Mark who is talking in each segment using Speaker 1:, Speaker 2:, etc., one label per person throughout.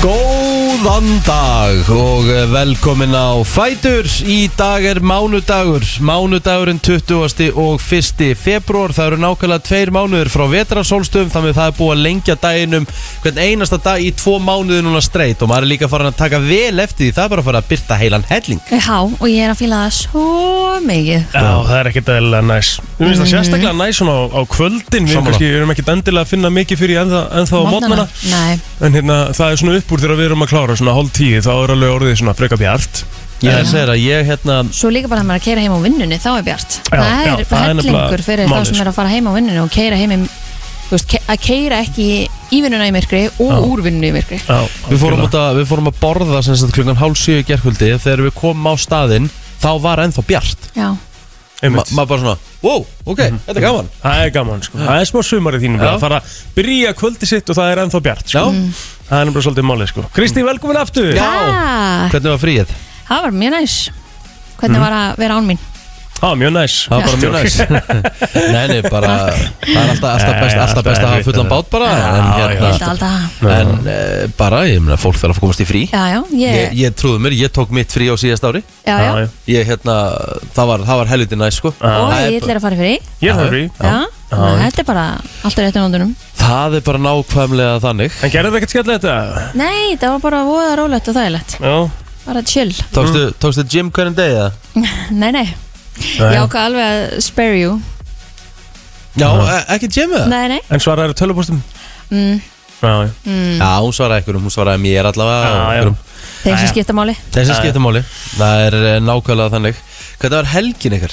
Speaker 1: Góðan dag og eh, velkomin á Fætur Í dag er mánudagur, mánudagurinn 20. og 1. februar Það eru nákvæmlega tveir mánuður frá vetrasólstöfum Þannig að það er búið að lengja daginum hvern einasta dag í tvo mánuði núna streit Og maður er líka farin að taka vel eftir því Það er bara að fara að byrta heilan helling
Speaker 2: Já, og ég er að fíla það svo mikið
Speaker 3: Já, það er ekkert eðlilega næs Mér finnst það sérstaklega næs svona á, á kvöldin Við erum
Speaker 1: Sammála.
Speaker 3: kannski, við erum ekkert endilega að finna mikið fyrir ennþá, ennþá á mótnana
Speaker 2: Nei,
Speaker 3: En hérna, það er svona upp úr þegar við erum að klára svona hálf tíu Þá er alveg orðið svona freka bjart
Speaker 1: Ég er að segja að ég hérna
Speaker 2: svo líka bara að maður að keira heim á vinnunni þá er bjart
Speaker 3: Já,
Speaker 2: Það er
Speaker 3: já, það er
Speaker 2: hellingur
Speaker 3: nefnilega
Speaker 2: fyrir
Speaker 3: málið,
Speaker 2: þá sem
Speaker 3: sko.
Speaker 2: er að fara heim á vinnunni og keira heim í, þú veist, ke að keira ekki í vinnuna í myrkri og
Speaker 3: Já.
Speaker 2: úr vinnunni í myrkri
Speaker 3: Já,
Speaker 1: Við fórum, út að, við fórum að borða sem sagt klukkan hálf sjö í gerkvöldi Þegar við komum á staðinn Þá var ennþá bjart
Speaker 2: Já,
Speaker 1: Ma,
Speaker 3: Einmitt.
Speaker 1: Maður bara svona, wow, ok,
Speaker 3: Mhm.
Speaker 1: þetta er gaman
Speaker 3: Það er gaman sko Það er smá sumar í þínum
Speaker 1: Já.
Speaker 3: Það fara að byrja kvöldi sitt og það er ennþá bjart
Speaker 1: Já,
Speaker 3: sko. Það er nefnilega svolítið málið sko Kristín, velkomin aftur
Speaker 1: Já.
Speaker 2: Ah,
Speaker 1: hvernig var fríið?
Speaker 2: það var mjög næs Hvernig var að vera án mín?
Speaker 3: Já, mjög næs
Speaker 1: Það var bara mjög næs Nei, nei, bara Það er alltaf, alltaf
Speaker 3: Nei,
Speaker 1: best, alltaf
Speaker 3: alltaf
Speaker 1: best að hafa
Speaker 3: erfitt
Speaker 1: fullan
Speaker 3: að-
Speaker 1: bát bara En,
Speaker 3: Já,
Speaker 2: Ég held
Speaker 1: hérna,
Speaker 2: að alltaf
Speaker 1: en uh, bara, ég meina, fólk þarf að komast í frí
Speaker 2: Já, já,
Speaker 1: Ég,
Speaker 2: ég,
Speaker 1: ég trúði mér, ég tók mitt frí á síðast ári
Speaker 2: já, já
Speaker 3: Já, já.
Speaker 1: Ég, hérna, það var, það var helviti næs, sko
Speaker 2: Og
Speaker 1: Það
Speaker 2: ég
Speaker 1: er-
Speaker 2: ætlir að fara fyrir
Speaker 3: Ég er það frí
Speaker 2: Já, þannig að þetta er bara alltaf rétt um ándunum
Speaker 1: Það er bara nákvæmlega þannig
Speaker 3: En gerði þetta ekkert skellið þetta?
Speaker 2: Nei, það var bara voða rólegt og þægilegt
Speaker 3: Já Mm.
Speaker 2: Bara chill
Speaker 1: Tókstu, tókstu gym hvernig degi það?
Speaker 2: Nei, nei,
Speaker 3: Nei.
Speaker 2: ég ákvað alveg að spare you
Speaker 1: Já, e- ekki gym eða?
Speaker 2: Nei, Mm. nei
Speaker 3: En svaraður tölvupóstum?
Speaker 2: mm,
Speaker 3: Já, já
Speaker 1: Já, hún svaraði einhverjum, hún svaraði mér allavega
Speaker 3: Já,
Speaker 1: og
Speaker 3: já.
Speaker 1: einhverjum.
Speaker 2: Þeir sem
Speaker 3: Jæja.
Speaker 2: skipta máli
Speaker 1: Þessi
Speaker 3: Já, já.
Speaker 1: skipta máli Það er eh, nákvæmlega þannig Hvernig var helgin ykkar?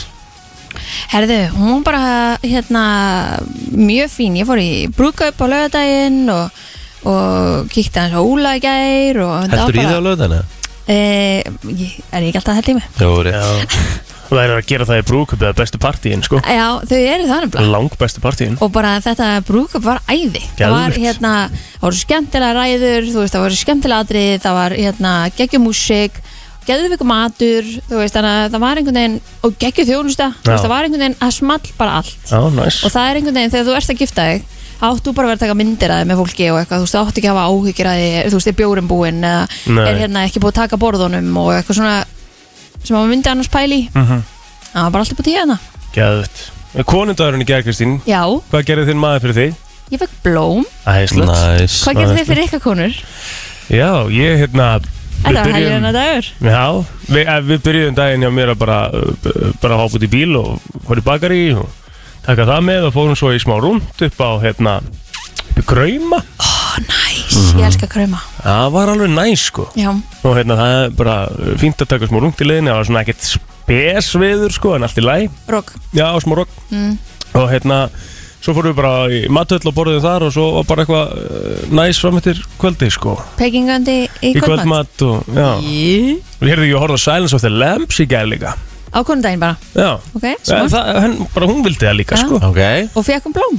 Speaker 2: Herðu, hún var bara hérna mjög fín Ég fór í brúðkaup á laugardaginn og, og kíkti hans á Óla í gær og þetta var
Speaker 1: Heldur í
Speaker 2: bara-
Speaker 1: þig á löðinu?
Speaker 2: e, ég, Er ég ekki alltaf held í mig?
Speaker 1: Jó, rétt
Speaker 3: Já Það er að gera það í brúkup eða bestu partíin sko
Speaker 2: Já, þau eru það nefnilega
Speaker 3: Lang bestu partíin
Speaker 2: og bara þetta brúkup var æði það var
Speaker 3: Geðveikt.
Speaker 2: hérna, það voru skemmtilega ræður þú veist, það voru skemmtilega atrið, það var hérna geggjumúsik, geggjumvíku matur þú veist, þannig að það var einhvern veginn og geggju þjónusta, þú
Speaker 3: Já.
Speaker 2: veist, það var einhvern veginn að small bara allt
Speaker 3: Já, næs
Speaker 2: og það er einhvern veginn þegar þú ert að gifta þig þá átt þú bara að vera að taka myndir að þig með fólki og eitthvað, þú veist, það átt ekki að hafa áhyggjur að þig þú veist, er bjórin búinn eða
Speaker 3: Nei.
Speaker 2: er hérna ekki búið að taka borðunum og eitthvað svona sem maður myndi annars pæli í.
Speaker 3: Mhm.
Speaker 2: það var bara alltaf búið tíða hana
Speaker 3: Gæðut Konundagurinn í gerð Kristín
Speaker 2: hérna. já,
Speaker 3: Hvað gerði þinn maður fyrir þig?
Speaker 2: ég fekk blóm,
Speaker 3: Æsland
Speaker 1: Næs
Speaker 2: hvað gerðu þið fyrir ykkar konur?
Speaker 3: Já, ég hérna við
Speaker 2: Þetta var
Speaker 3: byrjuðum-
Speaker 2: helgirinn að dagur
Speaker 3: Já, við, eh, við byrjuðum daginn hjá mér að bara, uh, b- bara hoppa út í bíl og fór í bakari og taka það með og fórum svo í smá rúnd upp á hérna upp í Grauma
Speaker 2: Næs,
Speaker 1: Mhm.
Speaker 2: ég elska kröma
Speaker 3: Það var alveg næs sko
Speaker 2: Já,
Speaker 3: og hérna það er bara uh, fínt að taka smá rúnd í leiðinni það var svona ekkert spesviður sko en allt í læg
Speaker 2: rokk
Speaker 3: Já, smá rock
Speaker 2: Mm.
Speaker 3: Og hérna, svo fórum við bara í matöll og borðum þar Og svo var bara eitthvað uh, næs fram eftir kvöldi, sko
Speaker 2: Pekingandi í
Speaker 3: Í
Speaker 2: kvöldmatt
Speaker 3: kvöldmatt og, já
Speaker 2: Í-
Speaker 3: Við heyrðum ekki að horfa á Silence of the Lambs í gæð líka
Speaker 2: Á konundaginn bara,
Speaker 3: Já
Speaker 2: ok,
Speaker 3: En
Speaker 2: smá
Speaker 3: Eh, það, henn, bara hún vildi það líka,
Speaker 2: Já.
Speaker 3: sko
Speaker 1: Ok
Speaker 2: Og fekk hún blóm?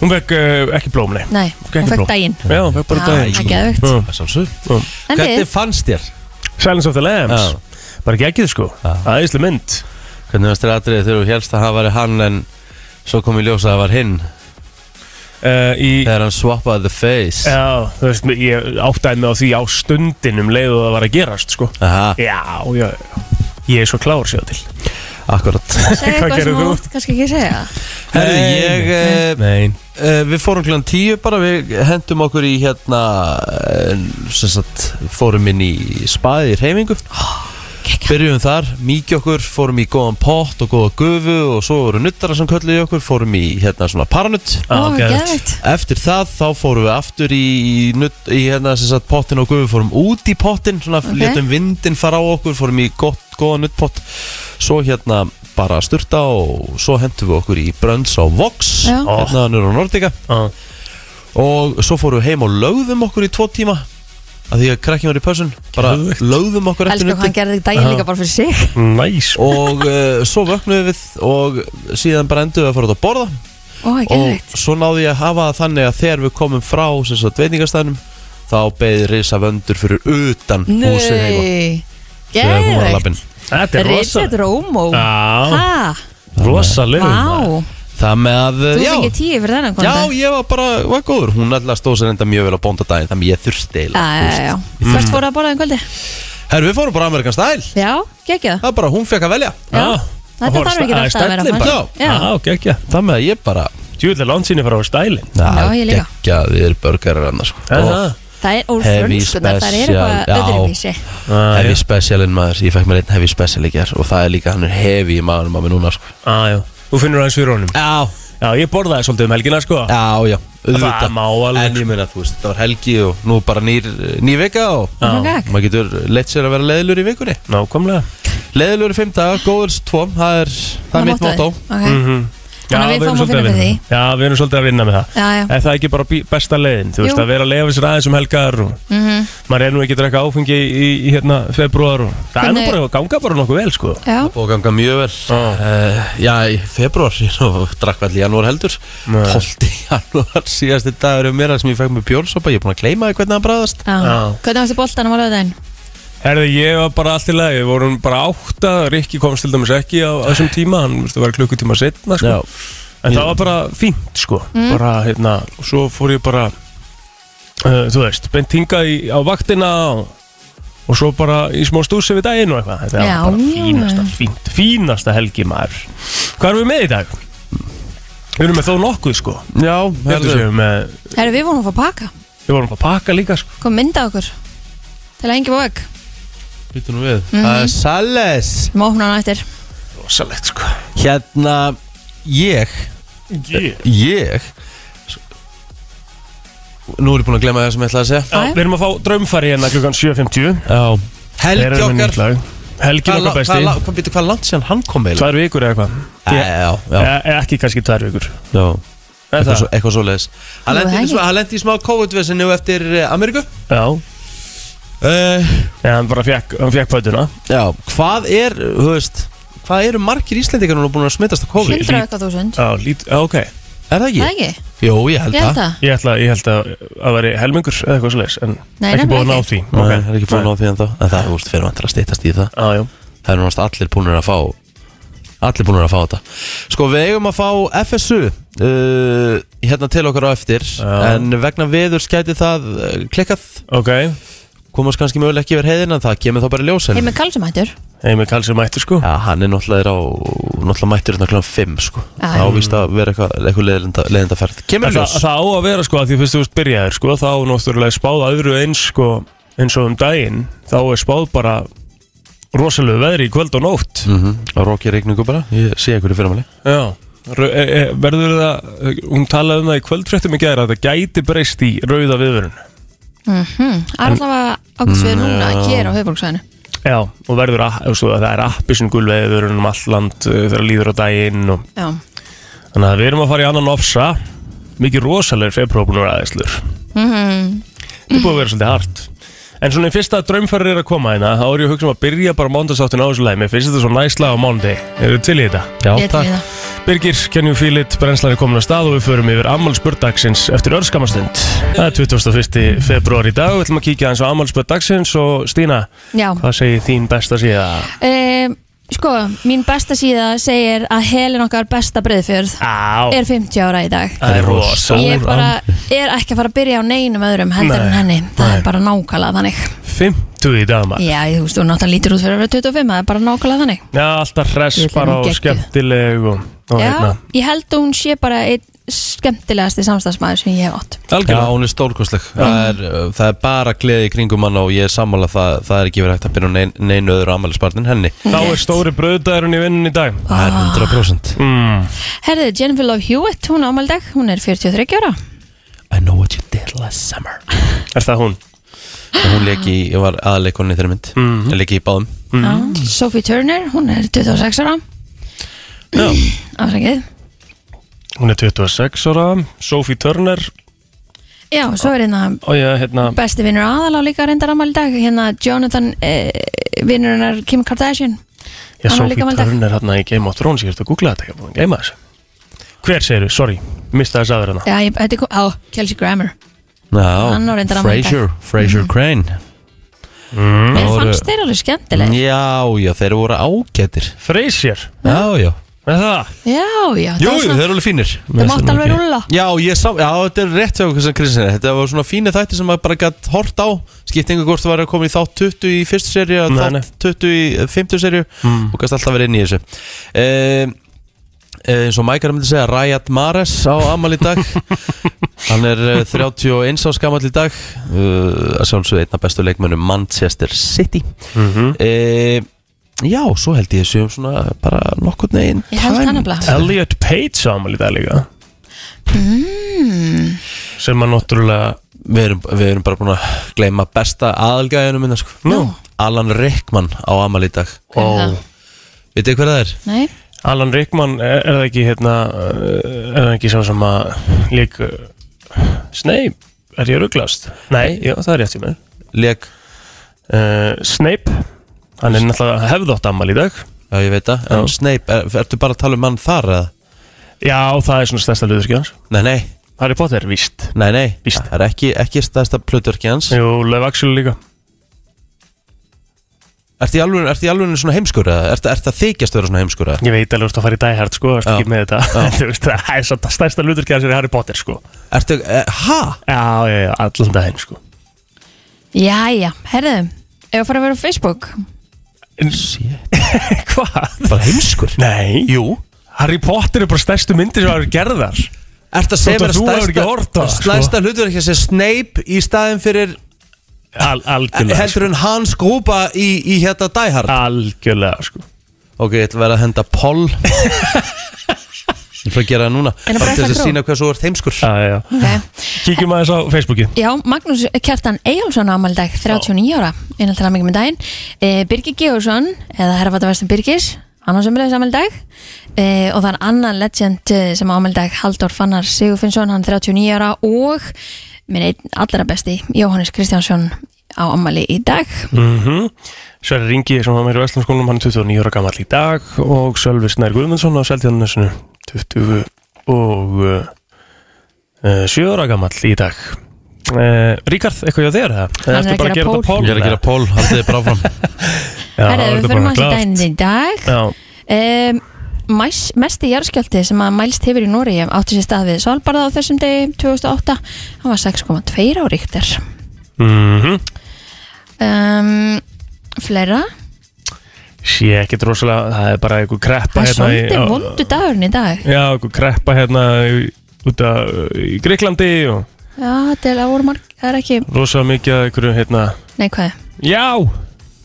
Speaker 3: Hún fekk uh, ekki blóm, nei
Speaker 2: Nei,
Speaker 3: Fekk
Speaker 2: hún
Speaker 3: ekki
Speaker 2: fekk
Speaker 3: blóm.
Speaker 2: daginn
Speaker 3: Já, hún fekk bara
Speaker 2: Já,
Speaker 3: daginn,
Speaker 2: það er
Speaker 3: sko.
Speaker 2: geðveikt.
Speaker 3: Já.
Speaker 1: Það sjálfsög
Speaker 2: En
Speaker 1: Hvernig
Speaker 2: þið,
Speaker 1: fannst þér?
Speaker 3: Silence of the Lambs
Speaker 1: Já.
Speaker 3: Bara ekki ekki, sko
Speaker 1: Já.
Speaker 3: Æðislega mynd
Speaker 1: Hvernig fannst þér atrið þegar þú helst að það væri hann en svo kom í ljós að það var hinn
Speaker 3: uh, Í
Speaker 1: þegar hann swappaði the face
Speaker 3: Já, þú veist, ég áttaði mig á því á stundinum um leið og það var að gerast, sko
Speaker 1: Aha,
Speaker 3: Já, já, já Ég er svo klár sér til
Speaker 1: akkurat
Speaker 2: segðu
Speaker 3: Hvað
Speaker 2: eitthvað sem
Speaker 3: gerðir
Speaker 2: þú
Speaker 3: þú?
Speaker 2: mátt kannski ekki segja
Speaker 1: Herðu, ég eh,
Speaker 3: Nei
Speaker 1: eh, Við fórum klann tíu bara Við hendum okkur í hérna eh, sem sagt, fórum inn í spaði í reyfingu
Speaker 3: Ah,
Speaker 2: geggjað.
Speaker 1: Byrjum þar, miki okkur, fórum í góðan pott og góða gufu og svo voru nuttara sem kölluði okkur, fórum í hérna svona paranutt
Speaker 2: Ó,
Speaker 3: Ah, geðveikt.
Speaker 2: geðvægt
Speaker 1: Eftir það þá fórum við aftur í, í, nudd, í hérna, sem sagt, pottin og gufu fórum út í pottin, svona
Speaker 2: Ok.
Speaker 1: létum vindin fara á okkur, fórum í gott, góða nuttpott svo hérna bara styrta og svo hentum við okkur í brönds á Vox,
Speaker 2: Já.
Speaker 1: hérna nýra á Nordica
Speaker 3: Já.
Speaker 1: og svo fórum við heim og lögðum okkur í tvo tíma að því að krakkin var í pössun bara
Speaker 3: Geðveikt.
Speaker 1: lögðum okkur eftir
Speaker 2: Elsku hvað hann gerði daginn líka bara fyrir sig
Speaker 3: Næs
Speaker 1: og uh, svo vöknum við og síðan bara endum við að fara út að borða
Speaker 2: Ó, geðvægt
Speaker 1: og svo náði ég að hafa það þannig að þegar við komum frá sem sagt veitingastæðnum þá beði risa vöndur fyrir utan húsið heima
Speaker 2: Nei,
Speaker 1: þegar hún var að
Speaker 2: geðvægt
Speaker 1: lappin
Speaker 3: Þetta er rosa
Speaker 2: Richard Romo
Speaker 3: Já,
Speaker 2: Ha,
Speaker 3: rosalega
Speaker 2: vá
Speaker 1: Það með að,
Speaker 2: Þú
Speaker 1: já
Speaker 2: fengið tíu fyrir þennan
Speaker 1: Já,
Speaker 2: konta
Speaker 1: ég var bara, var góður Hún alltaf stóð sér enda mjög vel á bóndadaginn Þannig ég
Speaker 2: Já,
Speaker 1: þurfti eiginlega
Speaker 2: já, já Hvert fór að borða en kvöldi?
Speaker 1: Herru, við fórum bara Amerikan stæl
Speaker 2: Já, gekkja
Speaker 1: Það er bara, hún fekk að velja
Speaker 2: Já. Þetta
Speaker 3: fór
Speaker 2: þarf ekki
Speaker 3: að
Speaker 2: alltaf að vera
Speaker 3: stællin
Speaker 2: fast.
Speaker 1: bara.
Speaker 2: Já.
Speaker 3: Já, ok, ekki
Speaker 1: Það með að ég bara
Speaker 3: Djúvill er lansinni fara á stælin
Speaker 2: Já, ég líka.
Speaker 1: Gekkjaðir börgarar annars sko.
Speaker 3: Er
Speaker 1: Og
Speaker 3: það?
Speaker 2: Það er úr
Speaker 1: Heavy
Speaker 2: frönskunar, það er
Speaker 1: special, já.
Speaker 2: eitthvað öðruvísi
Speaker 3: Ah,
Speaker 1: Heavy
Speaker 3: já.
Speaker 1: specialinn maður, ég fekk mér einn heavy special í gerð Og það er líka, hann er heavy í maðurum að mér núna sko.
Speaker 3: Ah, já. Þú finnur aðeins fyrir honum
Speaker 1: Já,
Speaker 3: Já, ég borðaði svolítið um helgina, sko
Speaker 1: já, já, auðvitað
Speaker 3: má alveg,
Speaker 1: En ég meina, þú veist, það var helgi og nú er bara nýr, nýr vika Og
Speaker 3: Já.
Speaker 2: Nú gekk.
Speaker 1: maður getur leitt sér að vera leiðilur í vikunni
Speaker 3: Nákvæmlega
Speaker 1: Leiðilur í fimm daga, góður s- tvo Það er, það
Speaker 2: Það
Speaker 1: er mitt
Speaker 2: mottóið.
Speaker 1: motto
Speaker 2: Ok.
Speaker 3: Mhm.
Speaker 2: Þannig að við
Speaker 3: erum
Speaker 2: fáum að
Speaker 3: svolítið
Speaker 2: finna fyrir
Speaker 3: Já, við erum svolítið að vinna með það
Speaker 2: Já, já.
Speaker 3: Er það ekki bara bí- besta leiðin? Þú veist,
Speaker 2: Jú.
Speaker 3: að vera að leifa sér aðeins um helgar og
Speaker 2: Mhm.
Speaker 3: maður er nú ekki að drekka áfengi í, í hérna, februar og það er nú
Speaker 2: Hvernig-
Speaker 3: bara að ganga bara nokkuð vel, sko
Speaker 2: Já,
Speaker 1: Og ganga mjög vel
Speaker 3: Já.
Speaker 1: uh, Já, í februar og drakk allir janúar heldur
Speaker 3: Nei.
Speaker 1: 12. janúar síðasti dagur um mér þar sem ég fekk með bjórsopa, ég er búin að gleyma því hvernig hann bræðast
Speaker 2: já
Speaker 3: Já.
Speaker 2: Hvernig varstu boltanum á löðin?
Speaker 3: Herði, ég var bara allt í lagi, við vorum bara átta, Rikki komst til dæmis ekki á á þessum tíma, hann veistu, var klukkutíma setna, sko. En það var bara fínt, sko, bara, hérna, og svo fór ég bara, uh, þú veist, beint hingað í, á vaktina og, og svo bara í smá stúsi við daginn og eitthvað. Þetta
Speaker 2: Já,
Speaker 3: var bara
Speaker 2: já.
Speaker 3: fínasta, fínt, fínasta helgi, maður. Hvað erum við með í dag? Við erum með þó nokkuð, sko.
Speaker 1: Já,
Speaker 3: Heldur
Speaker 1: heldur
Speaker 3: séum með,
Speaker 2: Herru, við vorum að fá að pakka
Speaker 3: við vorum að pakka líka, sko.
Speaker 2: Kom mynda okkur Til að engi vók
Speaker 1: Býtum nú við Það er Sales
Speaker 2: Mhm. Má opna hann á eftir
Speaker 3: Rosalegt, sko.
Speaker 1: Hérna, ég
Speaker 3: Yeah.
Speaker 1: Ég Nú er ég búin að gleyma það sem ég ætlaði að segja
Speaker 3: Já, við erum að fá draumfari hérna klukkan 7.50.
Speaker 1: Já Helgi
Speaker 3: Erum við
Speaker 1: okkar
Speaker 3: nýtt lag. Helgi
Speaker 1: Hvað
Speaker 3: okkar
Speaker 1: er
Speaker 3: besti
Speaker 1: hvað, býtu, hvað er langt síðan hann kom eiginlega?
Speaker 3: Tvær vikur eða eitthvað
Speaker 1: Já,
Speaker 3: Ég-
Speaker 1: já, já,
Speaker 3: e- Ekki kannski tvær vikur
Speaker 1: já.
Speaker 3: Er
Speaker 1: Eitthvað,
Speaker 3: það?
Speaker 1: svo, eitthvað svo leiðis Hann
Speaker 2: Nú,
Speaker 1: lendi í
Speaker 2: það
Speaker 1: smá- hann lendi í smá COVID-vesinu eftir eh, Ameríku
Speaker 3: Já
Speaker 1: uh,
Speaker 3: Já, hann bara fekk, hann fekk pötuna
Speaker 1: Já, hvað er, þú veist Hvað eru margir íslendingar núna búin að smittast á COVID?
Speaker 2: Hundra eitthvað þúsund
Speaker 3: Já, lít, já, ok
Speaker 1: Er það
Speaker 2: Það
Speaker 1: ekki?
Speaker 2: ekki?
Speaker 1: Jú, ég held
Speaker 2: Ég held
Speaker 1: það
Speaker 2: það
Speaker 3: Ég ætla, ég held að að veri helmingur eða eitthvað svoleiðis En
Speaker 2: Nei,
Speaker 3: ekki búið
Speaker 2: nefnilega
Speaker 3: að ná
Speaker 2: ekki.
Speaker 3: því
Speaker 1: Nei, það er ekki búin á því ennþá En það er úrst fyrir vantar að stýttast í það
Speaker 3: Já, já
Speaker 1: Það er náttúrulega allir búinir að fá Allir búinir að fá þetta Sko, við eigum að fá FSU uh, Hérna til okkar á eftir
Speaker 3: Já.
Speaker 1: En vegna viður skæti það uh, klikkað
Speaker 3: Ok
Speaker 1: Komast kannski mögulega ekki yfir heiðin En það kemur þá bara í ljós en-
Speaker 2: Heimir Karlsson mættur
Speaker 3: Heimi Kalsi mættur sko
Speaker 1: Já, hann er náttúrulega, er á, náttúrulega mættur hérna kl. 5 sko.
Speaker 2: Já.
Speaker 1: Það ávist að vera eitthvað, eitthvað leiðinda, leiðindaferð Kemur
Speaker 3: En
Speaker 1: í
Speaker 3: það,
Speaker 1: ljós
Speaker 3: það á að vera sko að því fyrst þú veist byrjaðir sko Þá er náttúrulega spáð öðru eins sko eins og um daginn Þá er spáð bara rosalegu veðri í kvöld og nótt
Speaker 1: mm -hmm. Á roki regningu bara, ég sé ykkur í fyrirmáli
Speaker 3: Já, rau- e, e, verður það, hún talaði um það í kvöldfréttum í gæra að það gæti breyst í rauða viðvörun.
Speaker 2: Mhm. Það er alltaf að ákvæmst við núna Hér á höfbólksvæðinu
Speaker 3: Já, og verður að, þú veist, það er appi sem gul viðvörun um allt land eh, þegar líður á daginn og
Speaker 2: Já
Speaker 3: þannig að við erum að fara í annan ofsa, mikið rosalegur febrópunur aðeinslur.
Speaker 2: Mhm.
Speaker 3: Þetta er búið að vera svolítið hart. En svona í fyrsta draumfæri er að koma hérna, þá er ég að hugsa um að byrja bara mándasáttin á þessu læmi, finnst þetta svo næsla á mándi, eru til í þetta?
Speaker 1: Já,
Speaker 2: Ég til í það
Speaker 3: Birgir, can you feel it? Brennslan er komin að stað og við förum yfir ammálspörd dagsins eftir örskamastund. Það er 21. februar í dag, við ætlum að kíkja aðeins á ammálspörd dagsins og Stína,
Speaker 2: Já
Speaker 3: hvað segir þín besta síða?
Speaker 2: Ehm, Sko, mín besta síða segir að helin okkar besta breyðfjörð
Speaker 3: Á,
Speaker 2: er 50 ára í dag
Speaker 3: það er rosa.
Speaker 2: Ég bara er ekki að fara að byrja á neinum öðrum heldur
Speaker 3: Nei,
Speaker 2: en henni Það
Speaker 3: nei.
Speaker 2: er bara nákvæmlega þannig
Speaker 3: 50 í dag maður.
Speaker 2: Já, þú veist, þú náttúrulega lítur út fyrir að vera 25 Það er bara nákvæmlega þannig
Speaker 3: Já, alltaf hress
Speaker 2: Ég vil
Speaker 3: bara
Speaker 2: hún
Speaker 3: og
Speaker 2: geggjuð.
Speaker 3: skemmtileg og, og
Speaker 2: Já,
Speaker 3: hérna.
Speaker 2: ég held að hún sé bara einn skemmtilegasti samstagsmaður sem ég hef átt
Speaker 1: Já,
Speaker 3: Algjörlega.
Speaker 1: hún er stórkostleg það er, uh, það er bara gleði í kringum hann og ég er sammála það, það er ekki verið hægt að byrja á nein, neinu öðru ammælisbarnin henni
Speaker 3: Þá er stóri bröðdæðurinn í vinnun í dag. Ah.
Speaker 1: Það er 100%
Speaker 3: Mm.
Speaker 2: Herðið, Jennifer Love Hewitt, hún ámæl dag, hún er 43 ára
Speaker 1: I know what you did last summer
Speaker 3: Er það hún?
Speaker 1: Og Hún leki, ég var aðleikonni í þeirri mynd
Speaker 3: Mhm.
Speaker 1: Ég leki í báðum
Speaker 2: mm. Sophie Turner, hún er 26 ára
Speaker 1: Já.
Speaker 2: Afsakið
Speaker 3: Hún er 26 ára, Sophie Turner
Speaker 2: Já, svo er hérna
Speaker 3: og ég hérna...
Speaker 2: besti vinnur aðalá líka reyndar ámæl dag Hérna Jonathan, eh, vinnurinnar Kim Kardashian Hann
Speaker 3: Já,
Speaker 2: var
Speaker 3: Sophie
Speaker 2: líka máldag.
Speaker 3: Turner hérna í Game of Thrones, ég ert að googla þetta, ég er búin að geima þessu. Hver segir þú? Sorry, mista þess aður hérna.
Speaker 2: Já, ég, þetta er kom, á, Kelsey Grammer Hann á reyndar
Speaker 1: Já,
Speaker 2: afmæli í dag.
Speaker 1: Frasier, Frasier Crane
Speaker 2: Mér
Speaker 1: voru-
Speaker 3: Mm.
Speaker 1: Mm.
Speaker 2: fannst þeir alveg skemmtileg
Speaker 1: Já, já, þeir voru ágætir
Speaker 3: Frasier,
Speaker 1: Já, já
Speaker 3: Er það?
Speaker 2: Já, já,
Speaker 1: Jú,
Speaker 2: það var
Speaker 1: jú, þeir eru alveg fínir
Speaker 2: Þetta mátti alveg rúlla
Speaker 1: Já, ég sá, já, þetta er rétt hjá okkur sem Kristján Þetta var svona fínir þættir sem maður bara gætt hort á Skipt einhver hvort það var að koma í þátt 20 í fyrstu serju og
Speaker 3: Nei, nei. Mm.
Speaker 1: Þátt 20 í eh, 50 serju Og gæst alltaf verið inn í þessu Ehm, eh, Eins og Mækara myndi segja Rayat Mares á Amal í dag Hann er eh, 31 á skamall í dag uh, Að sjálfsögðu einna bestu leikmönnum Manchester City mm
Speaker 3: Mhm.
Speaker 1: Já, svo held ég þessu um svona bara nokkurn veginn
Speaker 2: Ég held það
Speaker 1: tæmd.
Speaker 2: nefnilega
Speaker 3: Elliot Page ámæli það líka
Speaker 2: Mm.
Speaker 3: sem að náttúrulega
Speaker 1: Við erum, við erum bara búin að gleyma besta aðalgæðinu minna sko.
Speaker 3: Nú.
Speaker 1: Alan Rickman á amal í dag
Speaker 2: Hver er það?
Speaker 1: Vitið þið hver það er?
Speaker 2: Nei,
Speaker 3: Alan Rickman er, er það ekki hérna uh, er það ekki sá sem að lík Snape er ég rugglast? Nei, já, það er rétt í mér
Speaker 1: Leg,
Speaker 3: uh, Snape hann er náttúrulega hefðótt ammali í dag
Speaker 1: já ég veit það En
Speaker 3: Já.
Speaker 1: Snape, er, ertu bara að tala um mann þar eða?
Speaker 3: Já, það er svona stærsta hlutverki hans
Speaker 1: Nei, nei,
Speaker 3: Harry Potter, víst
Speaker 1: nei, nei
Speaker 3: Víst.
Speaker 1: Það er ekki, ekki stæðsta plötverki hans
Speaker 3: Jú, Leif Axel líka
Speaker 1: Ertu í alveg, ertu í alveg svona heimskur eða? Ertu, ertu að þykjast vera svona heimskur eða?
Speaker 3: Ég veit alveg að þú ert að fara í Die Hard sko, ertu
Speaker 1: Já.
Speaker 3: ekki með þetta Þú veist, það er samt að stærsta hlutverki hans er Harry Potter sko
Speaker 1: Ertu, e, ha?
Speaker 3: Já, já, já, allan daginn sko
Speaker 2: jæja, herðu Ef að fara að vera á Facebook
Speaker 1: Shit,
Speaker 3: Hvað?
Speaker 1: bara heimskur
Speaker 3: Nei,
Speaker 1: Jú
Speaker 3: Harry Potter er bara stærstu myndir sem hafa gerðar
Speaker 1: Ertu að segja
Speaker 3: Þótt
Speaker 1: mér
Speaker 3: að þú hefur ekki horft á
Speaker 1: að
Speaker 3: það, sko.
Speaker 1: stæðsta hlutverki sem Snape í staðin fyrir
Speaker 3: Al Algjörlega sko.
Speaker 1: heldur en hans grúpa í, í hérna Die Hard
Speaker 3: Algjörlega sko
Speaker 1: Ok, ég ætla að vera að henda poll Ég ætla að gera það núna
Speaker 2: En að
Speaker 1: Bara til
Speaker 2: breyta
Speaker 1: þess að
Speaker 2: kró.
Speaker 1: sína hvað svo er heimskur
Speaker 3: Já, já, já
Speaker 2: okay.
Speaker 3: Kíkjum aðeins á Facebooki
Speaker 2: Já, Magnús Kjartan Eyjálsson ámæli dag 39 ára, innan til að mikið með daginn e, Birgir Gjóðsson, eða herrafataverstum Birgis hann á sömulegis ámæli dag e, og það er annan legend eh, sem ámæli dag Halldór Fannar Sigurfinnsson, hann 39 ára og minn einn allra besti Jóhannes Kristjánsson á ámæli í dag
Speaker 3: mm Sverri Ringi sem var meira í Vestlandskólum hann er 29 ára gammal í dag og Sölvi Snær Guðmundsson á Seldjarnesinu 20 og uh, 7 ára gammal í dag uh, Ríkard, eitthvað hjá þér það?
Speaker 2: Hann er að gera pól.
Speaker 1: Ég er að gera poll, haldið þið bara áfram
Speaker 2: Herra, við förum að daginn í dag
Speaker 3: Já,
Speaker 2: Um, mæs, mesti jarðskjálti sem að mælst hefur í Nóri átti sér stað við Svalbarða á þessum degi 2008, hann var 6,2 á ríktir
Speaker 3: mhm
Speaker 2: um, Fleira
Speaker 3: Sé ekkert rosalega, það er bara einhver kreppa
Speaker 2: Það er
Speaker 3: hérna í-
Speaker 2: svolítið
Speaker 3: á-
Speaker 2: vondu dagurinn í dag
Speaker 3: Já, einhver kreppa hérna í- út af í Greiklandi og
Speaker 2: Já, þetta er að voru marg, það er ekki
Speaker 3: rosalega mikið að einhverju hérna
Speaker 2: neikvæði
Speaker 3: Já,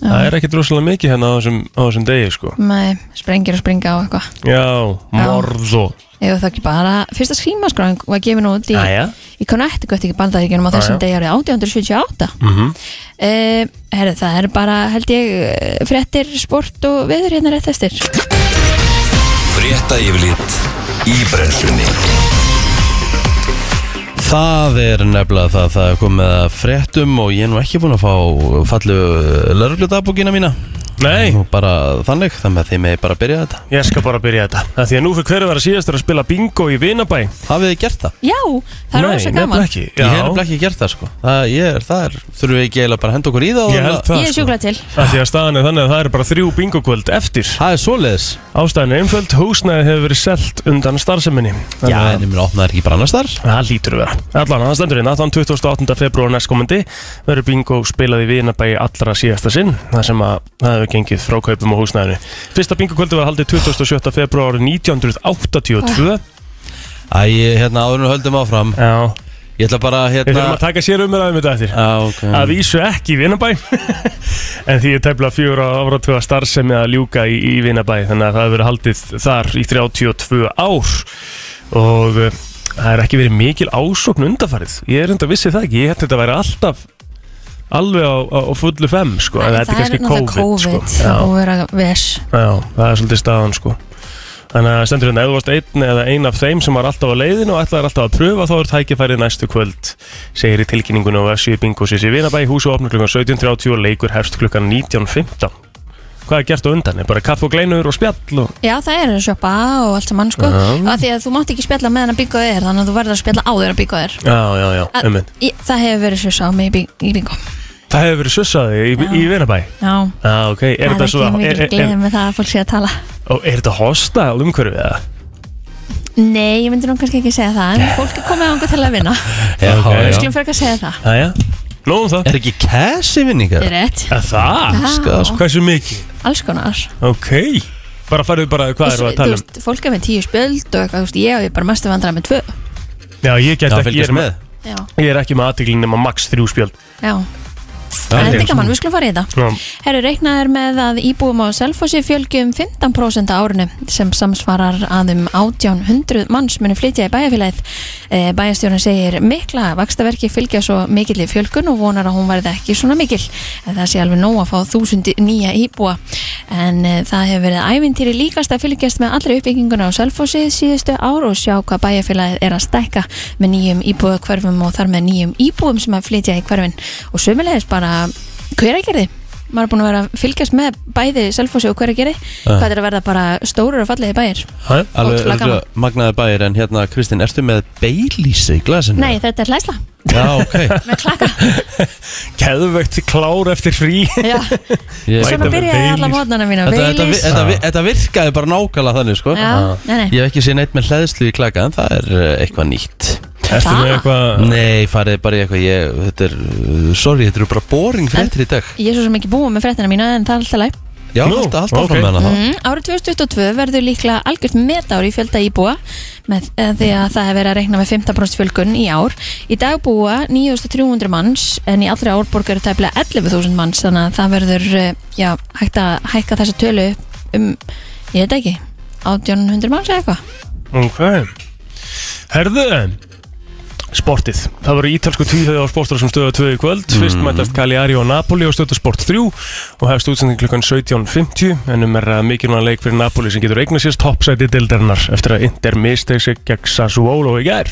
Speaker 3: það er ekkert rosalega mikið hérna á þessum, á þessum degi sko
Speaker 2: með sprengir og springa og eitthvað
Speaker 3: Já, morð og
Speaker 2: eða það ekki bara, fyrsta skrímaskráning var gefin út í,
Speaker 3: Jæja.
Speaker 2: í Connecticut ekki bandaríkjunum á
Speaker 3: já.
Speaker 2: þessum degi árið 1878
Speaker 3: Mhm.
Speaker 2: Eh, herru, það er bara held ég eh, fréttir, sport og veður hérna rétt eftir
Speaker 4: Frétta yfirlit í brennslunni
Speaker 1: Það er nefnilega það, það er komið að fréttum og ég er nú ekki búin að fá fallu lörglutabókina mína
Speaker 3: Nei,
Speaker 1: og bara þannig, þannig að þið megi bara að byrja þetta
Speaker 3: ég skal bara byrja þetta Það því að nú fyrir hverju vera síðastur að spila bingo í Vinabæ
Speaker 1: Hafið þið gert það?
Speaker 2: Já, það er
Speaker 3: Nei,
Speaker 2: rosa
Speaker 3: nefnilega
Speaker 2: gaman
Speaker 3: ekki
Speaker 1: Ég hef
Speaker 3: Já,
Speaker 1: nefnilega ekki gert það sko Það, ég er, það er, þurfum við ekki eiginlega bara að henda okkur í það
Speaker 3: ég
Speaker 1: og-
Speaker 3: held það
Speaker 2: Ég er
Speaker 3: sko.
Speaker 2: sjúkla til
Speaker 3: Af Því að staðan er þannig að það eru bara þrjú bingokvöld eftir
Speaker 1: Það er svoleiðis
Speaker 3: Ástæðan er einföld, húsnæði hefur verið selt undan starfseminni Þannig
Speaker 1: Já,
Speaker 3: að-
Speaker 1: en ég meina opnaðar ekki brannastar
Speaker 3: Það lítur að vera. Allan, það stendur hérna, þann 28. februar næstkomandi verður bingo spilað í Vinabæi allra síðasta sinn, það sem að það hefur gengið frá kaupum á húsnæðinu. Fyrsta bingokvöldi var haldið 27. februar
Speaker 1: Ah.
Speaker 3: 1982.
Speaker 1: Æ, hérna áður en við höldum áfram
Speaker 3: Já,
Speaker 1: Ég ætla bara,
Speaker 3: við þurfum
Speaker 1: hérna
Speaker 3: að taka sér umræðum þetta eftir.
Speaker 1: Já, ok
Speaker 3: Að vísu ekki í Vinabæ, en því er tefla fjóra ára tvega starfsemi að ljúka í, í Vinabæ, þannig að það hefur verið haldið þar í 32 ár og uh, það er ekki verið mikil ásókn undafarið. Ég er enda vissi það ekki, ég hætti þetta að vera alltaf alveg á, á, á fullu fem, sko, en þetta er kannski COVID,
Speaker 2: COVID
Speaker 3: sko.
Speaker 2: og vera ves
Speaker 3: Já, það er svolítið staðan sko Þannig að stendur hérna, ef þú varst einn eða einn af þeim sem var alltaf á leiðinu og ætlaði alltaf að pröfa þá er tækifærið næstu kvöld segir í tilkynningunum á S7 Bingo sér sér vinabæ hús og opnur klukkan 17.30 og leikur hefst klukkan 19.15 Hvað er gert á undan? Er bara kaff og gleinur og spjall og...
Speaker 2: Já, það er að sjoppa og allt saman sko
Speaker 3: Já.
Speaker 2: af því að þú mátt ekki spjalla meðan að byggja þér þannig að þú verður að spjalla áður að byggja þér
Speaker 3: Já, já, já,
Speaker 2: Að-
Speaker 3: ummin
Speaker 2: Í- Það hefur verið svo sá mig í bing- í bingo
Speaker 3: Það hefur verið sussaði í, í vinabæ
Speaker 2: Já,
Speaker 3: Já, ok, er
Speaker 2: það
Speaker 3: þetta
Speaker 2: er
Speaker 3: svo
Speaker 2: ekki mikil
Speaker 3: er, er,
Speaker 2: gleðið með það að fólk sé að tala
Speaker 3: er, Og er þetta hostile umhverfið eða?
Speaker 2: Nei, ég myndi nú kannski ekki segja það En fólk er komið ángur til að vinna
Speaker 1: Já,
Speaker 3: Ok.
Speaker 1: já.
Speaker 2: Við skulum fyrir að segja það
Speaker 3: Jæja, nóðum það
Speaker 1: Er ekki cash í
Speaker 2: Þið
Speaker 1: vinningar? sko.
Speaker 2: er rétt,
Speaker 3: Er það?
Speaker 2: Já.
Speaker 3: Hversu mikið?
Speaker 2: alls konar
Speaker 3: Ok Bara farið bara
Speaker 2: Og
Speaker 3: hvað erum
Speaker 2: svo-
Speaker 3: við að tala
Speaker 2: þú
Speaker 3: um
Speaker 2: veist, Fólk er með tíu spjöld og eitthvað, þú veist, ég og ég bara mestu vandrar með tvö
Speaker 3: Já, ég get
Speaker 1: Já,
Speaker 3: ekki, ég
Speaker 1: fylgjast
Speaker 3: er,
Speaker 1: með
Speaker 2: Já,
Speaker 3: ég er ekki með aðtíklinn nema max þrjú spjöld
Speaker 2: já
Speaker 3: Já,
Speaker 2: En
Speaker 3: ég
Speaker 2: þetta
Speaker 3: er
Speaker 2: er gaman, við skulum fara í þetta
Speaker 3: Já,
Speaker 2: Herru, reiknað er með að íbúum á Selfossi fjölgi um 15% á árinu sem samsvarar að um 1800 manns muni flytja í bæjarfélagið. Eh, Bæjarstjórn segir mikla vakstaverki fylgja svo mikill í fjölgun og vonar að hún verði ekki svona mikill. En það sé alveg nóg að fá þúsund nýja íbúa. En eh, það hefur verið ævintýri líkast að fylgjast með allri uppbygginguna á Selfossi síðustu ár og sjá hvað bæjarfélagið er að stækka með nýjum íbúa og þar með nýjum íbúum sem að flytja í hverfin. Og sömulegis bara hver maður er búin að vera að fylgjast með bæði Selfossi og hverja geri hvað er að verða bara stórur og fallegi bæir
Speaker 3: Hæ?
Speaker 1: Alveg
Speaker 2: Ótrúlega
Speaker 1: örgulega magnaði bæir En hérna, Kristinn, ertu með beilísi í glasinu?
Speaker 2: Nei, þetta er hlæsla
Speaker 1: Já, ok
Speaker 2: með klaka
Speaker 3: Geðvegt klár eftir frí
Speaker 2: Já,
Speaker 1: Ég-
Speaker 3: Bæta
Speaker 2: Svona
Speaker 3: með
Speaker 2: byrja ég alla
Speaker 3: Baileys.
Speaker 2: mótnana mína
Speaker 1: Þetta, þetta, vi-
Speaker 2: Baileys
Speaker 1: þetta, vi- þetta virkaði bara nákvæmlega þannig sko.
Speaker 2: Já, nei, nei.
Speaker 1: Ég hef ekki séð neitt með hlæðslu í klaka En það er eh, eitthvað nýtt
Speaker 3: Ertu með
Speaker 2: Ah.
Speaker 3: eitthvað
Speaker 1: Nei, farið bara í eitthvað ég, Þetta er, uh, sorry, þetta eru bara boring fréttir í dag
Speaker 2: Ég er svo sem ekki búið með fréttina mína en það er alltaf læg
Speaker 1: Já,
Speaker 3: Nú,
Speaker 1: alltaf, alltaf
Speaker 3: ok.
Speaker 1: áfram með hana þá.
Speaker 2: Mm, árið 2022 verður líklega algjört metár í fjölda íbúa með, eh, því að það hefur verið að reikna með 15% fjölgun í ár. Í dag búa 9.300 manns en í allri árborg eru tæplega 11.000 manns þannig að það verður eh, já, hægt að hækka þessa tölu upp um, ég veit ekki, 1800 manns eða eitthvað.
Speaker 3: Ok Herðu Sportið. Það voru ítalsku tvíhauði á sportur sem stöða 2 í kvöld. Fyrst mætast Cagliari og Napoli á stöða sport 3 og hefst útsending klukkan 17.50 en um er að mikilvæg leik fyrir Napoli sem getur eigna sér toppsæti dildarinnar eftir að Inter misteg sig gegn Sassuolo í gær.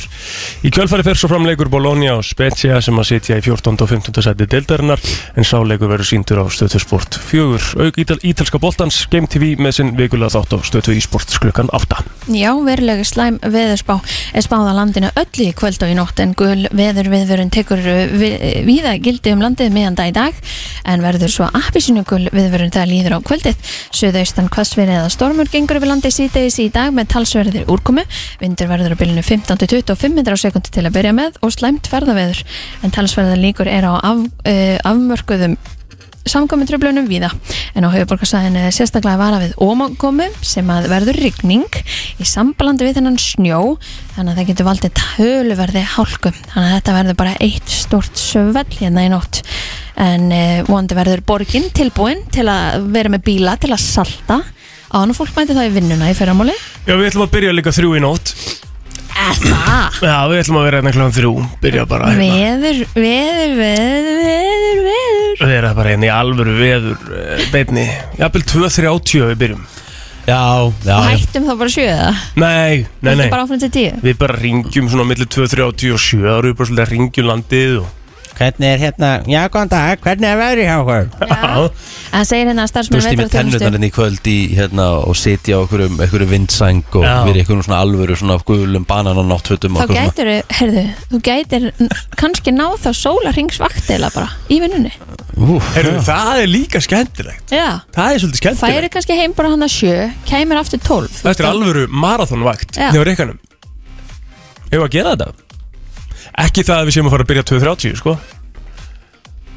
Speaker 3: Í kjölfæri fer svo fram leikur Bologna og Spezia sem að sitja í 14. og 15. sæti deildarinnar en sáleikur verður síndur á stöðtusport 4. Auk ítal, ítalska boltans Game TV með sinn vikulega þátt á stöðtu í sport klukkan 8.
Speaker 2: Já, verulega slæm veðurspá er spáð á landinu öllu í kvöld og í nótt en gul veður viðvörun tekur uh, vi- víða gildi um landið meðan dag í dag en verður svo appisinu gul viðvörun þegar líður á kvöldið. Suðaustan hvassverið eða stormur gengur yfir landið síðdegis í dag með talsverðir úrkomu. Vindur verður á bylunu 15-25 metrar á sekundu til að byrja með og slæmt ferðaveður en talsverðar líkur er á af, uh, afmörkuðum samkomintröflunum víða en á höfuborgarsæðinu er sérstaklega vara við ómankomu sem að verður rigning í sambalandi við þennan snjó þannig að það getur valdið töluverði hálku þannig að þetta verður bara eitt stort svell hérna í nótt en eh, vonandi verður borgin tilbúin til að vera með bíla til að salta á hann og fólk mæti það í vinnuna í fyrramáli
Speaker 3: Já, við ætlum að byrja líka þrjú í nótt.
Speaker 2: Eða,
Speaker 3: Já, við ætlum að vera hérna klukkan þrjú. Byrja bara hérna.
Speaker 2: veður, veður, veður, veður, veður
Speaker 3: Við erum bara hérna í alvöru veður eh, beinni. Jafnvel 2.30 við byrjum.
Speaker 1: Já, já,
Speaker 2: og
Speaker 1: já
Speaker 2: hættum þá bara sjöða
Speaker 3: Nei, nei, nei.
Speaker 2: bara áfram til tíu
Speaker 3: Við bara ringjum svona millir 2.30 og 7. Það eru við bara svolítið að ringjum landið og...
Speaker 5: Hvernig er hérna, já góðan dag, hvernig er veðrið hjá okkur?
Speaker 3: Já.
Speaker 2: en segir hérna að
Speaker 1: Þú
Speaker 2: starfsmenn
Speaker 1: veist, ég með
Speaker 2: vetrarþjónustu-
Speaker 1: tennurnar hérna í kvöld í, hérna, og sitja á einhverjum, einhverjum vindsæng og
Speaker 3: Já.
Speaker 1: verið einhverjum svona alvöru svona gulum banan og náttfötum
Speaker 2: þá
Speaker 1: og eitthvað
Speaker 2: gætur þau, herðu, þú gætir n- kannski náð þá sólarringsvakt eða bara í vinnunni
Speaker 1: svona Úf,
Speaker 3: Heyrðu, það er líka skemmtilegt.
Speaker 2: já,
Speaker 3: Það er
Speaker 2: færi
Speaker 3: svolítið skemmtilegt.
Speaker 2: kannski heim bara hann að sjö kæmir aftur tólf
Speaker 3: Þetta er alvöru marathónvakt
Speaker 2: Já.
Speaker 3: hjá Reykjanum. Hefur að gera þetta? Ekki það að við séum að fara að byrja 2.30, sko.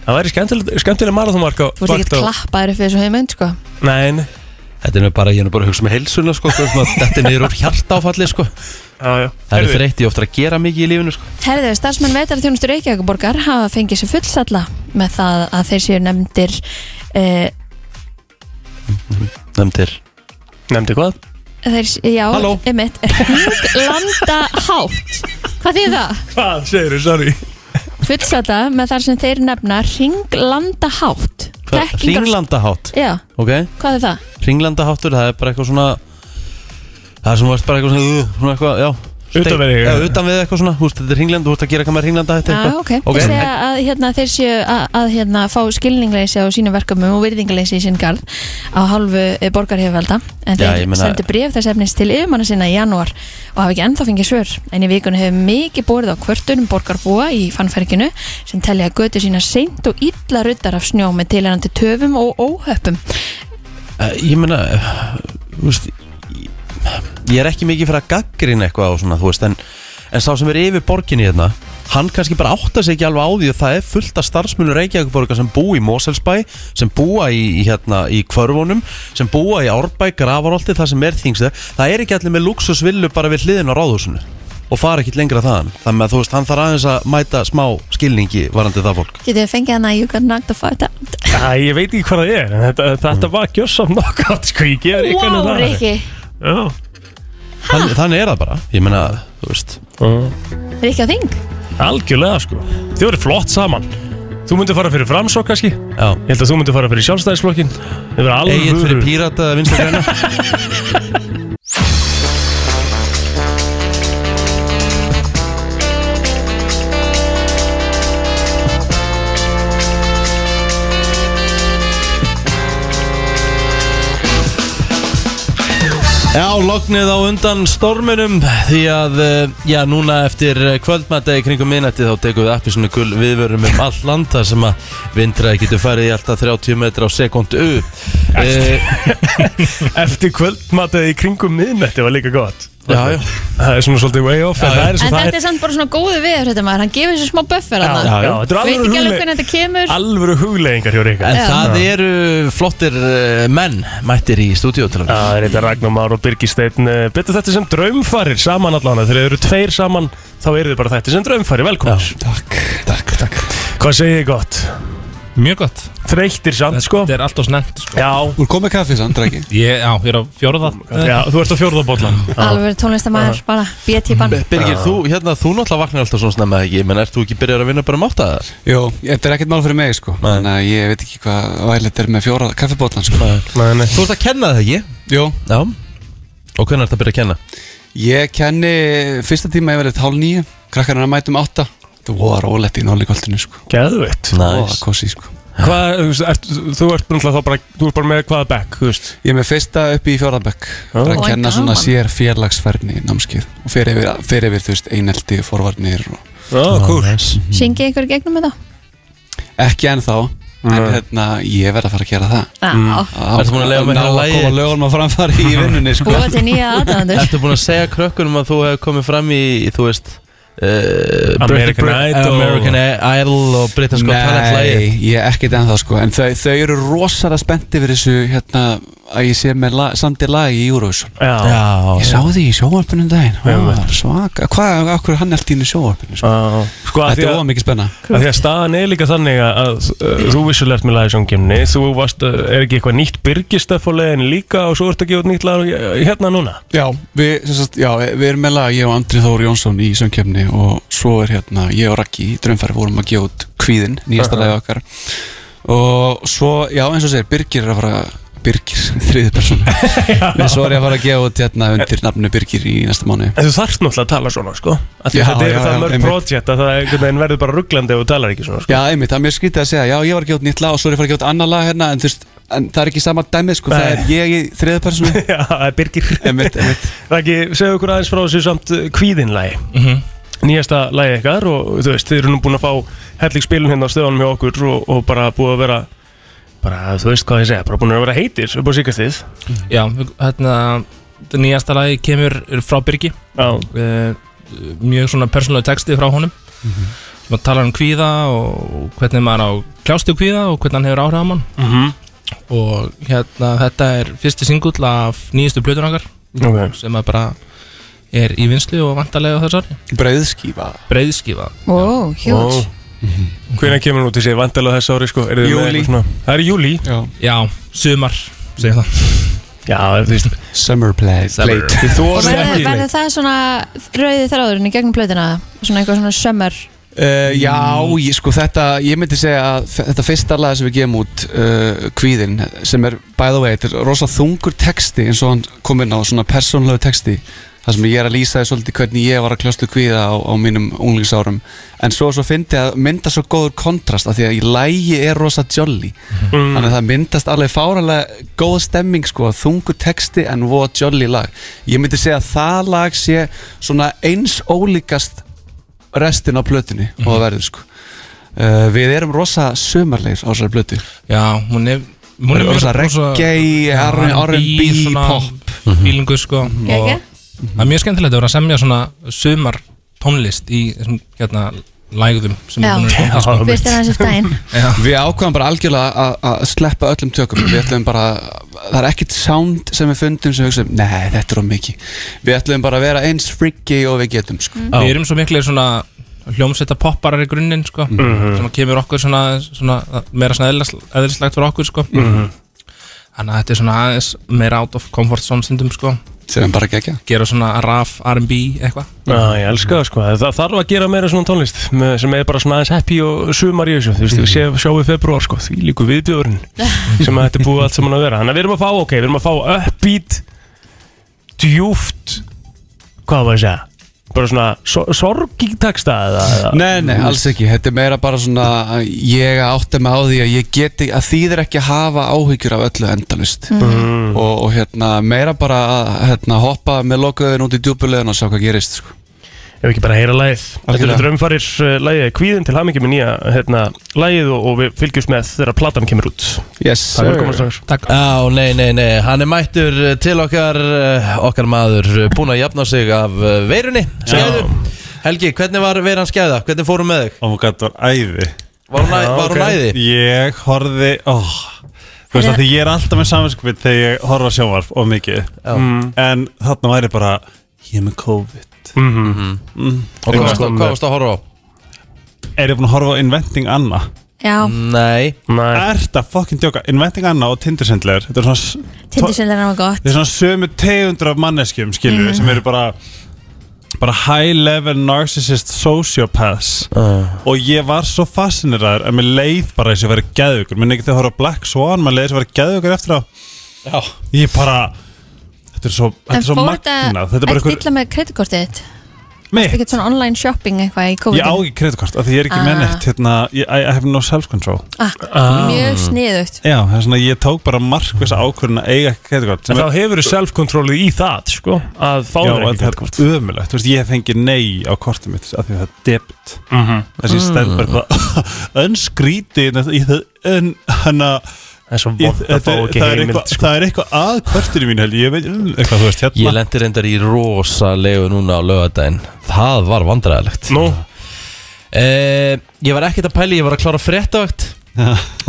Speaker 3: Það væri skemmtileg, skemmtileg marathónvakt á...
Speaker 2: þú ert ekkert klappaður upp við þessu heimund sko
Speaker 3: Nei, nei.
Speaker 1: þetta er nú bara, ég er nú bara að hugsa með heilsuna, sko hvað er svona, Þetta er niður úr hjartáfalli, sko
Speaker 3: Já, já.
Speaker 1: Það
Speaker 3: Heyrðu,
Speaker 1: eru þreytt í ofta að gera mikið í lífinu, sko
Speaker 2: herðu, starfsmenn vetarþjónustu Reykjavíkuborgar hafa fengið sér fullsalla með það að þeir séu nefndir uh,
Speaker 1: Nefndir
Speaker 3: Nefndi hvað?
Speaker 2: þeir, s- já,
Speaker 1: Halló.
Speaker 2: emitt landa hátt hvað þýð það?
Speaker 3: Hvað, segir þau, sorry
Speaker 2: fullsalla með þar sem þeir nefna ringlanda hátt
Speaker 1: Ringlandahátt,
Speaker 2: já,
Speaker 1: ok
Speaker 2: hvað er það?
Speaker 1: Ringlandaháttur, það er bara eitthvað svona Það er sem varst bara eitthvað svona, uh, svona eitthvað, já
Speaker 3: Utan
Speaker 1: Steik-
Speaker 3: við þig,
Speaker 1: Já,
Speaker 3: já.
Speaker 1: utan við eitthvað svona, þú veist, þetta er ringland, þú veist að gera hvað með ringlanda hætti
Speaker 2: Já, Ah, ok.
Speaker 1: ok,
Speaker 2: Ég segja að hérna, þeir séu að, að hérna, fá skilningleysi á sínum verkefnum og virðingleysi í sinn garð á halvu borgarhefvelda en
Speaker 1: Já,
Speaker 2: þeir
Speaker 1: ég meina-
Speaker 2: sendu bref þess efnis til yfirmanna sinna í janúar og hafa ekki ennþá fengið svör en í vikunni hefur mikið borið á kvörtunum borgarbúa í fannferginu sem telja að götu sína seint og illa ruddar af snjó með tilherandi töfum og óhöppum
Speaker 1: Eh, Ég meina, þú veist, ég er ekki mikið fyrir að gaggrina eitthvað á svona, þú veist, en, en sá sem er yfir borginni hérna, hann kannski bara átta sig ekki alveg á því að það er fullt af starfsmunur Reykjavíkborga sem búa í Moselsbæ, sem búa í, í hérna, í kvörfunum, sem búa í Árbæ, Grafarolti, það sem er þingstu, það er ekki allir með luxusvillu bara við hliðin á ráðhúsinu og fara ekki lengra þaðan, þannig að þú veist, hann þarf aðeins að mæta smá skilningi varandi það fólk.
Speaker 2: Getur við fengið hana You got knocked the fuck out
Speaker 3: Æ, ég veit ekki hvað það er en þetta, þetta var gjössam nokkátt sko, ég gefur ykkur
Speaker 2: Wow, Rikki
Speaker 3: Já,
Speaker 1: Þann, þannig er það bara, ég meina, þú veist,
Speaker 2: Rikki á þing
Speaker 3: algjörlega sko Þið voru flott saman Þú myndi fara fyrir framsók kannski Ég
Speaker 1: já.
Speaker 3: held að þú myndi fara fyrir sjálfstæðisflokkin Þið voru
Speaker 1: Eginn fyrir
Speaker 3: alveg
Speaker 1: pírata eða vinstri græna Já, lognið á undan storminum því að, eh, já, núna eftir kvöldmættegi kringum minnætti þá tekum við appi svona gull viðvörum um allt land þar sem að vindraði getur farið í alltaf 30 metra á sekundu e,
Speaker 3: Eftir kvöldmataði í kringum miðnætti var líka gott
Speaker 1: Já, já.
Speaker 3: Það er svona svolítið way off
Speaker 1: Já,
Speaker 3: en
Speaker 1: já.
Speaker 3: það er
Speaker 2: En
Speaker 3: svo það
Speaker 2: þetta er samt bara svona góðu viður þetta maður Hann gefur sér smá buffer
Speaker 3: Já,
Speaker 2: hann
Speaker 3: já, já, þetta er
Speaker 2: Veit
Speaker 3: alvöru
Speaker 2: ekki alveg
Speaker 3: hugleik-
Speaker 2: hvernig þetta kemur
Speaker 3: alvöru huglegingar hjá Ríka
Speaker 1: En
Speaker 2: Já.
Speaker 1: það eru flottir eh, menn mættir í stúdíu til að
Speaker 3: Já, það er þetta Ragnar Már og Birgir Steinn eh, Betur þetta sem draumfarir saman allan Þegar þeir eru tveir saman þá eru þið bara þetta sem draumfarir Velkomin
Speaker 6: Takk, takk, takk
Speaker 3: Hvað segir þið gott?
Speaker 6: Mjög gott
Speaker 3: Þreyttir samt sko
Speaker 6: Þetta er allt og snett sko.
Speaker 3: Já,
Speaker 7: Hún kom með kaffið sann, dregi
Speaker 6: ég, Já, ég er á fjóruða
Speaker 3: já, þú ert á fjórðabóllan
Speaker 2: Alveg tónlistamæður bara B-típan
Speaker 1: Eh, Birgir, þú, hérna, þú náttúrulega vaknar alltaf svona snemma ekki menn ert þú ekki byrjar að vinna bara um átta það?
Speaker 7: Jó, þetta er ekkert mál fyrir mig, sko
Speaker 1: Nei.
Speaker 7: Þannig að ég veit ekki hvað vælit er með fjóra kaffibótlan, sko
Speaker 3: Nei, nei
Speaker 1: Þú ert að kenna það ekki?
Speaker 7: Jó,
Speaker 1: Já Og hvernig ert að byrja að kenna?
Speaker 7: ég kenni fyrsta tíma yfirleitt hálf nýju Krakkarinn að mætum átta Þetta voru rólegt í nólíkoltinu, sko
Speaker 3: Geðveitt
Speaker 7: Voða kósí, sko
Speaker 3: Hvað, þú veist, ert, þú ert náttúrulega þá bara Þú ert bara með hvaða bekk, þú veist
Speaker 7: Ég er með fyrsta upp í fjórðabekk Það er
Speaker 2: Ó,
Speaker 7: að kenna
Speaker 2: gaman.
Speaker 7: svona sér fjarlagsfærni námskið Og fyrir yfir, fyrir yfir þú veist, einelti, forvarnir og...
Speaker 3: Já, kúl
Speaker 1: Mhm.
Speaker 2: Syngið ykkur í gegnum þetta
Speaker 7: Ekki ennþá En hérna, ég verð að fara að gera það Mm.
Speaker 2: Já
Speaker 1: Ertu búin að leyfa mér að
Speaker 7: Ná að
Speaker 1: lagið?
Speaker 7: koma lögunum að framfari í vinnunni, sko
Speaker 2: Búið til nýja aðdæðandur
Speaker 1: Ertu búin að segja krökkunum að þú hefur komið fram í, þú veist uh,
Speaker 3: American Idol.
Speaker 1: American Idol og Britain's Got Talent lagið
Speaker 7: Nei, ég er ekkert ennþá sko En þau, þau eru rosalega spennti fyrir þessu hérna, að ég sé með la, samtir lag í Eurovision
Speaker 3: Já,
Speaker 1: Já
Speaker 7: Ég sá því í sjóvarpunum um daginn Ó,
Speaker 3: Einmitt.
Speaker 7: það var Svaka, hvað, af hverju er hann allt í sjóvarpunum sko?
Speaker 3: já Sko, að því
Speaker 7: Þetta er
Speaker 3: að
Speaker 7: óða mikið spenna
Speaker 3: Af því að staðan er líka þannig að, að uh, þú vissulegt með lagisjóngimni, þú varst, uh, er ekki eitthvað nýtt byrgistöf á leiðinni líka og svo ertu að gefa út nýtt lag uh, hérna núna.
Speaker 7: Já, við, sem sagt, já, við erum með lag ég og Andri Þór Jónsson í söngkefni og svo er hérna, ég og Raggi í draumfæri vorum að gefa út kvíðin, nýjasta lagi okkar og svo, já, eins og segir Birgir er að fara Birgir, þriði person en svo er ég að fara að gefa út hérna undir nafnu Birgir í næsta mánu
Speaker 3: En þú þarft náttúrulega að tala svona, sko. Af því
Speaker 7: Já,
Speaker 3: að þetta eru
Speaker 7: já,
Speaker 3: það
Speaker 7: já,
Speaker 3: mörg
Speaker 7: einmitt.
Speaker 3: projekt að það einhvern veginn verður bara rugglandi ef þú talar ekki svona, sko.
Speaker 7: Já, einmitt, það er mér skrítið að segja, já, ég var að gefa út nýtt lag og svo er ég að fara að gefa út annað lag hérna, en þú veist, en það er ekki sama dæmið, sko, það
Speaker 3: Nei.
Speaker 7: er ég í þriðið personu.
Speaker 3: Já, það er byrgir.
Speaker 7: einmitt, einmitt.
Speaker 3: Raki, segðu okkur aðeins frá þessu samt kvíðinlægi. Mm
Speaker 6: Mhm.
Speaker 3: Nýjasta lægi ykkar og þú veist, þið eru nú búin að fá helling spilun hérna á stöðunum hjá okkur og, og bara búið að vera, bara, þú veist hvað ég segja, bara búin að vera heitir upp á síkastíð.
Speaker 6: Já, hérna Það nýjasta lagi kemur frá Birgi
Speaker 3: Já,
Speaker 6: uh, Mjög svona persónulega texti frá honum mm
Speaker 3: Mhm.
Speaker 6: -hmm. talar um kvíða og hvernig maður á kljástu kvíða og hvernig hann hefur áhrif á mann
Speaker 3: mm
Speaker 6: og hérna þetta er fyrsti singull af nýjastu plötunangar
Speaker 3: ok.
Speaker 6: sem að bara er í vinslu og vantarlega þess ári
Speaker 7: Brauðskífa.
Speaker 6: Breiðskífa
Speaker 2: Ó, huge
Speaker 3: Hvernig Mhm. kemur hún út í sig vandalega þess ári sko? Eru þið með
Speaker 7: Júlí.
Speaker 3: eitthvað svona- Það er júli
Speaker 7: Já.
Speaker 6: Já, sumar segir það
Speaker 3: Já, þú veist
Speaker 7: Summer play. Plate.
Speaker 3: Þið
Speaker 2: Og
Speaker 3: þóra
Speaker 2: verður,
Speaker 3: ekki
Speaker 2: verður það svona rauði þráðurinn í gegnum plöðina Svona eitthvað svona sömmar
Speaker 7: Uh, já, ég, sko, þetta, ég myndi segja að f- þetta fyrsta lag sem við gefum út, uh, Kvíðin, sem er, by the way, þetta er rosa þungur texti eins og hann kom inn á, svona persónlegu texti, þar sem ég er að lýsa því svolítið hvernig ég var að kljóstu kvíða á, á mínum unglingsárum, en svo, svo fyndi að mynda svo góður kontrast, af því að í lægi er rosa jolly, þannig að það myndast alveg fáralega góð stemming sko, þungu texti en voða jolly lag ég myndi segja að það lag sé svona eins ólíkast restin á plötunni og það verður sko Uh, við erum rosa sömarleir á þessari blötu
Speaker 6: Já, hún er Hún
Speaker 7: Rosa reggae, R&B, pop.
Speaker 6: fílingu sko og
Speaker 2: Geggjað.
Speaker 6: það er mjög skemmtilegt að vera að semja svona sumar tónlist í þessum hérna lægðum sem
Speaker 2: Já.
Speaker 6: er búin að vera í tónlist, sko.
Speaker 2: Byrst er hans eftir daginn
Speaker 7: Við ákvæðum bara algjörlega að- að sleppa öllum tökum Við ætlum bara, það er ekkit sound sem við fundum sem við hugsaum, nei þetta er of mikið Við ætlum bara að vera eins friki og við getum sko.
Speaker 6: Við erum svo miklu svona hljómsveita popparar í grunninn sko, sem kemur okkur svona, svona meira svona eðlis- eðlislegt fyrir okkur sko. Þannig að þetta er svona aðeins meira out of comfort zone stundum sko,
Speaker 7: sem við bara gegja
Speaker 6: gera svona raf, R&B eitthvað
Speaker 3: Já, ég elska það sko, það þarf að gera meira svona tónlist með- sem er bara svona aðeins happy og sumar í þessu, þú veist, við sé, sjáum við februar sko, því líku viðbjörn sem að þetta er búið allt saman að vera, þannig að við erum að fá, ok, við erum að fá uppbeat, djúft, hvað var það að segja, bara svona so sorgítaksta eða, eða
Speaker 7: Nei, nei, alls ekki, þetta er meira bara svona að ég átti mig á því að ég geti að þýðir ekki að hafa áhyggjur af öllu endalist og, og hérna meira bara að hérna, hoppa með lokaðin út í djúpulegin og sjá hvað gerist sko.
Speaker 3: ef ekki bara heyra lagið Þetta eru
Speaker 7: Algjörlega.
Speaker 3: draumfarir uh, lagið Kvíðin til hamingi með nýja hérna, lagið og, og við fylgjumst með þegar platan kemur út
Speaker 7: Yes,
Speaker 3: Það er komast þar
Speaker 1: Já, nei, nei, nei, hann er mættur eh, til okkar, eh, okkar maður eh, búinn að jafna sig af eh, veirunni Skæðu, Helgi, hvernig var veiran skæða? Hvernig fórum með þig?
Speaker 8: Og hún gætt var æði
Speaker 1: Var hún, Já, var hún æði?
Speaker 8: Ég horfði oh, Þú veist að því ég er alltaf með saminskupið þegar ég horfa sjónvarp og mikið mm. En þarna væri bara Ég er með COVID
Speaker 3: Mhm.
Speaker 1: Mhm.
Speaker 8: Mhm.
Speaker 1: Og hvað varst, hvað varst að horfa á?
Speaker 8: Er ég búin að horfa á Inventing Anna?
Speaker 2: Já,
Speaker 1: Nei,
Speaker 3: Nei,
Speaker 8: Er þetta fucking djóka? Inventing Anna og Tindersendlegar Þetta er svona,
Speaker 2: tindisildar var gott
Speaker 8: þetta er svona sömu tegundur af manneskjum skilur
Speaker 2: Mhm.
Speaker 8: við sem eru bara bara high level narcissist sociopaths
Speaker 2: Ah.
Speaker 8: og ég var svo fascineraður að mér leið bara eins og verið geðugur minn ekki þegar horfa á Black Swan, maður leið eins og verið geðugur eftir á
Speaker 1: Já.
Speaker 8: ég bara þetta er svo, þetta
Speaker 2: En
Speaker 8: er svo
Speaker 2: fór
Speaker 8: magnað þetta er bara
Speaker 2: Ertu
Speaker 8: einhver
Speaker 2: illa með kreditkortið þitt?
Speaker 8: mitt,
Speaker 2: Ekkert svona online shopping eitthvað í
Speaker 8: ég
Speaker 2: COVID
Speaker 8: á ekki kreditkort af því ég er ekki
Speaker 2: Ah.
Speaker 8: með neitt hérna, ég, I, I have no self control
Speaker 2: Mjög sniðugt
Speaker 8: já, það er svona, ég tók bara markvisa ákvörðin að eiga ekki kreditkort
Speaker 3: en þá hefur þú self-controlið í það sko, að fá
Speaker 8: Já,
Speaker 3: þér
Speaker 8: en
Speaker 3: ekki
Speaker 8: það er
Speaker 3: kreditkortið.
Speaker 8: ömulegt, þú veist, ég hef fengið nei á kortum mitt af því að það er debit
Speaker 3: Mhm.
Speaker 8: þessi stæl bara það önskríti en hana
Speaker 3: Það er svo
Speaker 8: ég,
Speaker 3: vond að fá
Speaker 8: þetta,
Speaker 3: ekki
Speaker 8: það, er
Speaker 3: heimild
Speaker 8: eitthvað, það er eitthvað að kortinu mín held ég, ég veit, mm, eitthvað þú veist
Speaker 1: sko. ég
Speaker 8: hérna
Speaker 1: lendi reyndar í rosalegu núna á lögadaginn Það var vandræðilegt
Speaker 3: Nú,
Speaker 1: Eh, ég var ekkert að pæli, ég var að klára fréttavakt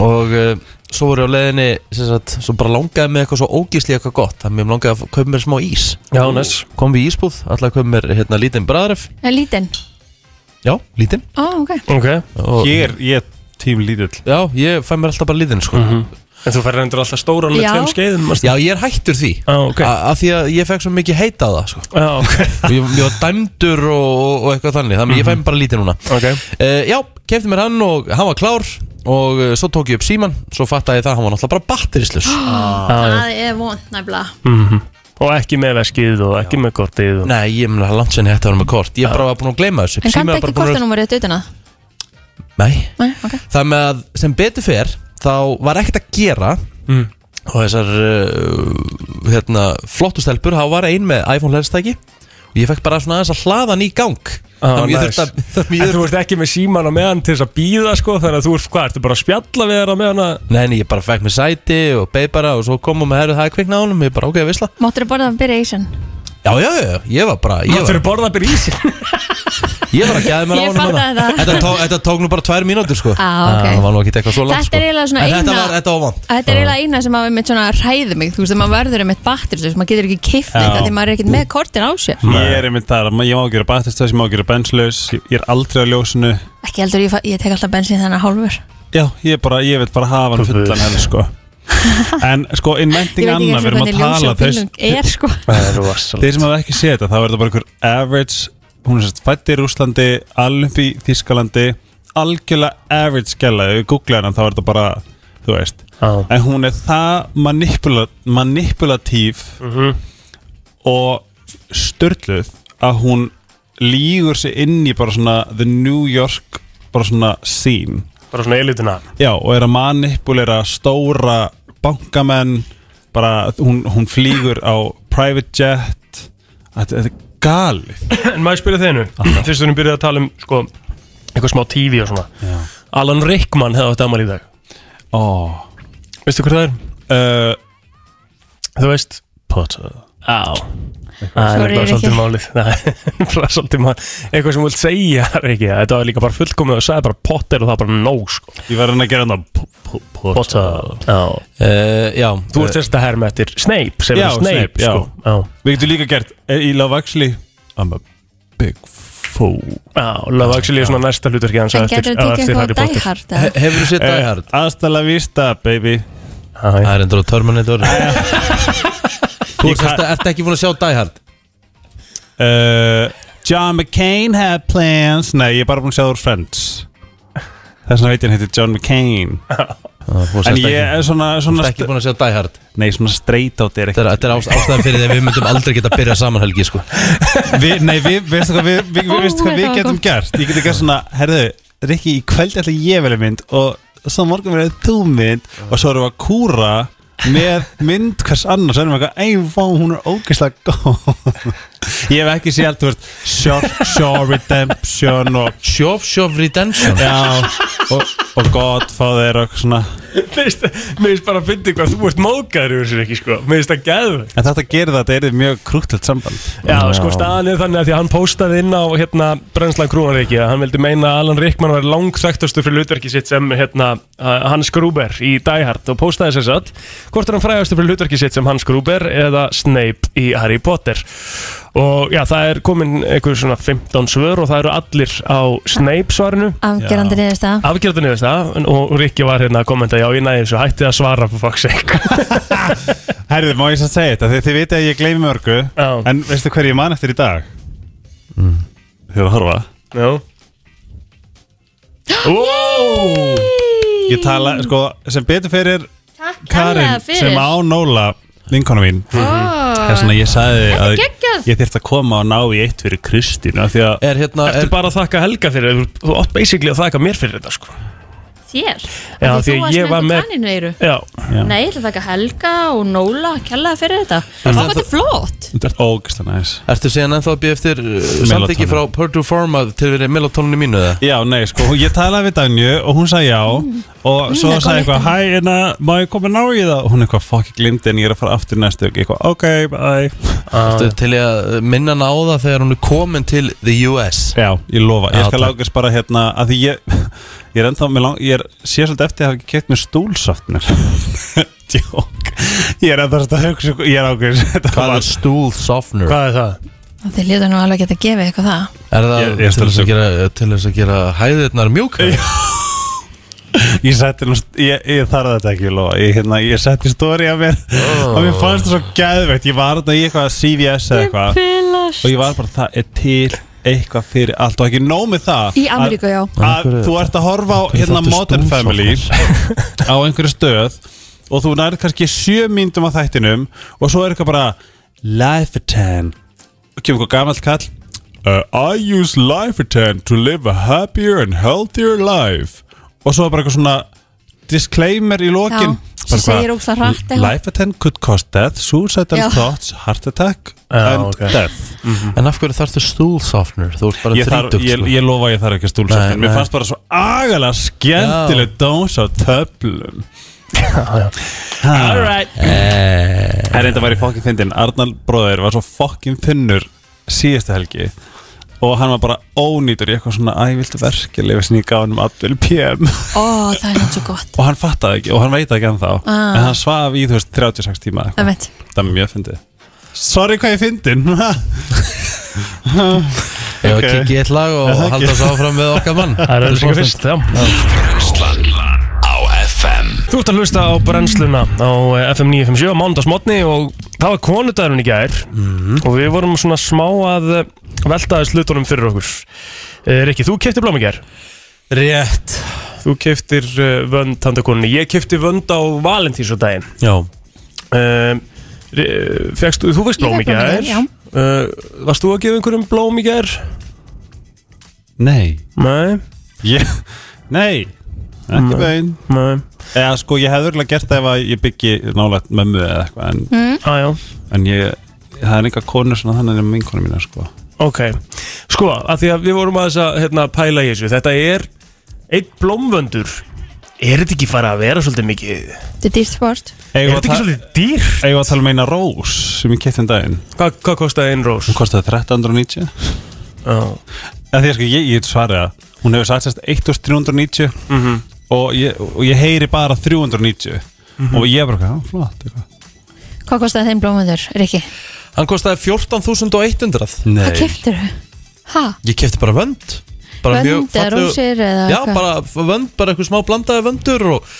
Speaker 1: og uh, svo voru ég á leiðinni sem sagt, svo bara langaði með eitthvað svo ógísli eitthvað gott, þannig að mér langaði að kaupa mér smá ís
Speaker 3: já, næs
Speaker 1: kom við í ísbúð, alltaf kaupa mér hérna lítinn bræðref,
Speaker 2: Er Eh, lítinn?
Speaker 1: já, lítinn
Speaker 2: Ó, ok
Speaker 3: Ok,
Speaker 1: og,
Speaker 8: ég er, ég er tím lítill
Speaker 1: já, ég fæ mér alltaf bara lítinn sko.
Speaker 3: en þú færði endur alltaf stóran með
Speaker 2: Já.
Speaker 3: tveim skeiðum manstu?
Speaker 1: já, ég er hættur því
Speaker 3: Já, ok
Speaker 1: a- af því að ég fekk svo mikið heita á það sko.
Speaker 3: Já, ok,
Speaker 1: og ég, ég var dæmdur og, og, og eitthvað þannig þannig að ég fæ mér bara lítinn núna
Speaker 3: Mhm. ok
Speaker 1: uh, Já, kefti mér hann og hann var klár og uh, svo tók ég upp síman svo fattaði ég það, að hann var náttúrulega bara batterislus
Speaker 2: Ah. Það er vond næbla
Speaker 3: Ah, Mhm. Og ekki með veskið og ekki með kortið og...
Speaker 1: Nei, ég meina það er langt sinni hætti að vera með kort Ég bara var búin að gleyma þessu
Speaker 2: En
Speaker 1: Síminn
Speaker 2: kanntu
Speaker 1: var bara
Speaker 2: ekki
Speaker 1: búinn að-
Speaker 2: kortanúmerið þetta utan að?
Speaker 1: Nei,
Speaker 2: Nei, ok
Speaker 1: það með að sem betur fer Þá var ekkert að gera
Speaker 3: Mm.
Speaker 1: Og þessar uh, hérna, flottu stelpur Þá var ein með iPhone hlæðstæki Og ég fekk bara svona aðeins að hlaða hann í gang
Speaker 3: Ah,
Speaker 1: Þannig að ég
Speaker 3: nice.
Speaker 1: þurfti að þannig
Speaker 3: En
Speaker 1: að ég
Speaker 3: þú
Speaker 1: þurfti-
Speaker 3: ert ekki með síman á meðan til þess að býða sko Þannig að þú ert, hvað, ertu bara að spjalla við þér á meðan að
Speaker 1: Nei, nei, ég bara fekk mér sæti og beig bara Og svo komum við herrið það er kvikna á honum Ég bara ok, visla
Speaker 2: Máttur þú borða að byrja ísinn?
Speaker 1: Já, já, já, já, ég var bara Ég
Speaker 3: Þú
Speaker 1: var,
Speaker 3: fyrir borða að byrja í sig
Speaker 1: ég var að geða mér á
Speaker 2: Ég
Speaker 1: honum
Speaker 2: fattaði
Speaker 1: hana.
Speaker 2: það.
Speaker 1: Þetta tók- Þetta tók nú bara tvær mínútur sko
Speaker 2: Á,
Speaker 1: Það
Speaker 2: ok
Speaker 1: var nú ekki eitthvað svo langt
Speaker 2: Þetta er
Speaker 1: sko.
Speaker 2: eiginlega svona
Speaker 1: En þetta
Speaker 2: eina-
Speaker 1: var, þetta var vant
Speaker 2: Þetta er eiginlega eina sem að við mitt svona ræði mig Þú veist að maður verður um eitt batterslös Maður getur ekki keift þetta því maður er ekkert með kortin á sér
Speaker 8: ég er einmitt þar, að ég má gera battistöðs, ég má gera benslaus ég er aldrei á ljósinu
Speaker 2: Ekki heldur ég, fa- ég tek alltaf bensin þannig hálfur
Speaker 8: já, ég er bara, ég vil bara hafa hann fullan henni sko en sko,
Speaker 2: Ég
Speaker 8: inventing
Speaker 2: veit ekki eins
Speaker 8: Anna, við
Speaker 2: og
Speaker 8: erum að
Speaker 2: hvernig ljós
Speaker 8: tala
Speaker 2: og
Speaker 8: þess,
Speaker 2: bílum er sko
Speaker 3: Það er rosalega
Speaker 8: þeir sem hafa ekki séð þetta þá er þetta bara einhver average hún er sérst fætt í Rúslandi, alveg í Þískalandi algjörlega average gæla, ef við googla hana þá er þetta bara þú veist,
Speaker 3: Já,
Speaker 8: en hún er það manipula manipulatív
Speaker 3: Mhm.
Speaker 8: og störtluð að hún lígur sig inn í bara svona the New York bara svona scene
Speaker 3: bara svona elitina
Speaker 8: Já, og er að manipulera stóra bankamenn bara, hún, hún flýgur á private jet Þetta þetta er galið
Speaker 3: En maður spyrja þeinu Fyrst við erum byrjuð að tala um sko Eitthvað smá TV og svona
Speaker 8: Já.
Speaker 3: Alan Rickman hefði átt amal í dag
Speaker 8: Ó
Speaker 3: Veistu hver það er?
Speaker 8: uh,
Speaker 3: Þú veist
Speaker 8: Potter
Speaker 3: Á Það er
Speaker 2: Sorry,
Speaker 3: bara
Speaker 2: Rikki.
Speaker 3: svolítið málið Það er bara svolítið málið Eitthvað sem þú vilt segja, Rikki Þetta var líka bara fullkomið og sagði bara Potter og það var bara nóg sko
Speaker 8: Ég var hann að gera hann
Speaker 3: Potter Já
Speaker 1: uh, Já,
Speaker 3: Þú ert þess að herma eftir Snape sem
Speaker 8: Já,
Speaker 3: er Snape,
Speaker 8: Snape, já.
Speaker 3: sko Já,
Speaker 8: Við getum líka gert eh, Í Love Actually I'm a big fool
Speaker 3: já Love Actually er svona næsta hlutverki hans á
Speaker 2: En
Speaker 3: eftir-
Speaker 2: getur
Speaker 3: á
Speaker 2: þú tekið
Speaker 3: eftir Harry
Speaker 2: eitthvað
Speaker 3: Potter.
Speaker 2: dæhart? eða?
Speaker 1: Hefur þú sett Die
Speaker 8: Eh,
Speaker 1: Hard?
Speaker 8: Aðstæðlega vísta, baby
Speaker 3: Já, já.
Speaker 1: Það er endur á Terminator Þú ert semst- ert ekki búin að sjá Die Hard
Speaker 8: uh, John McCain had plans Nei, ég er bara búin að sjá úr Friends Þess vegna veit ég hann heitir John McCain En ég er svona,
Speaker 1: Þú
Speaker 8: svona
Speaker 1: ert ekki búin að sjá Die Hard
Speaker 8: Nei, svona straight out er
Speaker 1: Þetta er- þetta er ást- ástæðan fyrir því að við myndum aldrei geta að byrja saman helgi sko.
Speaker 8: við, Nei, við, veistu hvað við, við,
Speaker 2: Ó,
Speaker 8: við, veistu hvað
Speaker 2: þetta
Speaker 8: við
Speaker 2: var
Speaker 8: getum
Speaker 2: gott.
Speaker 8: gert Ég geti gert svona, herðu, Rikki, í kveld ætla ég velja mynd Og svo morgun verður þú mynd Og svo erum við að kúra Með mynd hvers annars Þannig að ei, vá, hún er ógeðslega góð Ég hef ekki séð allt, þú veist Short Shore Redemption og
Speaker 1: Shove Shove Redemption
Speaker 8: Já, og, og Godfather og eitthvað svona
Speaker 3: Mér finnst- mér finnst bara að finna hvað þú ert mókaður yfir þessu ekki sko Mér finnst það gæðu
Speaker 8: En þetta gerir það, þetta er mjög krúttelt samband
Speaker 3: Já, sko staðan er þannig að því að hann póstaði inn á hérna Brennslan Krúanriki að hann vildi meina að Alan Rickman var langþægtastur fyrir hlutverki sitt sem hérna uh, Hans Gruber í Die Hard og póstaði sér satt hvort er hann frægastur fyrir hlutverki sitt sem Hans Gruber eða Snape í Harry Potter og já, það er komin einhver svona 15 svör og það eru allir á Snape svarinu
Speaker 2: Afgerandi niðurst að
Speaker 3: afgjörðinni veist það og Rikki var hérna að kommenta já, ég næði þessu, hætti að svara for fuck's sake
Speaker 8: Herðu, má ég svo segja þetta, þið, þið vitið að ég gleymi mörgu
Speaker 3: Já.
Speaker 8: En veistu hver ég man eftir í dag? Þið erum að horfa
Speaker 3: Já Wow
Speaker 8: Ég tala, sko, sem betur fyrir
Speaker 2: Takk
Speaker 8: Karin sem á Nóla Vinkona mín Það
Speaker 2: Ó,
Speaker 8: er svona ég sagði að
Speaker 2: geggjað.
Speaker 8: ég þyrfti að koma og ná í eitt fyrir Kristínu af Því að
Speaker 1: Er hérna
Speaker 3: Ertu
Speaker 1: er,
Speaker 3: bara að þakka Helga fyrir þetta? Þú- Þú átt basically að þakka mér fyrir þetta sko
Speaker 2: Þér
Speaker 3: Já,
Speaker 2: Af
Speaker 3: því
Speaker 2: Þú
Speaker 3: að
Speaker 2: varst
Speaker 3: ég var
Speaker 2: með
Speaker 3: með-
Speaker 2: eitthvað kanninu eiru
Speaker 3: Já,
Speaker 2: Nei, ég ætla að taka Helga og Nóla Kjallaði fyrir þetta Það var þetta flott
Speaker 8: þetta er ógeðslega næs
Speaker 1: Ertu síðan ennþá að býja eftir uh, samþykki
Speaker 8: Melatonin.
Speaker 1: frá Purdue Pharma til verið melatoninu mínu eða?
Speaker 8: Já, nei, sko, ég talaði við Danju og hún sagði já og svo
Speaker 2: það er
Speaker 8: sagði
Speaker 2: góð
Speaker 8: eitthvað, hæ, hérna, má ég koma að ná í það og hún eitthvað, fokk, ég glimti en ég er að fara aftur næstu og eitthvað, ok, bye
Speaker 1: Ertu til í að minna hana á það þegar hún er komin til the US?
Speaker 8: Já, ég lofa,
Speaker 1: Já,
Speaker 8: ég skal
Speaker 1: takk.
Speaker 8: lágast bara hérna að því ég, ég er ennþá með lang, ég er, sé svolítið eftir að hafa ekki keitt með stúlsaftnir Jók, ég er ennþá svolítið að hugsa, sko, ég er ákveðis þetta
Speaker 1: Hvað
Speaker 8: var-
Speaker 1: er stúl sofner?
Speaker 3: hvað er það?
Speaker 2: Þið lítur nú alveg að geta gefið eitthvað það
Speaker 1: Er það
Speaker 8: Ég- ég
Speaker 1: til,
Speaker 8: skal
Speaker 1: þess að
Speaker 8: sjá.
Speaker 1: gera, til þess að gera hæðirnar mjúkar?
Speaker 8: Ég setti nú, ég, ég þarf þetta ekki, ég lofa Ég, hérna, ég setti stóri af mér og
Speaker 1: Oh.
Speaker 8: mér fannst það svo geðveikt Ég var þetta í eitthvað CVS eða eitthvað og ég var bara, það er til eitthvað fyrir allt og ekki nóg með það
Speaker 2: Í Ameríku, já
Speaker 8: að, að þú ert að horfa á hérna
Speaker 1: þáttu
Speaker 8: Modern
Speaker 1: stúlsofnar?
Speaker 8: Family á einhverju stöð og þú nærið kannski sjö myndum að þættinum og svo er eitthvað bara Life at 10 og kemur eitthvað gamalt kall uh, I use Life at 10 to live a happier and healthier life og svo er bara eitthvað svona disclaimer í lokin
Speaker 2: Já, sem
Speaker 8: Bara
Speaker 2: segir
Speaker 8: eitthvað,
Speaker 2: ógeðslega hratt eitthvað.
Speaker 8: Life at 10 could cause death, suicidal
Speaker 2: Já.
Speaker 8: thoughts, heart attack
Speaker 3: Já,
Speaker 8: and
Speaker 3: ok.
Speaker 8: death
Speaker 1: Ah, En af hverju þarftu stúl sofner? Þú ert bara eh,
Speaker 8: ég, þarf,
Speaker 1: þrítugt
Speaker 8: ég,
Speaker 1: sko.
Speaker 8: ég lofa að ég þarf ekki að stúlsa
Speaker 1: Nei,
Speaker 8: en mér
Speaker 1: nei.
Speaker 8: fannst bara svo agalega skemmtileg dós á töflum
Speaker 3: Alright
Speaker 1: Eh.
Speaker 8: Það er enda var í fokkin fyndin Arnald bróðir var svo fokkin þunnur síðustu helgi og hann var bara ónýtur í eitthvað svona æ, viltu verkeflega sem ég gaf hann um Advil PM
Speaker 2: Ó, það er náttúrulega gott
Speaker 8: og hann fattaði ekki og hann veit það ekki ennþá
Speaker 2: Ah.
Speaker 8: en hann svaf í þú veist 36 tíma eitthvað.
Speaker 1: Ah.
Speaker 2: Það veit
Speaker 8: það er mjög fyndið Sorry hvað ég fyndin
Speaker 1: Ég var að
Speaker 8: ok.
Speaker 1: kikið eitt lag og halda svo áfram með okkar mann
Speaker 3: Það er þessi fyrst, já
Speaker 4: Brennslan á FM
Speaker 3: Þú ert að hlusta á brennsluna á eh, FM 957 á mándagsmotni og það var konudagurinn í gær
Speaker 1: Mhm.
Speaker 3: og við vorum svona smá að eh, velta þess hlutunum fyrir okkur Eh, Rikki, þú keftir blóm í gær
Speaker 1: Rétt
Speaker 3: Þú keftir vönd handakoninni Ég kefti vönd á Valentínsdaginn
Speaker 1: Já
Speaker 3: um, fegst, Þú veist
Speaker 2: Ég fékk blóm
Speaker 3: blóm í
Speaker 2: í
Speaker 3: gær
Speaker 2: gær, já.
Speaker 3: Eh, Varst þú að gefa einhverjum blóm í gær?
Speaker 8: Nei
Speaker 3: Nei,
Speaker 8: ég, Nei ekki bein
Speaker 3: nei
Speaker 8: Eða sko, ég hefði örgulega gert það ef að ég byggi nálægt mömmu eða eitthvað en,
Speaker 3: Aðjá,
Speaker 8: en ég, það er enga konur svona þannig en vinkonu mína sko
Speaker 3: ok Sko, að því að við vorum aðeins að hérna, pæla í þessu Þetta er einn blómvöndur
Speaker 9: er þetta ekki fara að vera svolítið mikið
Speaker 2: Þetta er dýrt sport
Speaker 9: er
Speaker 8: Eigum við
Speaker 9: þetta ekki
Speaker 8: að
Speaker 9: svolítið dýr
Speaker 8: ta- eigum við að tala um eina rós sem ég kefti um daginn
Speaker 3: Hvað, hvað kostaði einn rós?
Speaker 8: Hún kostaði 1390 Eða því að sko ég, ég svarið að hún hefur sagt sérst 1390 og, ég, og ég heyri bara 390 og ég er bara, hvað, flott eitthvað.
Speaker 2: Hvað kostaði þeim blómundur, Rikki?
Speaker 1: Hann kostaði 14.100
Speaker 2: Hvað keftir þau? Ha?
Speaker 1: Ég kefti bara vönd bara mjög
Speaker 2: Vönd eða
Speaker 1: fallegu-
Speaker 2: rósir eða
Speaker 1: Já,
Speaker 2: hvað?
Speaker 1: bara f- vönd, bara eitthvað smá blandaði vöndur og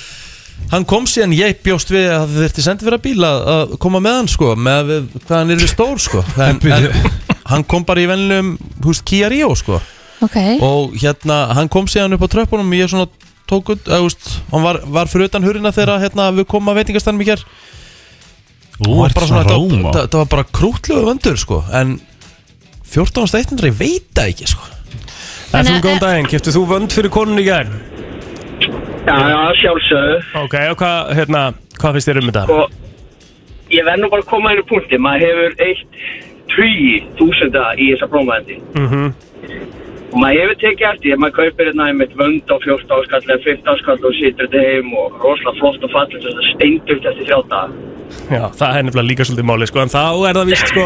Speaker 1: hann kom síðan, ég bjóst við að það þurfti sendið fyrir að bíla að koma með hann sko, með að við, hvað hann er við stór sko en, en, hann kom bara í venlum húst Kia Rio sko
Speaker 2: Ok,
Speaker 1: og hérna, hann kom síðan upp á tröppunum ég svona tók út, eða, úst, hann var, var fyrir utan hurina þegar hérna, við komum að veitingastannum í hér
Speaker 8: Ú,
Speaker 1: var
Speaker 8: ert
Speaker 1: bara
Speaker 8: svona
Speaker 1: svona, það,
Speaker 8: Róma.
Speaker 1: það, það var bara krútlegu vöndur sko, en 14.100, ég veit það ekki sko
Speaker 3: FM, góðan daginn, keftu þú vönd fyrir konun í gær?
Speaker 10: Já, já, sjálfsögðu.
Speaker 3: Ok, og hvað, hérna, hvað finnst þér um þetta?
Speaker 10: Og ég verð nú bara að koma að einu punkti. Maður hefur eitt tugi þúsunda í þessa blómaðandi.
Speaker 3: Mhm.
Speaker 10: Og maður hefur tekið eftir, því að maður kaupir hérna einmitt vönd á 14 áskall eða 15 áskall og situr þetta heim og rosalega flott og fallið þess að steindult eftir þrjá dag.
Speaker 3: Já, það er nefnilega líka svolítið máli, sko, en þá er það vist, sko,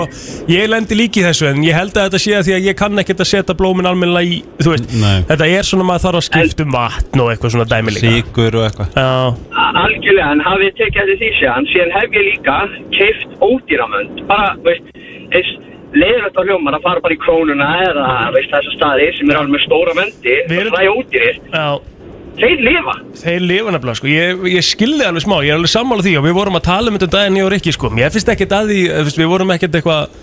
Speaker 3: ég lendi líki þessu, en ég held að þetta sé að því að ég kann ekkert að setja blómin almenna í, þú veist,
Speaker 8: Nei.
Speaker 3: þetta er svona maður þarf að skipta um vatn og eitthvað svona dæmi líka.
Speaker 8: Sigur og eitthvað
Speaker 3: Já,
Speaker 10: A- Algjörlega, en hafið þið tekið eftir því séðan, síðan hef ég líka keift ódýramönd, bara, veist, eins leiðrætt á hljómar að fara bara í krónuna eða, veist, þessa staði sem er alveg með stóra möndi
Speaker 3: Við
Speaker 10: og
Speaker 3: erum-
Speaker 10: fræ ódýrir,
Speaker 3: já,
Speaker 10: þeir lifa.
Speaker 3: þeir lifa nefnilega, sko, ég, ég skilði alveg smá, ég er alveg sammála því og við vorum að tala um þetta um daginn ég og Rikki, sko, mér finnst ekkert að því, þú veist, við vorum ekkert eitthvað,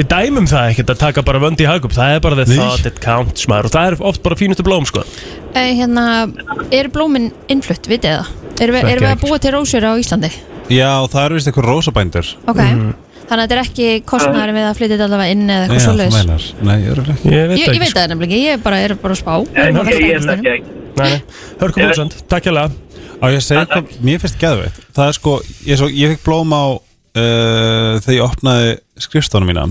Speaker 3: við dæmum það ekkert að taka bara vönd í hagup, það er bara the thought it counts, maður, og það er oft bara fínustu blóm, sko.
Speaker 2: e, hérna, er blómin innflutt, vitið þið það? Erum við, erum við að
Speaker 3: ekki.
Speaker 2: búa til rósir á Íslandi?
Speaker 8: Já, það eru vist eitthvað rósabændur
Speaker 2: Ok,
Speaker 3: Mm.
Speaker 2: þannig að þetta er ekki kostnæður við að flytja þetta allavega inn eða eitthvað
Speaker 8: Já, þú
Speaker 2: svoleiðis
Speaker 8: meinar. Nei, ég er ekki sko.
Speaker 3: Ég
Speaker 2: Ég,
Speaker 3: veit, sko.
Speaker 2: ég veit það nefnilega, ekki, ég bara er bara að spá
Speaker 10: En
Speaker 2: Ég er bara
Speaker 10: ég, ég
Speaker 2: að
Speaker 10: er
Speaker 2: spá.
Speaker 10: þetta ekki.
Speaker 3: Nei, nei. hörkum útsönd, takk hjá
Speaker 8: Á ég að segja eitthvað, mér finnst geðveitt Það er sko, ég, svo, ég fekk blóm á uh, þegar ég opnaði skrifstónum mína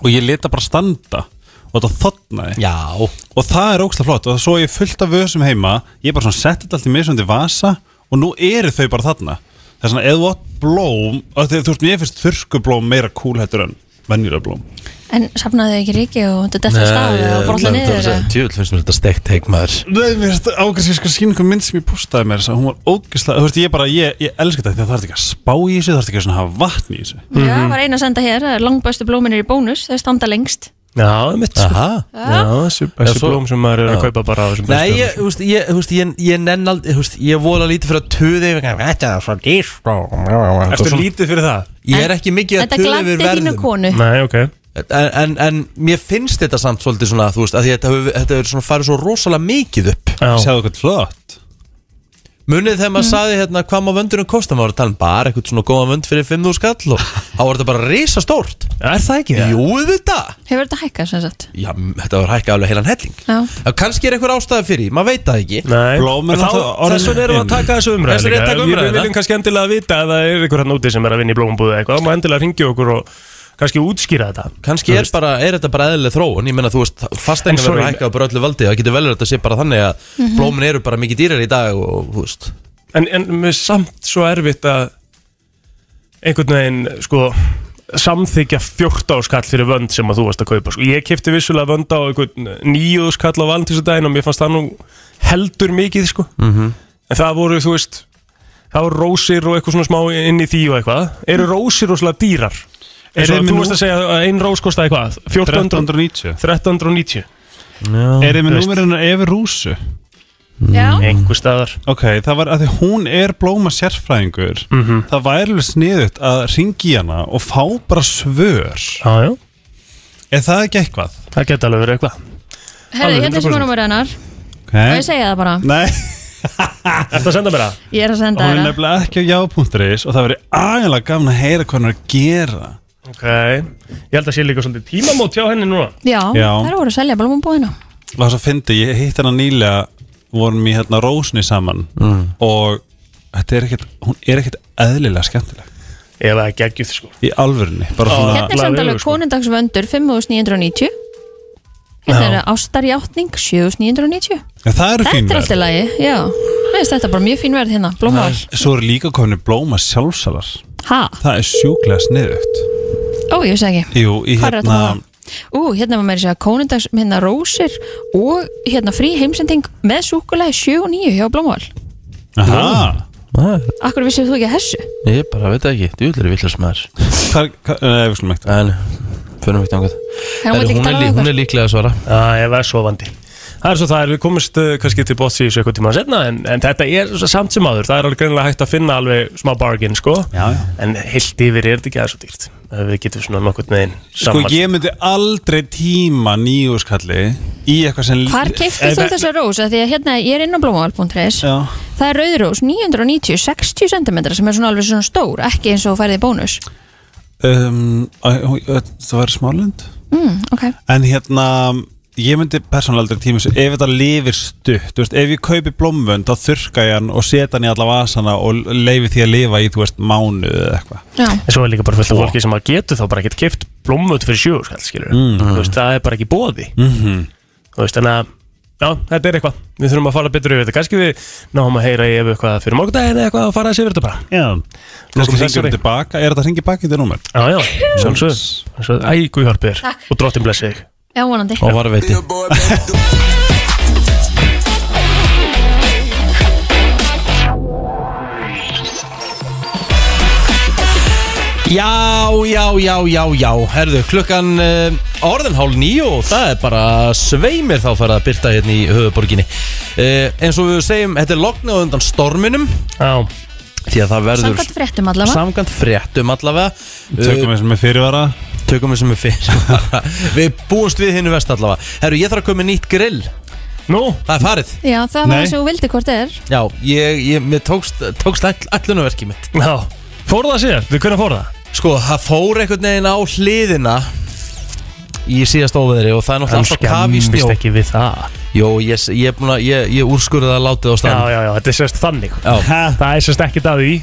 Speaker 8: og ég leta bara standa og þetta þotnaði
Speaker 1: Já,
Speaker 8: og það er ógslag flott og svo er ég fullt af vösum heima ég bara svona setti þetta allt í misundi vasa og nú eru þau bara þarna það er svona eða þú átt blóm af því að þú veist, mér finnst þurrkublóm meira cool hættur en venjulega blóm
Speaker 2: En safnaðu þau ekki ríki og þetta detta stað og brolla niður eða?
Speaker 1: Tjúl finnst mér þetta steikt teik maður
Speaker 8: Nei, mér finnst ágæðslega sko sín einhver mynd sem ég postaði mér þess að hún var ógæðslega, þú veist, ég bara, ég, ég elska þetta því að það er ekki að spá í þessu, það er ekki að svona hafa vatn í þessu
Speaker 2: Já,
Speaker 3: Mhm.
Speaker 2: var eina að senda hér, það er langbæstu blóminir í bónus, þau standa lengst
Speaker 3: Já, mitt
Speaker 1: Aha.
Speaker 3: Já, þessi,
Speaker 1: Já,
Speaker 3: þessi
Speaker 1: svo-
Speaker 3: blóm sem maður er að
Speaker 1: sko. Já.
Speaker 3: kaupa bara á þessum
Speaker 1: Nei, ég,
Speaker 3: bestum
Speaker 1: þú veist, ég, þú veist, ég, ég nenn aldrei, þú veist, ég vola lítið fyrir að tuði yfir
Speaker 5: Þetta er svo dýrt og...
Speaker 3: Ertu lítið fyrir það?
Speaker 1: Ég er ekki mikið að
Speaker 2: Þetta
Speaker 1: tuði
Speaker 2: glanti
Speaker 1: yfir
Speaker 2: þínu
Speaker 1: verðum
Speaker 2: konu
Speaker 3: Nei, ok
Speaker 1: en, en, en mér finnst þetta samt svolítið svona, þú veist, að því þetta hefur þetta hefur svona farið svo rosalega mikið upp
Speaker 3: Já,
Speaker 8: Sjáðu eitthvað flott
Speaker 1: Munið þegar
Speaker 2: Mm.
Speaker 1: maður sagði hérna hvað má vöndurum kosta maður var að tala um bara eitthvað svona góða vönd fyrir 5.000 skall og þá var þetta bara risa stórt
Speaker 3: er það ekki það?
Speaker 1: Jú, þetta
Speaker 2: Hefur þetta hækkað sem sagt?
Speaker 1: Já, þetta var hækka alveg heilan helling
Speaker 2: Já,
Speaker 1: En Kannski er eitthvað ástæða fyrir, því, maður veit það ekki
Speaker 3: Nei,
Speaker 8: Blóm er
Speaker 3: En þá-
Speaker 8: náttúrulega orðin
Speaker 3: þess vegna erum við að
Speaker 8: inn.
Speaker 3: taka þessu
Speaker 1: Þess
Speaker 3: umræð
Speaker 1: vegna er að taka umræðu,
Speaker 3: Við viljum kannski endilega vita að það er einhver hann úti sem er að vinna í blómabúðu eða eitthvað þá má endilega ringja okkur og kannski útskýra þetta
Speaker 1: Kanski er, bara, er þetta bara eðlileg þróun Ég meina þú veist, fasteina
Speaker 3: En sorry,
Speaker 1: verður hækkað á bara öllu valdi Það getur vel verið að þetta sé bara þannig að blómin eru bara mikið dýrar í dag og, og þú veist
Speaker 3: En, en mér er samt svo erfitt að einhvern veginn, sko samþykja 14 skall fyrir vönd sem að þú varst að kaupa sko. ég kefti vissulega vönd á einhvern 9 skall á valentísadaginn og mér fannst það nú heldur mikið sko. en það voru þú veist það voru rósir og eitthvað svona smá inn í því og eitthvað eru rósir rosalega dýrar
Speaker 8: Eruð
Speaker 3: Eins og
Speaker 8: þið með
Speaker 3: þú
Speaker 8: nú-
Speaker 3: varst að segja að ein rós kostaði hvað 1400,
Speaker 8: 1390
Speaker 3: 1390
Speaker 8: Er þið með
Speaker 3: veist.
Speaker 8: númerinu Efi Rúsu?
Speaker 2: já,
Speaker 3: einhver staðar
Speaker 8: Ok, það var að því hún er blóma sérfræðingur
Speaker 3: Mhm.
Speaker 8: Það væri alveg sniðut að ringi hana og fá bara svör
Speaker 3: já, já.
Speaker 8: Er það ekki eitthvað?
Speaker 3: það geta alveg verið eitthvað
Speaker 2: herðu,
Speaker 3: Alveg
Speaker 2: hérna er
Speaker 3: 100%.
Speaker 2: skonumur hennar Og ég
Speaker 8: Okay.
Speaker 2: segja það bara,
Speaker 8: Nei,
Speaker 3: Ertu að senda mér það?
Speaker 2: ég er að senda
Speaker 8: hún er
Speaker 2: það
Speaker 8: nefnilega ekki á já.is og það verið aðeinlega gaman að heyra hvað hann er að gera
Speaker 3: ok, ég held að sé líka svolítið tímamót hjá henni núna
Speaker 2: Já,
Speaker 8: Já.
Speaker 2: þær voru að selja blómabúðina
Speaker 8: Það var svo fyndi, ég hitt hana nýlega vorum í hérna Rósni saman
Speaker 2: Mm.
Speaker 8: og þetta er ekkert hún er ekkert eðlilega skemmtileg
Speaker 3: ef það er geggjuð sko
Speaker 8: í alvörinni, bara
Speaker 3: Já.
Speaker 8: svona sko.
Speaker 2: Hérna er samt
Speaker 3: laglegur,
Speaker 2: alveg
Speaker 3: sko.
Speaker 2: konundagsvöndur 5990 Þetta
Speaker 8: Já.
Speaker 2: eru Hérna ástarjátning 7990
Speaker 8: Já, það eru
Speaker 2: Þetta er
Speaker 8: fín verð.
Speaker 2: allt í lagi, já Nei, Þetta er bara mjög fín verð hérna, blómaður
Speaker 8: Það er- Svo eru líka komin blóma sjálfsalar
Speaker 2: Ha?
Speaker 8: Það er sjúklega sniðugt
Speaker 2: Ó, ég vissi ekki
Speaker 8: Jú, í
Speaker 2: Hvar er
Speaker 8: hérna
Speaker 2: þetta? Ú, hérna var meira að segja konundags hérna rósir og hérna frí heimsending með súkulega 7 og 9 hjá Blómál
Speaker 1: Aha.
Speaker 2: Akkur vissir þú ekki að þessu?
Speaker 1: Ég bara veit það ekki, djúðlir er villast maður
Speaker 8: Nei, við skulum ekkert
Speaker 1: En, fyrir mig þangat
Speaker 2: Hún vill ekki
Speaker 1: Hún er
Speaker 2: tala
Speaker 1: lí-
Speaker 2: við
Speaker 1: hún er líklega að svara
Speaker 3: Já, ég var sofandi Það er svo það er, við komumst uh, kannski til bóts í þessu eitthvað tíma setna en, en þetta er svo samt sem áður, það er alveg greinilega hægt að finna alveg smá bargain, sko já, já. En heilt yfir er þetta ekki aðeins svo dýrt Ef Við getum svona nokkurt meginn
Speaker 8: Sko ég myndi aldrei tíma nýjúskalli í eitthvað sem Eh,
Speaker 2: Hvar keiftir þú þessa rós? Af Því að hérna, ég er inn á blómál.is Það er rauðrós 990, 60 cm sem er svona alveg svona stór, ekki eins og þú færið í bónus
Speaker 8: um, æ, ó, ö, Það var smálund
Speaker 2: mm, Ok,
Speaker 8: En hérna Ég myndi persónulega aldrei tíma þessu Ef þetta lifir stutt þú veist, Ef ég kaupi blómvönd þá þurrka ég hann og setja hann í alla vasana og leifi því að lifa í þú veist mánuð eða eitthvað
Speaker 2: já
Speaker 3: En svo er líka bara fullt af fólki sem að getur þá bara ekkert keift blómut fyrir sjöu, skall, skilur
Speaker 8: Mm.
Speaker 3: Þú veist, það er bara ekki bóði
Speaker 8: Mhm.
Speaker 3: Þú veist, þannig að Já, þetta er eitthvað, við þurfum að fara betur yfir þetta Kannski við náum að heyra yfir eitthvað fyrir morgundaginn eða eitthvað að fara þessi yfir þetta bara Já,
Speaker 8: Kannski hringjum við tilbaka, er þetta hringi baki til númer?
Speaker 3: Já, já, sjálfsög Æ, guðhjálpir og drottin blessi þig
Speaker 2: já vonandi
Speaker 1: Og varveiti Já, já, já, já, já Herðu, klukkan uh, orðin hálf nýju og það er bara sveimir þá farið að byrta hérna í höfuborginni uh, Eins og við segjum, þetta er lognað undan storminum
Speaker 3: Já
Speaker 1: Því að það verður
Speaker 2: Samkvæmt fréttum allavega.
Speaker 1: Samkvæmt fréttum allavega Eh,
Speaker 8: Tökum við sem er fyrirvara
Speaker 1: Tökum við sem er fyrirvara Við búumst við hinu vest allavega Herru, ég þarf að koma með nýtt grill
Speaker 3: Nú?
Speaker 1: Það er farið
Speaker 2: Já, það var
Speaker 1: Nei.
Speaker 2: eins og þú vildi hvort eð er
Speaker 1: Já, ég, ég mér tókst, tókst all, allunarverkið mitt
Speaker 3: Já, fór það sér? Við hvernig fór það?
Speaker 1: Sko, það fór einhvern veginn á hliðina í síðast óveðri og það er náttúrulega alltaf kaf í snjó
Speaker 3: skemmist ekki við það
Speaker 1: Jó, ég, ég, er búinn að- ég, ég úrskurði að látið á staðnum
Speaker 3: Já, já, já, þetta er sérst þannig
Speaker 1: Já.
Speaker 3: Það er sérst ekki það í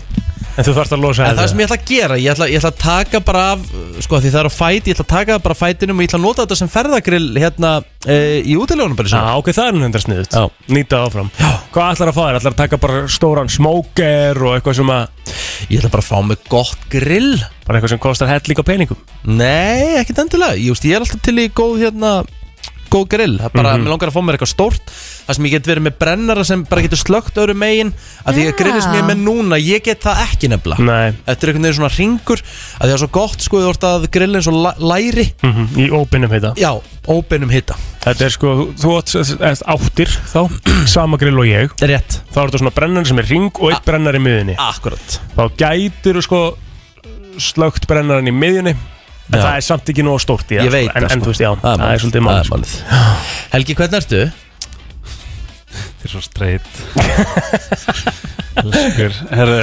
Speaker 3: En þú þarfst að losa
Speaker 1: En það sem ég ætla að gera, ég ætla, ég ætla að taka bara af, uh, sko því það er á fæt, ég ætla að taka það bara af fætinum og ég ætla að nota þetta sem ferðagrill hérna e, í útilegunum bara í svona.
Speaker 3: Já, ok, það er nú hundar sniðut Nýta það áfram Já. Hvað ætlar að fá þér? Ætlar að taka bara stóran smóker og eitthvað sem að
Speaker 1: Ég ætla bara að fá mig gott grill
Speaker 3: Bara eitthvað sem kostar helling á peningum
Speaker 1: Nei, ekkert endilega, ég, veist, ég er alltaf til í góð hérna, góð grill, það er bara, mm
Speaker 3: Mhm.
Speaker 1: langar að fá mér eitthvað stórt, það sem ég get verið með brennara sem bara getur slögt öðru megin, að því að
Speaker 3: Já.
Speaker 1: grillið sem ég er með núna, ég get það ekki nefnilega.
Speaker 3: Nei.
Speaker 1: Þetta er einhvern veginn svona ringur, að því það er svo gott sko, þú ert að grilla eins og la- læri,
Speaker 3: mm Í óbeinum hita
Speaker 1: Já, óbeinum hita
Speaker 3: Þetta er sko, þú átt ert áttir þá Sama grill og ég
Speaker 1: Rétt Ah.
Speaker 3: Þá er þetta svona brennari sem er ring og eitt brennari í miðunni
Speaker 1: Akkurat
Speaker 3: Þá gætir sko slögt brennaran í miðjunni En
Speaker 1: Já.
Speaker 3: það er samt ekki nóg stórt í
Speaker 1: Ég
Speaker 3: það
Speaker 1: veit
Speaker 3: sko. En,
Speaker 1: það,
Speaker 3: en
Speaker 1: sko.
Speaker 3: þú veist, já,
Speaker 1: Það er
Speaker 3: það
Speaker 1: málið.
Speaker 3: er svolítið sko.
Speaker 1: Það er
Speaker 3: mál
Speaker 1: málið. Helgi, hvernig ertu?
Speaker 8: Þetta er svo streit Elskur Herðu,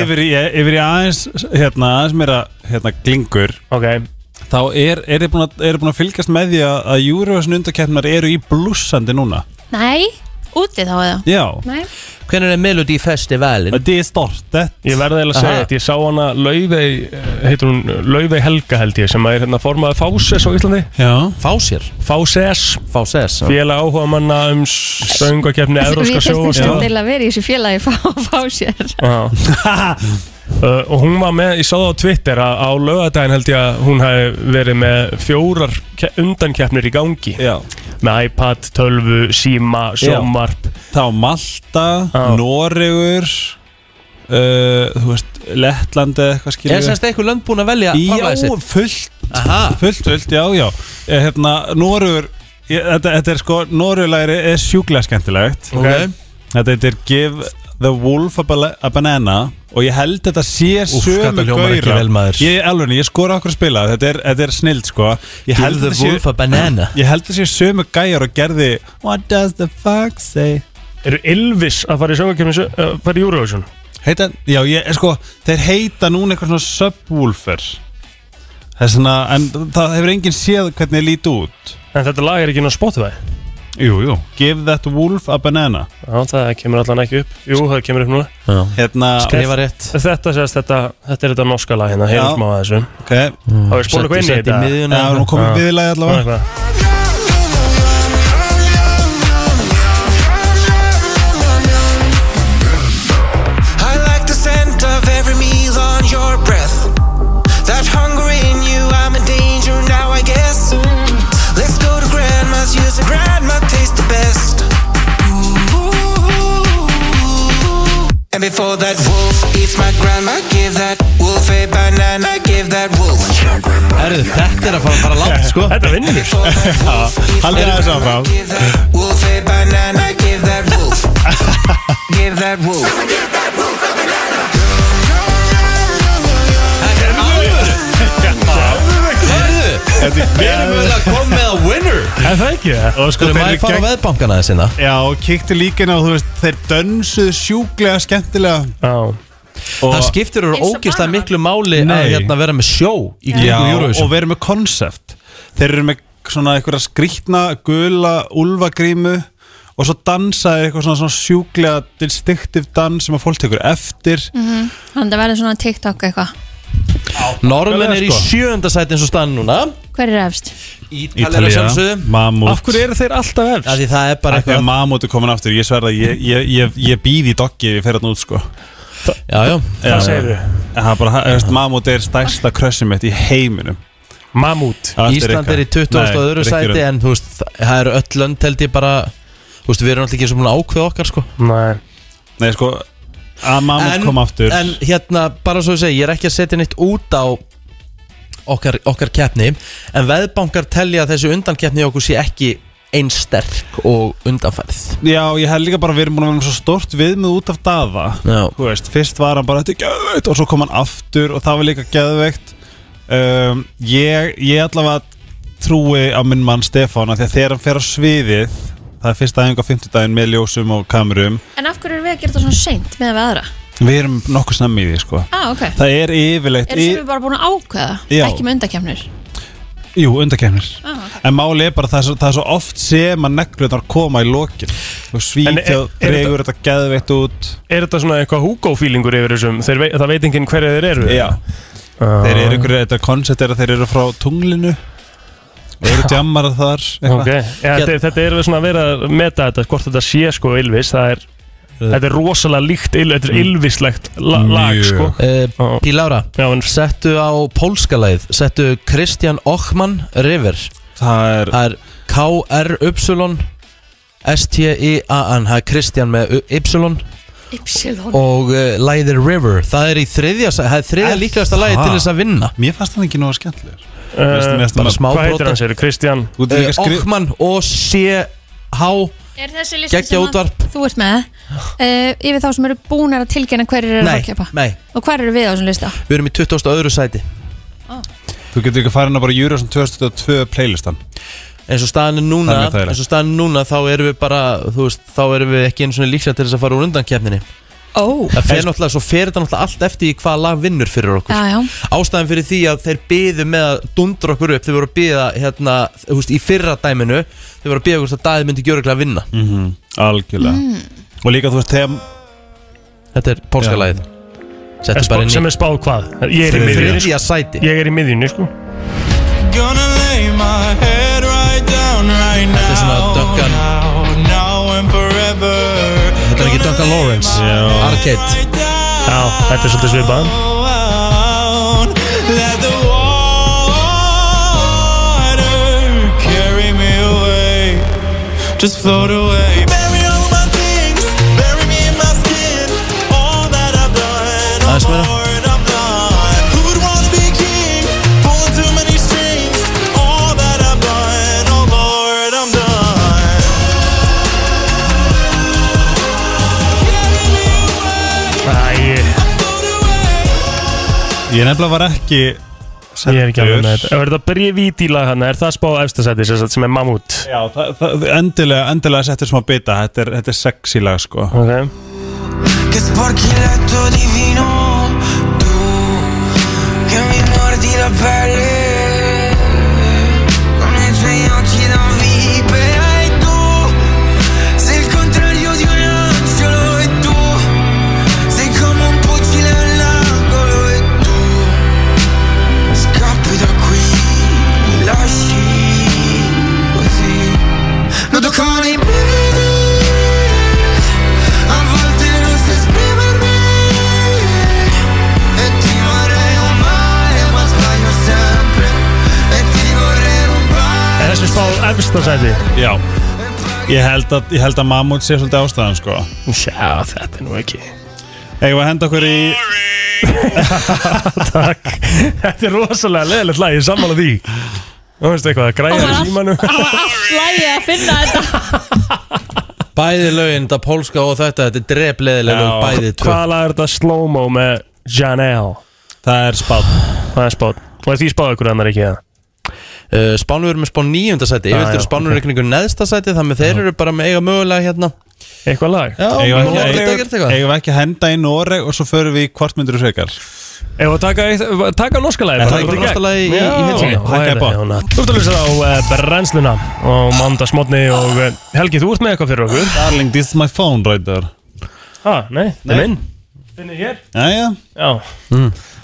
Speaker 8: yfir, í- yfir í aðeins hérna, aðeins meira hérna, glingur
Speaker 3: okay.
Speaker 8: Þá er, er þið búin, að- eruð búin að fylgjast með því að að Eurovision undarkeppnar eru í blússandi núna
Speaker 2: Nei, úti þá eða
Speaker 8: Já
Speaker 2: Nei,
Speaker 1: Hvernig er Melody Festivalin?
Speaker 8: Þetta er stort þetta
Speaker 3: Ég verði eiginlega að segja þetta, ég sá hana Laufey, eh, heitir hún eh, Laufey Helga held ég sem að er hérna formaði Fáses á Íslandi
Speaker 8: Já
Speaker 1: Fásér?
Speaker 3: Fáses
Speaker 1: Fáses
Speaker 3: Félag áhuga manna um söngakefni Evróska
Speaker 2: við þurftum
Speaker 3: sjóa
Speaker 2: stundilega að vera í þessu félagi fá, fá sér
Speaker 3: Uh, og hún var með, ég sá það á Twitter að á lögadaginn held ég að hún hafi verið með fjórar ke- undankeppnir í gangi
Speaker 8: Já.
Speaker 3: með iPad, tölvu, síma, sjómarp
Speaker 8: Þá Malta, Noregur uh, Þú veist, Lettland eða eitthvað skilur
Speaker 1: Er semst eitthvað lönd búin að velja
Speaker 8: Já,
Speaker 1: framlagið sitt?
Speaker 8: fullt
Speaker 1: Aha.
Speaker 8: Fullt, fullt, já, já Eh, Hérna, Noregur ég- Þetta, þetta er sko, Noregulæri er sjúklega skemmtilegt
Speaker 1: Ok.
Speaker 8: Þetta þetta er Give the Wolf a, bala- a Banana Og ég held þetta sé
Speaker 1: Úff,
Speaker 8: sömu
Speaker 1: þetta hljómar ekki
Speaker 8: gaurar.
Speaker 1: vel, maður.
Speaker 8: Ég, alveg, ég skora okkur að spila Þetta er, þetta er snild, sko Ég
Speaker 1: Give
Speaker 8: held
Speaker 1: the
Speaker 8: þetta sé-
Speaker 1: wolf a banana.
Speaker 8: Ég held þetta sé sömu gæjar og gerði What does the fuck say
Speaker 3: Eru Ylvis að fara í söngakefni uh, fara í Eurovision?
Speaker 8: Heita, já, ég, sko, þeir heita núna eitthvað svona subwoofer Það er svona, en það hefur enginn séð hvernig þeir líti út
Speaker 3: En þetta lag er ekki inn á Spotify?
Speaker 8: Jú, jú Give that wolf a banana
Speaker 3: Já, það kemur allan ekki upp Jú, það kemur upp núna
Speaker 1: Já.
Speaker 8: Hérna,
Speaker 3: Þetta, sérst, þetta, þetta er þetta norska lag hérna,
Speaker 8: Já.
Speaker 3: heyrðum á þessu
Speaker 8: Ok
Speaker 3: Það
Speaker 1: Mm.
Speaker 3: er spóla
Speaker 1: Settu- hérna.
Speaker 3: hvernig
Speaker 1: settu í miðjuna. Já, við erum komin í
Speaker 8: viðlagið allavega.
Speaker 11: time before that wolf eats my grandma. Give that wolf a banana. Give that wolf.
Speaker 1: Herðu, þetta er að fara bara langt sko Þetta vinnur
Speaker 11: Haldið aðeins áfram. Wolf a banana. Give that wolf. Give that wolf.
Speaker 1: Herðu, við erum við að koma með að winner
Speaker 8: Er það ekki það?
Speaker 3: sko,
Speaker 8: Og
Speaker 1: Skulum maður fara á veðbankana þessi hérna?
Speaker 8: Já, og kíkti líka inn á, þú veist, þeir dönsuðu sjúklega skemmtilega
Speaker 9: Já
Speaker 1: Það skiptir úr ógislega miklu máli að
Speaker 8: Nei.
Speaker 1: hérna vera með sjó í kringu
Speaker 8: Já, og
Speaker 1: Eurovision
Speaker 8: verið með konsept Þeir eru með svona einhverja skrýtna gula úlfagrímu og svo dansaði eitthvað svona, svona sjúklega distinctive dans sem að fólk tekur eftir
Speaker 2: Mhm. Þannig að það verður svona TikTok eitthvað
Speaker 1: Norðmenn er í
Speaker 8: sko.
Speaker 1: sjönda sæti eins og stann núna
Speaker 2: Hver er efst?
Speaker 1: Ítalir að sjálfsögðu
Speaker 8: Mammut
Speaker 1: Af hverju
Speaker 9: eru þeir alltaf efst?
Speaker 1: Því það er bara
Speaker 8: Af því að
Speaker 1: eitthvað
Speaker 8: Mammut er komin aftur, ég sverða ég, ég, ég, ég býð í doggi ef ég fer hann út sko
Speaker 1: Já, já,
Speaker 8: Já,
Speaker 9: það segirðu.
Speaker 8: en það er bara, þú veist, Mammut er stærsta krössum mitt í heiminum
Speaker 9: Mammut
Speaker 1: Ísland er í 20. og öðru sæti en þú veist, þa- það eru öll lönd held ég bara Þú veist, við erum alltaf ekki svona ákveð okkar sko
Speaker 9: Nei
Speaker 8: Nei, sko, að Mammut kom aftur
Speaker 1: en hérna, bara svo ég segi, ég er ekki að setja neitt út á okkar, okkar keppni En veðbankar telja að þessi undankeppni hjá okkur sé ekki einsterk og undanfærið
Speaker 8: Já, ég hef líka bara verið múin að vera með svo stort viðmið út af daða
Speaker 1: Já.
Speaker 8: Þú veist, fyrst var hann bara, þetta er geðveikt og svo kom hann aftur og það var líka geðveikt um, ég, ég allavega trúi á minn mann Stefán að því að þegar hann fer á sviðið það er fyrsta æfing á 50 daginn með ljósum og kamerum
Speaker 2: En af hverju erum við að gera þetta svona seint með við aðra?
Speaker 8: við erum nokkuð snemmi í því, sko
Speaker 2: Ah, ok
Speaker 8: Það er yfirleitt
Speaker 2: Erum við bara búin að ákveða?
Speaker 8: Já.
Speaker 2: Ekki með undakefnir?
Speaker 8: í, Jú, undakefnir
Speaker 2: Ah, ok
Speaker 8: En máli er bara að það er svo, það er svo oft sem að neglunar koma í lokin og
Speaker 9: En
Speaker 8: svítja
Speaker 9: er-
Speaker 8: og
Speaker 9: er
Speaker 8: dregur þetta geðveikt út
Speaker 9: Er þetta svona eitthvað Hugo-fílingur yfir þessum? Þeir Vei, það veit enginn hverja þeir eru
Speaker 8: Já Þeir eru ykkur, þetta koncept er að þeir eru frá tunglinu og eru djammar þar eitthvað.
Speaker 9: Ok, ja, þetta, er- þetta er svona að vera að meta þetta hvort þetta sé sko Ylvis það er, þetta er rosalega líkt Ylvis
Speaker 1: Mm.
Speaker 9: þetta er Ylvislegt la, lag sko
Speaker 1: uh, Pílára, settu á pólska lagið, settu Kristján Ochman River
Speaker 8: Það er,
Speaker 1: það er K-R-Y S-T-I-A-N E það er Kristján með U- Y
Speaker 2: Ypsilon
Speaker 1: og uh, lagið er River það er í þriðja, sa- það er þriðja
Speaker 8: Er
Speaker 1: líklegasta lagið
Speaker 8: það?
Speaker 1: til þess að vinna
Speaker 8: Mér fannst það ekki nóga skemmtilegur
Speaker 9: uh,
Speaker 1: bara smá
Speaker 9: Hvað heitir
Speaker 1: brota.
Speaker 9: hans eru? Kristján?
Speaker 8: Þú ert líka
Speaker 1: uh,
Speaker 8: skrif-
Speaker 1: Ochman og C-H
Speaker 2: Er þessi listi
Speaker 1: Geggja
Speaker 2: sem að
Speaker 1: útvarp.
Speaker 2: Þú ert með uh, Yfir þá sem eru búnar að tilkynna hverjir eru
Speaker 1: nei,
Speaker 2: að kepa
Speaker 1: nei,
Speaker 2: Og hver eru við á þessum lista?
Speaker 1: við erum í 22. sæti
Speaker 8: Þú getur ekki farin að bara júra sem 2022 playlistan
Speaker 1: eins og staðan er núna
Speaker 8: Það er mjög þægilegt.
Speaker 1: eins og staðan er núna þá erum við bara þú veist, þá erum við ekki eins og líklega til þess að fara úr undankefninni
Speaker 2: Ó
Speaker 1: það fer náttúrulega, svo fer þetta náttúrulega allt eftir í hvaða lag vinnur fyrir okkur
Speaker 2: Já, já
Speaker 1: ástæðan fyrir því að þeir byðu með að dundra okkur upp, þeir voru að byða hérna, þú veist, í fyrra dæminu þeir voru að byða okkur að dæði myndi gjöruglega að vinna
Speaker 8: mm -hmm. Algjörlega Og líka þú veist þegar
Speaker 1: þetta er pólska
Speaker 8: Já.
Speaker 1: lagið
Speaker 9: Er
Speaker 1: settu
Speaker 9: spá-
Speaker 1: bara inn
Speaker 9: sem
Speaker 1: í
Speaker 9: er spáð hvað? Ég er í miðjunni sko.
Speaker 1: þriðja sæti
Speaker 9: Ég er í miðjunni sko
Speaker 11: Gonna lay my head right down right now.
Speaker 1: þetta er svona Duncan
Speaker 11: Now, now and forever.
Speaker 1: þetta er ekki Duncan Lawrence, Arcade
Speaker 9: Já, þetta er svolítið svipað
Speaker 11: Let the water carry me away. Just float away. Bury all my things. Bury me in my skin. All that I've done.
Speaker 1: Aðeins
Speaker 11: all
Speaker 1: meira.
Speaker 11: that I've done. Who'd wanna be king? Pulling too many strings. All that I've done. Oh Lord, I'm done.
Speaker 9: Æ,
Speaker 8: Ég nefnilega var ekki
Speaker 9: ég er ekki alveg með
Speaker 8: sendur
Speaker 9: þetta Er þetta brefít í lag hann? Er það spáð efstasæti sem, sagt, sem er Mammut?
Speaker 8: Já, það, það, endilega, endilega settir smá bita Þetta er, þetta er sexy lag sko
Speaker 9: Ok
Speaker 11: Che sporchi il letto divino Tu che mi mordi la pelle Con i tuoi occhi da vipera E tu sei il contrario di un angelo E tu sei come un pugile all'angolo E tu scappi da qui Mi lasci così Non toccare i piedi a volte non so esprimermi E ti vorrei un male ma sbaglio sempre E ti vorrei rubare
Speaker 9: Er þessi spáð efstasæti?
Speaker 8: Já Ég held að, ég held að Mammut sé svolítið ástæðan sko
Speaker 9: Já, þetta er nú ekki
Speaker 8: Eigum við að henda okkur í
Speaker 9: Takk Þetta er rosalega leðilegt lag, ég er sammála því Þú veist eitthvað, græjar í símanu
Speaker 2: Allt lægi að finna þetta
Speaker 1: Bæði lögin, þetta pólska og þetta Þetta er drepleðilega lög, bæði tvö
Speaker 9: Hvað lag er þetta slow-mo með Janelle?
Speaker 8: Það er spátt
Speaker 9: Það er spátt Og er því spáð ykkur annar ekki það?
Speaker 8: Eh,
Speaker 1: Uh, Spánur eru með spán nýjunda sæti Yfirlt
Speaker 9: Já,
Speaker 1: eru
Speaker 9: já,
Speaker 1: Spánur okay. ykkur neðsta sæti Þannig að þeir eru bara með eiga mögulega hérna
Speaker 9: Eitthvað lag?
Speaker 1: Já,
Speaker 8: Eigum við
Speaker 1: Noreg-
Speaker 8: ekki-
Speaker 1: þetta er gert eitthvað.
Speaker 8: eigum við ekki að henda í Noreg og svo förum við í hvort myndir þú frekar
Speaker 9: Ef að taka, eitt- taka norska lagi
Speaker 8: Taka bara norska lagið í- í hillunni. Hækkaðu upp á.
Speaker 9: Þú ert að hlusta á eh, brennsluna og mandagsmotni og eh, Helgi, þú ert með eitthvað fyrir okkur
Speaker 8: Darling, this is my phone right there
Speaker 9: Ha, nei, það er minn Finnir hér?
Speaker 8: Jæja
Speaker 9: Já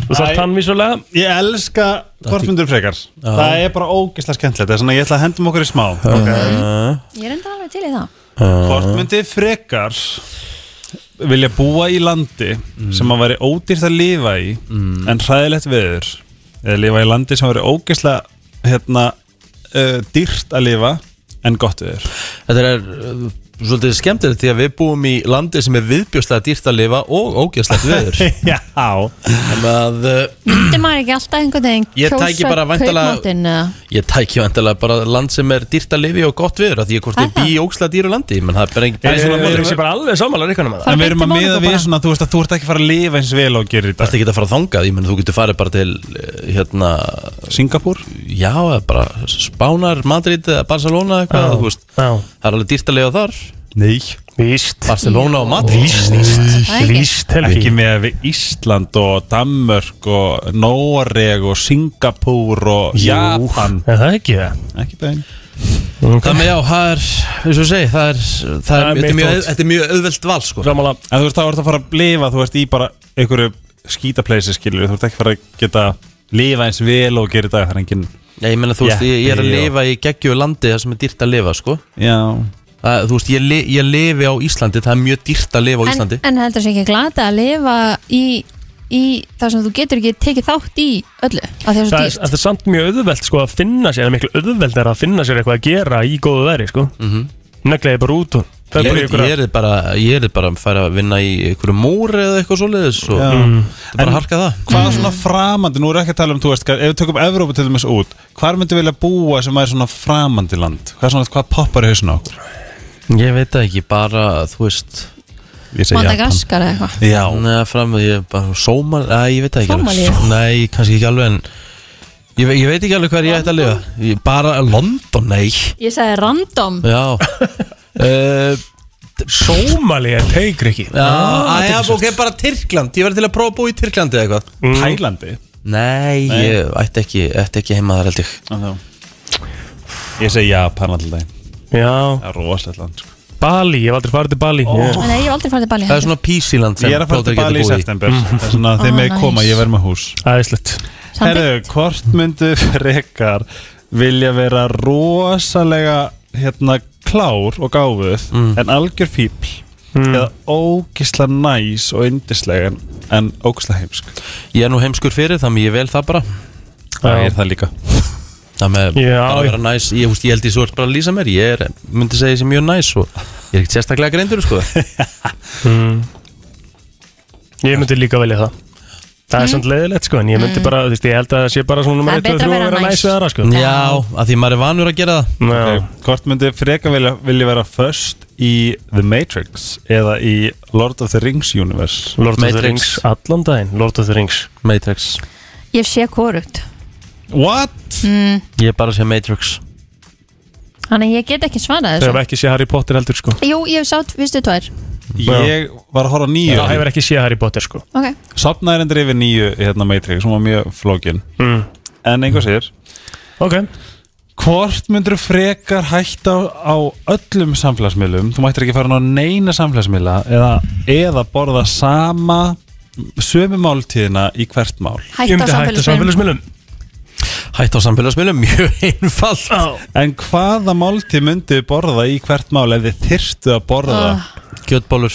Speaker 1: Mm.
Speaker 9: Þú þarf tannvísulega
Speaker 8: Ég elska hvort myndir þú frekar Það er bara ógeðslega skemmtilegt Það er svona, ég ætla að henda um okkur í smá
Speaker 2: Ég er enda alveg til í það
Speaker 8: Hvort myndi frekar vilja búa í landi
Speaker 1: Mm.
Speaker 8: sem að væri ódýrt að lifa í en hræðilegt veður eða lifa í landi sem væri ógeðslega hérna, uh, dýrt að lifa en gott veður
Speaker 1: Þetta er uh, svolítið skemmtilegt því að við búum í landi sem er viðbjóslega dýrt að lifa og ógjöslegt viður
Speaker 8: Já
Speaker 1: Þannig að uh,
Speaker 2: Myndi maður ekki alltaf einhvern veginn
Speaker 1: Ég tæki
Speaker 2: kjósa
Speaker 1: bara væntanlega-
Speaker 2: kaupmáttinn eða-
Speaker 1: ég tæki vantilega bara land sem er dýrt að lifi og gott viður af Því að hvort ég bý í ógjöslega dýru landi menn það er bara
Speaker 9: Ég er svona
Speaker 1: engin
Speaker 9: móður þessi bara alveg sammálar ykkur með það
Speaker 8: En við erum
Speaker 2: beint til
Speaker 8: að miða
Speaker 2: Mónakó
Speaker 8: við
Speaker 2: bara.
Speaker 8: svona, þú veist að þú ert ekki að fara að lifa eins vel og gerir í dag
Speaker 1: Þetta getur að fara þangað, ég menn þú getur farið bara til eh, hérna,
Speaker 8: Singapúr?
Speaker 1: já, eða bara Spánar, Madrid eða Barcelona eitthvað, þú veist
Speaker 9: Já,
Speaker 1: Það er alveg dýrt að lifa þar
Speaker 8: Nei
Speaker 9: víst
Speaker 1: Barcelona og Madrid
Speaker 9: Víst,
Speaker 2: Það er ekki.
Speaker 9: víst,
Speaker 8: Ekki
Speaker 9: Helgi
Speaker 8: með við Ísland og Danmörk og Noreg og Singapúr og Japan
Speaker 9: Er það ekki það?
Speaker 8: Ekki bein
Speaker 1: Það með já, það er, eins og ég segi, það er, það
Speaker 9: Það er
Speaker 1: er, þetta er
Speaker 9: mitt
Speaker 1: mjög,
Speaker 9: út.
Speaker 1: þetta er mjög auðvelt val, sko
Speaker 9: Sammála
Speaker 8: En þú veist, þá ert að fara að lifa, þú veist, í bara einhverju skítapleysi, skilur, þú ert ekki að fara að geta lifa eins vel og gera í dag, það er engin
Speaker 1: Já, ég menna, þú veist, ég, ég er
Speaker 8: Jeppi,
Speaker 1: að
Speaker 8: já.
Speaker 1: lifa í geggjöðu landi það sem er dýrt að lifa, sko
Speaker 8: Já
Speaker 1: það, Þú veist, ég, li, ég lifi á Íslandi, það er mjög dýrt að lifa á
Speaker 2: en,
Speaker 1: Íslandi
Speaker 2: en heldur þessi ekki glata að lifa í, í það sem þú getur ekki tekið þátt í öllu af
Speaker 9: Það
Speaker 2: því að það er
Speaker 9: er,
Speaker 2: svo dýrt
Speaker 9: það er samt mjög auðvelt sko að finna sér, það er miklu auðvelt er að finna sér eitthvað að gera í góðu veri sko mm -hmm. Neglega ég bara út og það er
Speaker 1: Mhm. Ég,
Speaker 9: bara
Speaker 1: ég,
Speaker 9: ykkur
Speaker 1: ég er bara, ég er bara að fara að vinna í einhverju múr eða eitthvað svoleiðis og það mm, er bara að harka það
Speaker 8: Hvað svona framandi, nú er ekki að tala um, þú veist, ef við tökum Evrópu til dæmis út, hvar myndu vilja búa sem er svona framandi land? Hvað, svona, hvað poppar í hausinu á okkur?
Speaker 1: Ég veit það ekki, bara, þú veist
Speaker 8: Ég segi Japan.
Speaker 2: Madagaskar eða eitthvað
Speaker 8: Já,
Speaker 1: Nei, fram, ég er bara, sómal, að, ég veit það ekki alveg.
Speaker 2: Sómalíu?
Speaker 1: Só- Nei, kannski ekki alveg en Ég, ve- ég veit ekki alveg hvað ég ætti að lifa Ég- Bara London, nei
Speaker 2: Ég sagði random
Speaker 1: Já uh,
Speaker 9: Sómali er teikri ekki
Speaker 1: Já, ah, já ok, bara Tyrkland Ég verði til að prófa að búa í Tyrklandi eða eitthvað
Speaker 9: Mm.
Speaker 8: Tælandi
Speaker 1: Nei, ég ætti ekki, ætti ekki heima þar held ég
Speaker 9: Ah,
Speaker 8: Ég segi Japan alltaf daginn,
Speaker 9: Já,
Speaker 8: það er rosalegt land sko.
Speaker 9: Bali, ég hef aldrei farið til Bali Ég-
Speaker 2: Nei, ég hef aldrei farið til Bali
Speaker 1: Það er svona písiland sem
Speaker 8: Ég er að fara til
Speaker 1: plóter geta
Speaker 8: Bali í
Speaker 1: búið Mhm.
Speaker 8: september, það er svona þegar
Speaker 2: Ah,
Speaker 8: mig
Speaker 2: nice.
Speaker 8: koma, ég verð með hús
Speaker 9: Æðislegt
Speaker 2: Samþykkt.
Speaker 8: Herru, hvort myndu frekar vilja vera rosalega hérna klár og gáfuð
Speaker 1: Mm.
Speaker 8: en algjör fíbl eða ógisla næs og yndislega en, en ógisla heimsk
Speaker 1: Ég er nú heimskur fyrir þannig ég vel það bara
Speaker 8: Það er það líka
Speaker 1: Það með
Speaker 9: Já,
Speaker 1: bara
Speaker 9: já.
Speaker 1: vera næs Ég, húst, ég held ég svo ert bara að lýsa mér Ég er, myndi segja þessi mjög næs og ég er ekkert sérstaklega greindur sko.
Speaker 9: Mm. Ég myndi líka velja það Það
Speaker 8: Mm.
Speaker 9: er samt leiðilegt sko en ég myndi bara, þú veist, ég held að það sé bara svona
Speaker 2: Mm. Það
Speaker 9: nummer 1 og
Speaker 2: er betra
Speaker 9: 3
Speaker 2: að
Speaker 9: að
Speaker 2: vera
Speaker 9: vera
Speaker 2: næs.
Speaker 9: næs við aðra sko
Speaker 1: Já, að því maður er vanur að gera það
Speaker 9: Já.
Speaker 8: Hvort myndu frekar vilja, vilja vera först í The Matrix eða í Lord of the Rings universe
Speaker 9: Lord of the
Speaker 1: Matrix.
Speaker 9: Rings, allan daginn Lord of the Rings
Speaker 1: Matrix
Speaker 2: Ég hef séð korugt
Speaker 8: What?
Speaker 1: Ég er bara að segja Matrix
Speaker 2: Þannig að ég get ekki
Speaker 9: Þau
Speaker 2: svarað þessu
Speaker 9: hef ekki séð Harry Potter heldur sko
Speaker 2: Jú, ég hef sátt fyrstu tvær
Speaker 8: Ég var að horfa á nýju
Speaker 9: Það hefur ekki séð Harry Potter sko
Speaker 2: Ok,
Speaker 8: Sopnaði endur yfir nýju hérna Matrix, hún var mjög flókin
Speaker 9: Mm.
Speaker 8: En einhver sér
Speaker 9: Ok,
Speaker 8: Hvort myndur frekar hætta á öllum samfélagsmiðlum? Þú mættir ekki fara inn á neina samfélagsmiðla eða, eða borða sama sömu máltíðina í hvert mál.
Speaker 9: ég
Speaker 2: hætt á
Speaker 9: myndi hætta
Speaker 2: samfélagsmiðlum
Speaker 9: samfélagsmiðlum
Speaker 1: Hætt á samfélagsmiðlum, mjög einfalt
Speaker 8: En hvaða máltíð myndu borða í hvert mál ef þið þyrftu að borða?
Speaker 2: Ah.
Speaker 1: Kjötbólur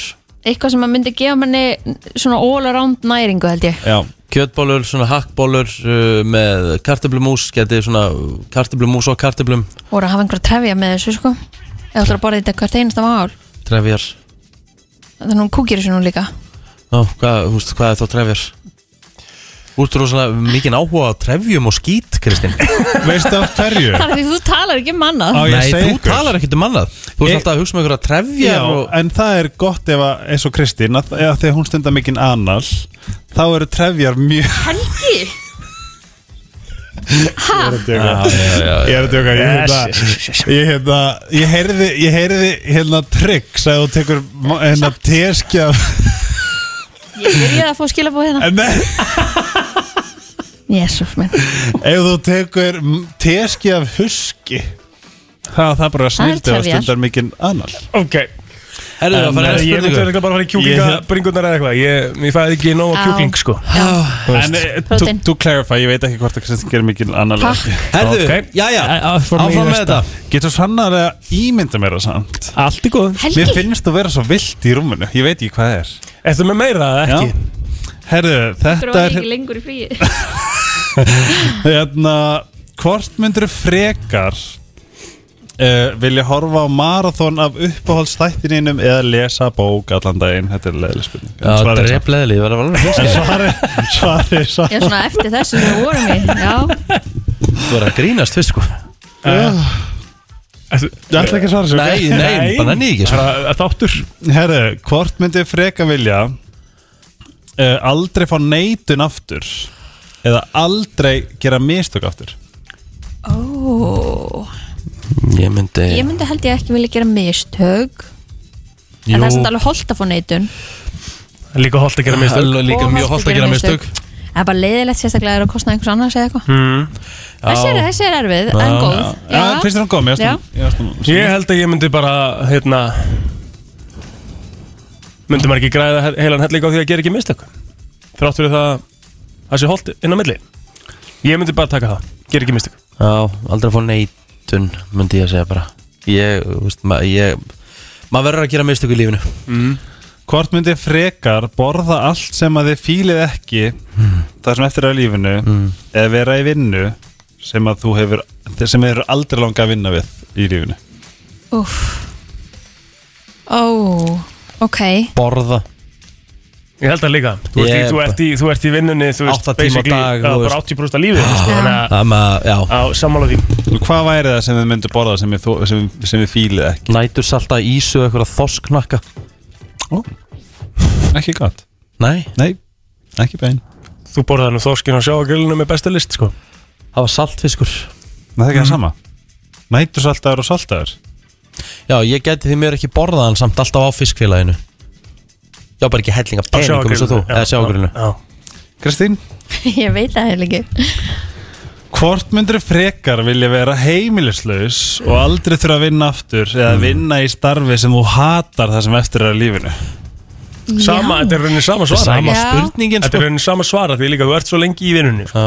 Speaker 2: Eitthvað sem að myndi gefa manni svona all around næringu held ég
Speaker 8: Já,
Speaker 1: Kjötbólur, svona hakkbólur uh, með kartöblumús Getið svona kartöblumús og kartöblum
Speaker 2: Voru að hafa einhver trefja með þessu sko Eða þú ætlar að borða þetta hvert einasta mál
Speaker 1: Trefjar
Speaker 2: Þannig hún kúkir þessu nú líka
Speaker 1: Ná, hvað, þú veist, hvað er þá trefjar? Þú ert rosalega mikið áhuga á trefjum og skít, Kristinn
Speaker 8: Veistu af hverju?
Speaker 2: Það er því þú talar ekki um annað
Speaker 1: Nei, þú talar ekkert um annað
Speaker 8: Eh,
Speaker 1: Þú ert alltaf að hugsa um einhverja trefjar
Speaker 8: Já,
Speaker 1: og...
Speaker 8: en það er gott ef að, eins og Kristín, að, að þegar hún stundar mikinn anal, þá eru trefjar mjög...
Speaker 2: Helgi Hæ?
Speaker 8: Ég er að djóka, ég er að djóka, ég hérna, ég hérna, ég heyrði, ég heyrði hérna trygg, sagði þú tekur ma- hérna teskja,
Speaker 2: Ég er að fá skilabóð hérna
Speaker 8: nei.
Speaker 2: Jésús minn
Speaker 8: ef þú tekur teskja af huski, þá er það bara
Speaker 2: Það er
Speaker 8: snildi að
Speaker 2: trefjar.
Speaker 8: stundar mikinn anal.
Speaker 3: Ok
Speaker 8: Herðu, það
Speaker 9: eh,
Speaker 8: fara í næstu
Speaker 3: Ég myndi
Speaker 8: spurningu.
Speaker 3: örugglega bara að fara í
Speaker 8: Ég-
Speaker 3: kjúklingabringunar eða eitthvað Ég, ég fæði ekki nóg
Speaker 2: Á.
Speaker 3: á kjúkling sko
Speaker 2: Já.
Speaker 3: Þú veist.
Speaker 8: En eh, to, to clarify, ég veit ekki hvort að Kristinn gerir mikil annan
Speaker 3: Takk. Herðu, Ok. jæja, áfram í áfram með næsta.
Speaker 8: Getur sannar að ímynda mér það samt
Speaker 3: Allt í góð
Speaker 8: Helgi. Mér finnst þú vera svo vilt í rúminu, ég veit ekki hvað það er
Speaker 3: Ertu með meira eða
Speaker 8: ekki? Herðu, þetta er
Speaker 2: lengur í fríi
Speaker 8: hérna, Hvort myndur frekar uh, vilja horfa á marathón af uppáhaldsþættininum eða lesa bók allan daginn Þetta er leðileg spurning
Speaker 1: Já, drepleðileg, ég verði að valga
Speaker 8: En svari, svari,
Speaker 2: Ég
Speaker 8: svari
Speaker 2: er svona eftir þessu sem við vorum í Já,
Speaker 1: Þú er að grínast fyrst, sko
Speaker 8: Ég ætla ekki að svara þessu ok?
Speaker 1: Nei, nei, Nei. bara nenni ég ekki að svara.
Speaker 8: Bara Þáttur Herru, hvort myndi freka vilja uh, Aldrei fá neitun aftur Eða aldrei gera mistök aftur
Speaker 2: Ó
Speaker 1: Ég myndi
Speaker 2: Ég myndi held ég ekki vilja gera mistök En það er samt alveg holdt að fá neitun
Speaker 3: Líka holdt að gera mistök
Speaker 1: Halló, líka
Speaker 2: Og
Speaker 1: mjög hollt að gera mistök.
Speaker 2: Það er bara leiðilegt sérstaklega að það er að kostna einhvers annars eða eitthvað
Speaker 3: Mm.
Speaker 2: Þessi er, þessi er erfið, en góð Já.
Speaker 3: Ég held að ég myndi bara, hérna Myndi maður ekki græða he- heilan helling á því að gera ekki mistök Þrátt fyrir það að Það sé holdt inn á milli Ég myndi bara taka það, gera ekki mistök
Speaker 1: Já, aldrei að fá neitun myndi ég að segja bara Ég, þú veist, ma ég maður verður að gera mistök í lífinu
Speaker 8: mm. Hvort myndi frekar borða allt sem að þið fílið ekki Það sem eftir er af lífinu
Speaker 1: Mm.
Speaker 8: Eða vera í vinnu Sem að þú hefur Sem þið eru aldrei langa að vinna við í lífinu
Speaker 2: Úff Ó, ok
Speaker 1: Borða
Speaker 3: Ég held það líka Þú ert,
Speaker 1: Ég
Speaker 3: í, þú,
Speaker 1: bara-
Speaker 3: ert í, þú ert í vinnunni þú veist,
Speaker 1: Átta tíma á
Speaker 3: basically,
Speaker 1: dag,
Speaker 3: já,
Speaker 1: þú
Speaker 3: Bara
Speaker 1: veist.
Speaker 3: 80% af lífið sko, þannig að-
Speaker 1: Það með, já
Speaker 3: Á sammála því
Speaker 8: Hvað væri það sem þið myndu borða sem þið, þó- sem, sem þið fílið ekki?
Speaker 1: Nætur salta ísu eitthvað þosknakka
Speaker 8: Ó, ekki gott
Speaker 1: Nei
Speaker 8: Nei, ekki bein
Speaker 3: Þú borðaði nú þorskin á sjáagrillinu með bestu list sko
Speaker 1: Það var saltfiskur
Speaker 8: Það er ekki það sama Nætursaltaður og saltaður
Speaker 1: Já, ég geti því mér ekki borða hann samt alltaf á fiskfélaginu Já, bara ekki hellinga peningum eins og þú
Speaker 8: sjávargrillinu, já,
Speaker 1: Eða sjáagrillinu
Speaker 3: Já
Speaker 8: Kristín,
Speaker 2: Ég veit það heil ekki
Speaker 8: hvort myndur frekar vilja vera heimilislaus og aldrei þurfa að vinna aftur eða
Speaker 3: Hmm.
Speaker 8: vinna í starfi sem þú hatar það sem eftir er af lífinu?
Speaker 3: Sama, þetta er raunin sama svara
Speaker 8: Sama
Speaker 3: ekki?
Speaker 8: Já. spurningin,
Speaker 3: Þetta
Speaker 8: sko.
Speaker 3: er raunin sama svara því líka þú ert svo lengi í vinnunni sko.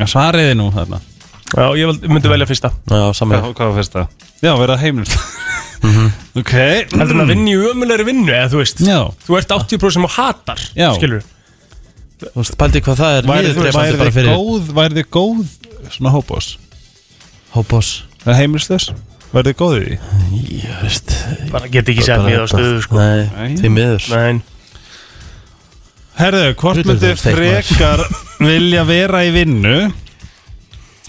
Speaker 8: Já, svariði nú þarna
Speaker 3: Já, ég vel- myndi velja fyrsta
Speaker 1: Já, saman
Speaker 8: Hvað, hvað var fyrsta? Já, vera heimilislaus Ok
Speaker 3: Heldur hann að vinna í ömulegri vinnu eða þú veist
Speaker 8: Já
Speaker 3: Þú ert 80% sem þú hatar
Speaker 8: Já.
Speaker 3: Skilur
Speaker 1: Þú veist, pældi hvað það er
Speaker 8: Væri þið
Speaker 1: niðurdrepandi bara fyrir-
Speaker 8: góð, væri þið góð svona hópos?
Speaker 1: Hópos
Speaker 8: Heimilislaus? Væri þið góð í því?
Speaker 1: Ég veist
Speaker 3: Bara get ekki sett niður á stöðu sko
Speaker 1: Nei, því miður
Speaker 3: Nei
Speaker 8: Herðu, hvort
Speaker 1: Hlutur
Speaker 8: myndu
Speaker 1: þú þeir
Speaker 8: frekar vilja vera í vinnu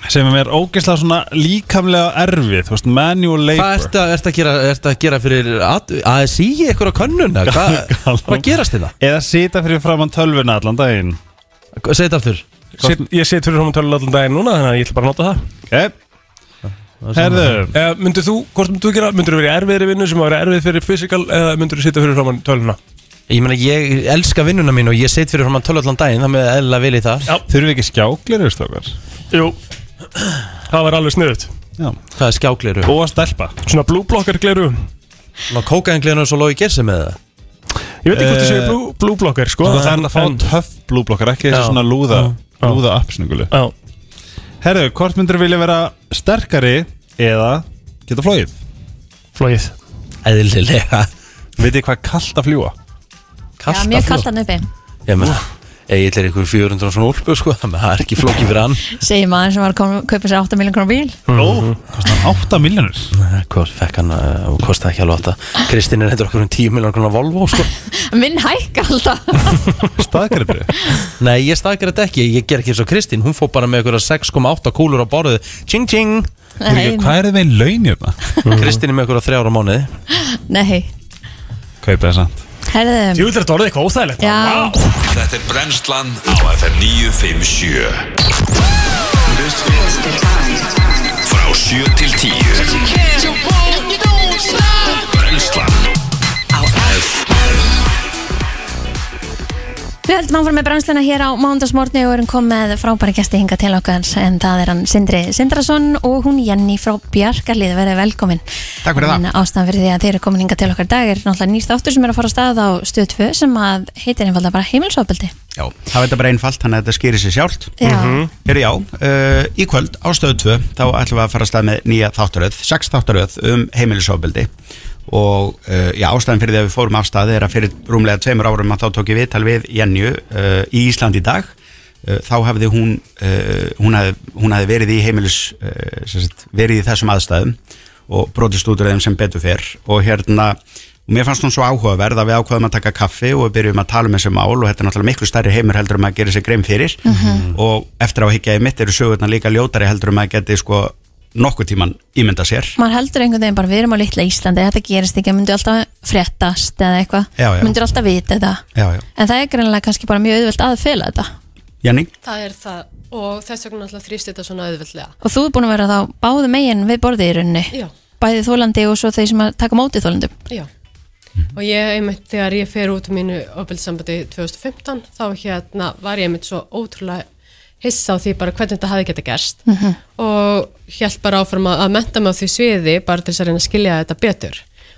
Speaker 8: sem er ógeðslega svona líkamlega erfið, þú veist, manual
Speaker 1: Hvað
Speaker 8: labor
Speaker 1: ertu að, ertu að, gera, ertu að gera fyrir at- ASI eitthvað á könnuna? Hvað hvað gerast hérna? þetta?
Speaker 8: eða sita fyrir framann tölvuna allan daginn
Speaker 1: Segð þetta aftur
Speaker 3: Sit, Ég sit fyrir hún tölun allan daginn núna þannig að ég ætla bara að nota það
Speaker 8: okay. Herðu,
Speaker 3: uh, Myndir þú, hvort myndir þú gera, myndir þú verið erfiðri vinnu sem að vera erfið fyrir fysikal eða myndir þú sitja fyrir framann töluna
Speaker 1: Ég meina, ég elska vinnuna mín og ég set fyrir fram að tölva allan daginn, það með eðla vil í það
Speaker 8: þurfum við ekki skjákleru, stokkar?
Speaker 3: Jú, það var alveg sniðut
Speaker 8: Já,
Speaker 1: Hvað er skjákleru?
Speaker 8: og að stelpa
Speaker 3: Svona blúblokkar gleru
Speaker 1: Ná, kókaðingleru og svo lógi gersi með það
Speaker 3: Ég veit ekki hvort
Speaker 8: Eh,
Speaker 3: þið séu blú- blúblokkar sko
Speaker 8: Það er að fá
Speaker 3: en-
Speaker 8: töff blúblokkar, ekki
Speaker 3: Já.
Speaker 8: þessi svona lúða,
Speaker 3: Já.
Speaker 8: lúða uppsningulu
Speaker 3: Já,
Speaker 8: Herðu, hvort myndur vilja vera sterkari eða geta flóið?
Speaker 3: flóið
Speaker 1: Eðlilega
Speaker 8: Vitið hvað kalt að fljúa?
Speaker 2: Já, mjög kallt hann uppi
Speaker 1: Ég meina, Egil er einhver 400 og svona úlpu sko, þannig að það er ekki flókið fyrir hann
Speaker 2: Segir maður sem var að kom- kaupa sér 8 miljón krónar bíl
Speaker 1: Ó, kostar hann 8 miljonur? Mhm. Hvað fekk hann, uh, kostaði ekki alveg 8 Kristinn er eitthvað okkur um 10 miljonur konar Volvo sko
Speaker 2: Minn hækka alltaf
Speaker 1: Staðgræður Nei, ég staðgræður þetta ekki, ég ger ekki eins og Kristín Hún fór bara með einhverja 6,8 kúlur á borðið Tjing, tjing
Speaker 2: Nei, Hvað
Speaker 1: er það með laun hérna? Kristín er með einhverja þrjára mánuði
Speaker 2: Nei,
Speaker 1: Kaupa þess að
Speaker 2: herðu
Speaker 9: Jú, þetta orðið eitthvað óþægilegt
Speaker 2: Já,
Speaker 4: Þetta er brennslan á FM 957 Frá 7 til 10 Brennslan á FM
Speaker 2: við heldum áfram með brennsluna hér á mándagsmórni og erum komið frábæri gæsti hinga til okkar en það er hann Sindri Sindrason og hún Jenny frá Bjarkarlið verið velkomin
Speaker 12: Takk fyrir það.
Speaker 2: En ástæðan fyrir því að þeir eru komin hinga til okkar í dag er náttúrulega nýr þáttur sem er að fara að stað á stöð 2 sem að heitir einfalda bara heimilsofbeldi
Speaker 12: Já, það er þetta bara einfalt, þannig að þetta skýrir sér sjálft
Speaker 2: Já. Mhm.
Speaker 12: Hér já, uh, í kvöld á stöðu 2 þá ætlum við að fara að stað með nýja þáttaröð sex þáttaröð um heimilisofbildi og uh, já, ástæðan fyrir því að við fórum af staði er að fyrir rúmlega tveimur árum að þá tók ég viðtal við Jenju uh, í Ísland í dag uh, þá hafði hún uh, hún, hafði, hún hafði verið í heimilis uh, sem sagt, verið í þessum aðstæðum og brotist út úr þeim sem betur fer og hérna og mér fannst hún svo áhugaverð að við ákvaðum að taka kaffi og við byrjum að tala um þessi mál og þetta er náttúrulega miklu stærri heimur heldur um að gera sér greim fyrir og eftir á að higgja í mitt eru sögurnar líka ljótari heldur um að geti sko nokkuð tíman ímynda sér
Speaker 2: maður heldur einhvern veginn bara við erum á litla Íslandi þetta gerist ekki, myndu alltaf fréttast eða
Speaker 12: Já, já.
Speaker 2: eitthvað, myndu alltaf vita þetta
Speaker 12: Já, já.
Speaker 2: en það er greinlega kannski bara mjög auðvelt að fela þetta
Speaker 12: Jenny?
Speaker 13: Það er það og þess vegna alltaf þrýst þetta svona auðveldlega.
Speaker 2: og þú er búin að vera þá báðu megin við borðið í rauninni
Speaker 13: Já.
Speaker 2: bæði þólandi og svo þeir sem að taka mótið þólandum
Speaker 13: Já. Og ég einmitt þegar ég fer út úr mínu ofbeldissambandi 2015 þá hérna var ég einmitt svo ótrúlega hissa á því bara hvernig þetta hafi getað gerst
Speaker 2: Mhm.
Speaker 13: og hjælt bara áfram að, að menta mig á því sviði bara til þess að reyna að skilja þetta betur.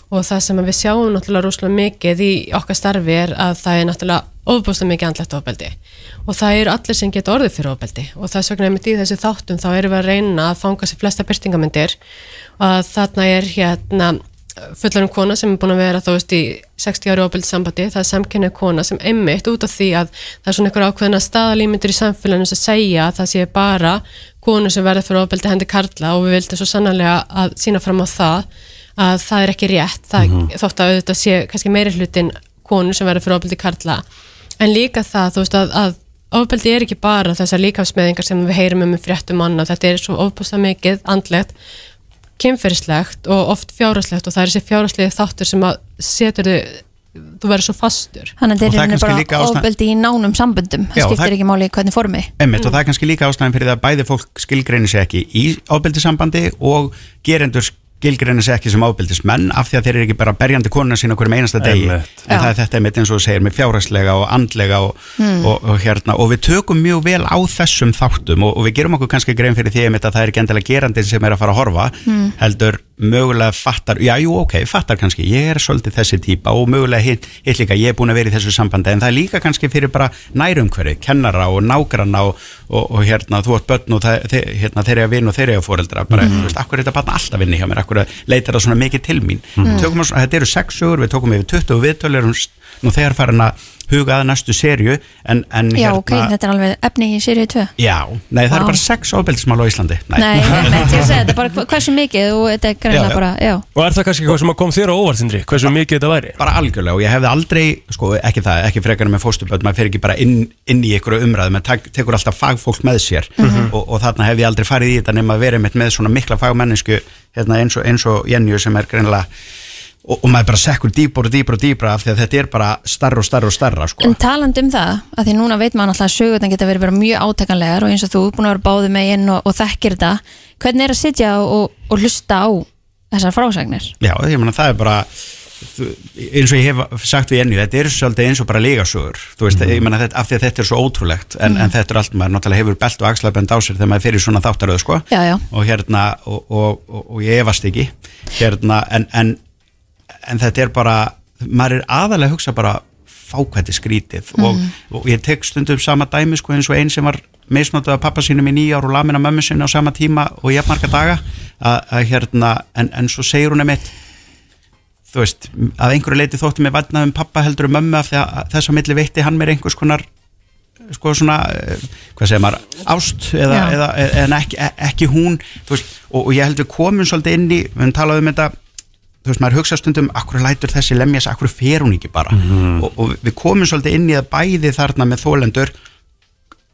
Speaker 13: Og það sem við sjáum náttúrulega rosalega mikið í okkar starfi er að það er náttúrulega ofbúslega mikið andlegt ofbeldi. og það eru allir sem geta orðið fyrir ofbeldi og þess vegna einmitt í þessu þáttum þá erum við að reyna að fanga sér flesta byrtingamyndir að þarna er hérna fullarum kona sem er búin að vera þá veist í 60 ári ofbeldi sambandi, það er samkennið kona sem einmitt út af því að það er svona einhver ákveðna staðalímyndir í samfélaginu sem segja að það sé bara konu sem verða fyrir ofbeldi hendi karla og við vildum svo sannarlega að sína fram á það að það er ekki rétt það, þótt að auðvitað sé kannski meiri hlutin konu sem verður fyrir ofbeldi karla en líka það, þú veist að, að ofbeldi er ekki bara þessar líkafsmeðingar sem við heyrum um í fréttum annað, þetta er svo ofbústa mikið andlegt, kynferðislegt og oft fjárhagslegt og það er þessi fjárhagslegi þáttur sem að setur þau þú verður svo fastur
Speaker 2: þannig að
Speaker 12: Og
Speaker 2: þeir
Speaker 12: það er
Speaker 2: eru
Speaker 12: kannski líka
Speaker 2: bara
Speaker 12: ástæðan-
Speaker 2: ofbeldi í nánum samböndum það
Speaker 12: Já,
Speaker 2: skiptir
Speaker 12: það-
Speaker 2: ekki máli í hvernig formi
Speaker 12: Einmitt,
Speaker 8: Mm.
Speaker 12: og það er kannski líka ástæðan fyrir það að bæði fólk skilgreinir sig ekki í ábyldisambandi og gerendur skilgreinir sig ekki sem ábyldismenn af því að þeir eru ekki bara berjandi konuna sína hverjum einasta degi
Speaker 8: Einmitt.
Speaker 12: en það er þetta einmitt eins og þú segir með fjárhagslega og andlega og,
Speaker 8: Hmm.
Speaker 12: og, og hérna og við tökum mjög vel á þessum þáttum og, og við gerum okkur kannski grein fyrir því einmitt að það er ekki endilega gerandin sem er að fara að horfa
Speaker 8: Hmm.
Speaker 12: heldur mögulega fattar, já, jú, ok, fattar kannski, ég er svolítið þessi típa og mögulega hitt hit líka, ég er búin að vera í þessu sambandi en það er líka kannski fyrir bara nærumhverfi, kennara og nágranna og, og, og hérna, þú átt börn og það, þe- hérna, þeir eru að vinna og þeir eru að fóreldra bara, þú veist, akkur er þetta bara alltaf vinni hjá mér, akkur leitar það svona mikið til mín
Speaker 8: Mhm.
Speaker 12: tökum að, þetta eru sex sögur, við tókum yfir 20 viðtölur erum s- nú þegar farin að huga að næstu serju en, en
Speaker 2: Mm.
Speaker 12: hérna,
Speaker 2: já ok, þetta er alveg efni í sériu 2
Speaker 12: Já, nei, það
Speaker 2: Vá.
Speaker 12: eru bara sex ofbeldismál á Íslandi
Speaker 2: nei, einmitt, ég segi þetta er bara hva- hversu mikið og þetta er
Speaker 12: Já,
Speaker 2: greinlega
Speaker 12: já.
Speaker 2: bara já.
Speaker 12: Og er það kannski hvað sem að kom þér á óvartindri, hversu mikið þetta væri? Bara algjörlega og ég hefði aldrei, sko ekki það, ekki frekar með fóstuböld, maður fer ekki bara inn, inn í ykkur umræðum, maður tek, tekur alltaf fagfólk með sér
Speaker 8: Mhm.
Speaker 12: og, og þarna hefði ég aldrei farið í þetta nema að vera einmitt með svona mikla fagmennisku hérna, eins, og, eins og Jenju sem er greinilega og, og maður bara sekkur dýpur og dýpur og dýpur af því að þetta er bara starra og starra og starra sko.
Speaker 2: en taland um það, að því núna veit maður náttúrulega að sögurnar geta verið bara mjög átakanlegar og eins og þú er búin að vera báðu megin og, og þekkir þetta hvernig er að sitja og, og hlusta á þessar frásagnir
Speaker 12: Já, ég meina það er bara þú- eins og ég hef sagt við Jenny þetta er svolítið eins og bara legasögur þú veist, ég meina þetta, af því að þetta er svo ótrúlegt en, en þetta er allt, maður náttúrulega hefur belt og axlabend á sér þegar maður fyrir svona þáttaröð, sko
Speaker 2: já, já.
Speaker 12: og hérna, og, og, og, og ég efast ekki hérna, en, en en þetta er bara, maður er aðalega að hugsa bara fákvætti skrítið
Speaker 8: Mhm.
Speaker 12: og, og ég tek stundum sama dæmi sko eins og einn sem var meðsnáttuð af pappa sínum í nýja ár og lamin af mömmu sinni á sama tíma og ég marga daga að, að hérna, en, en svo segir hún emitt þú veist, að einhverju leiti þótti mér vatnað um pappa heldur um mömmu af því að þess að milli veitti hann mér einhvers konar sko svona, eh, hvað segir maður ást eða,
Speaker 14: Já.
Speaker 12: eða, en ekki, e, ekki hún þú veist, og, og ég held við komum svolítið inn í, við höfum talað um þetta þú veist, maður hugsa stundum, akkur lætur þessi lemjas, akkur fer hún ekki bara og, og við komum svolítið inn í það bæði þarna með þólendur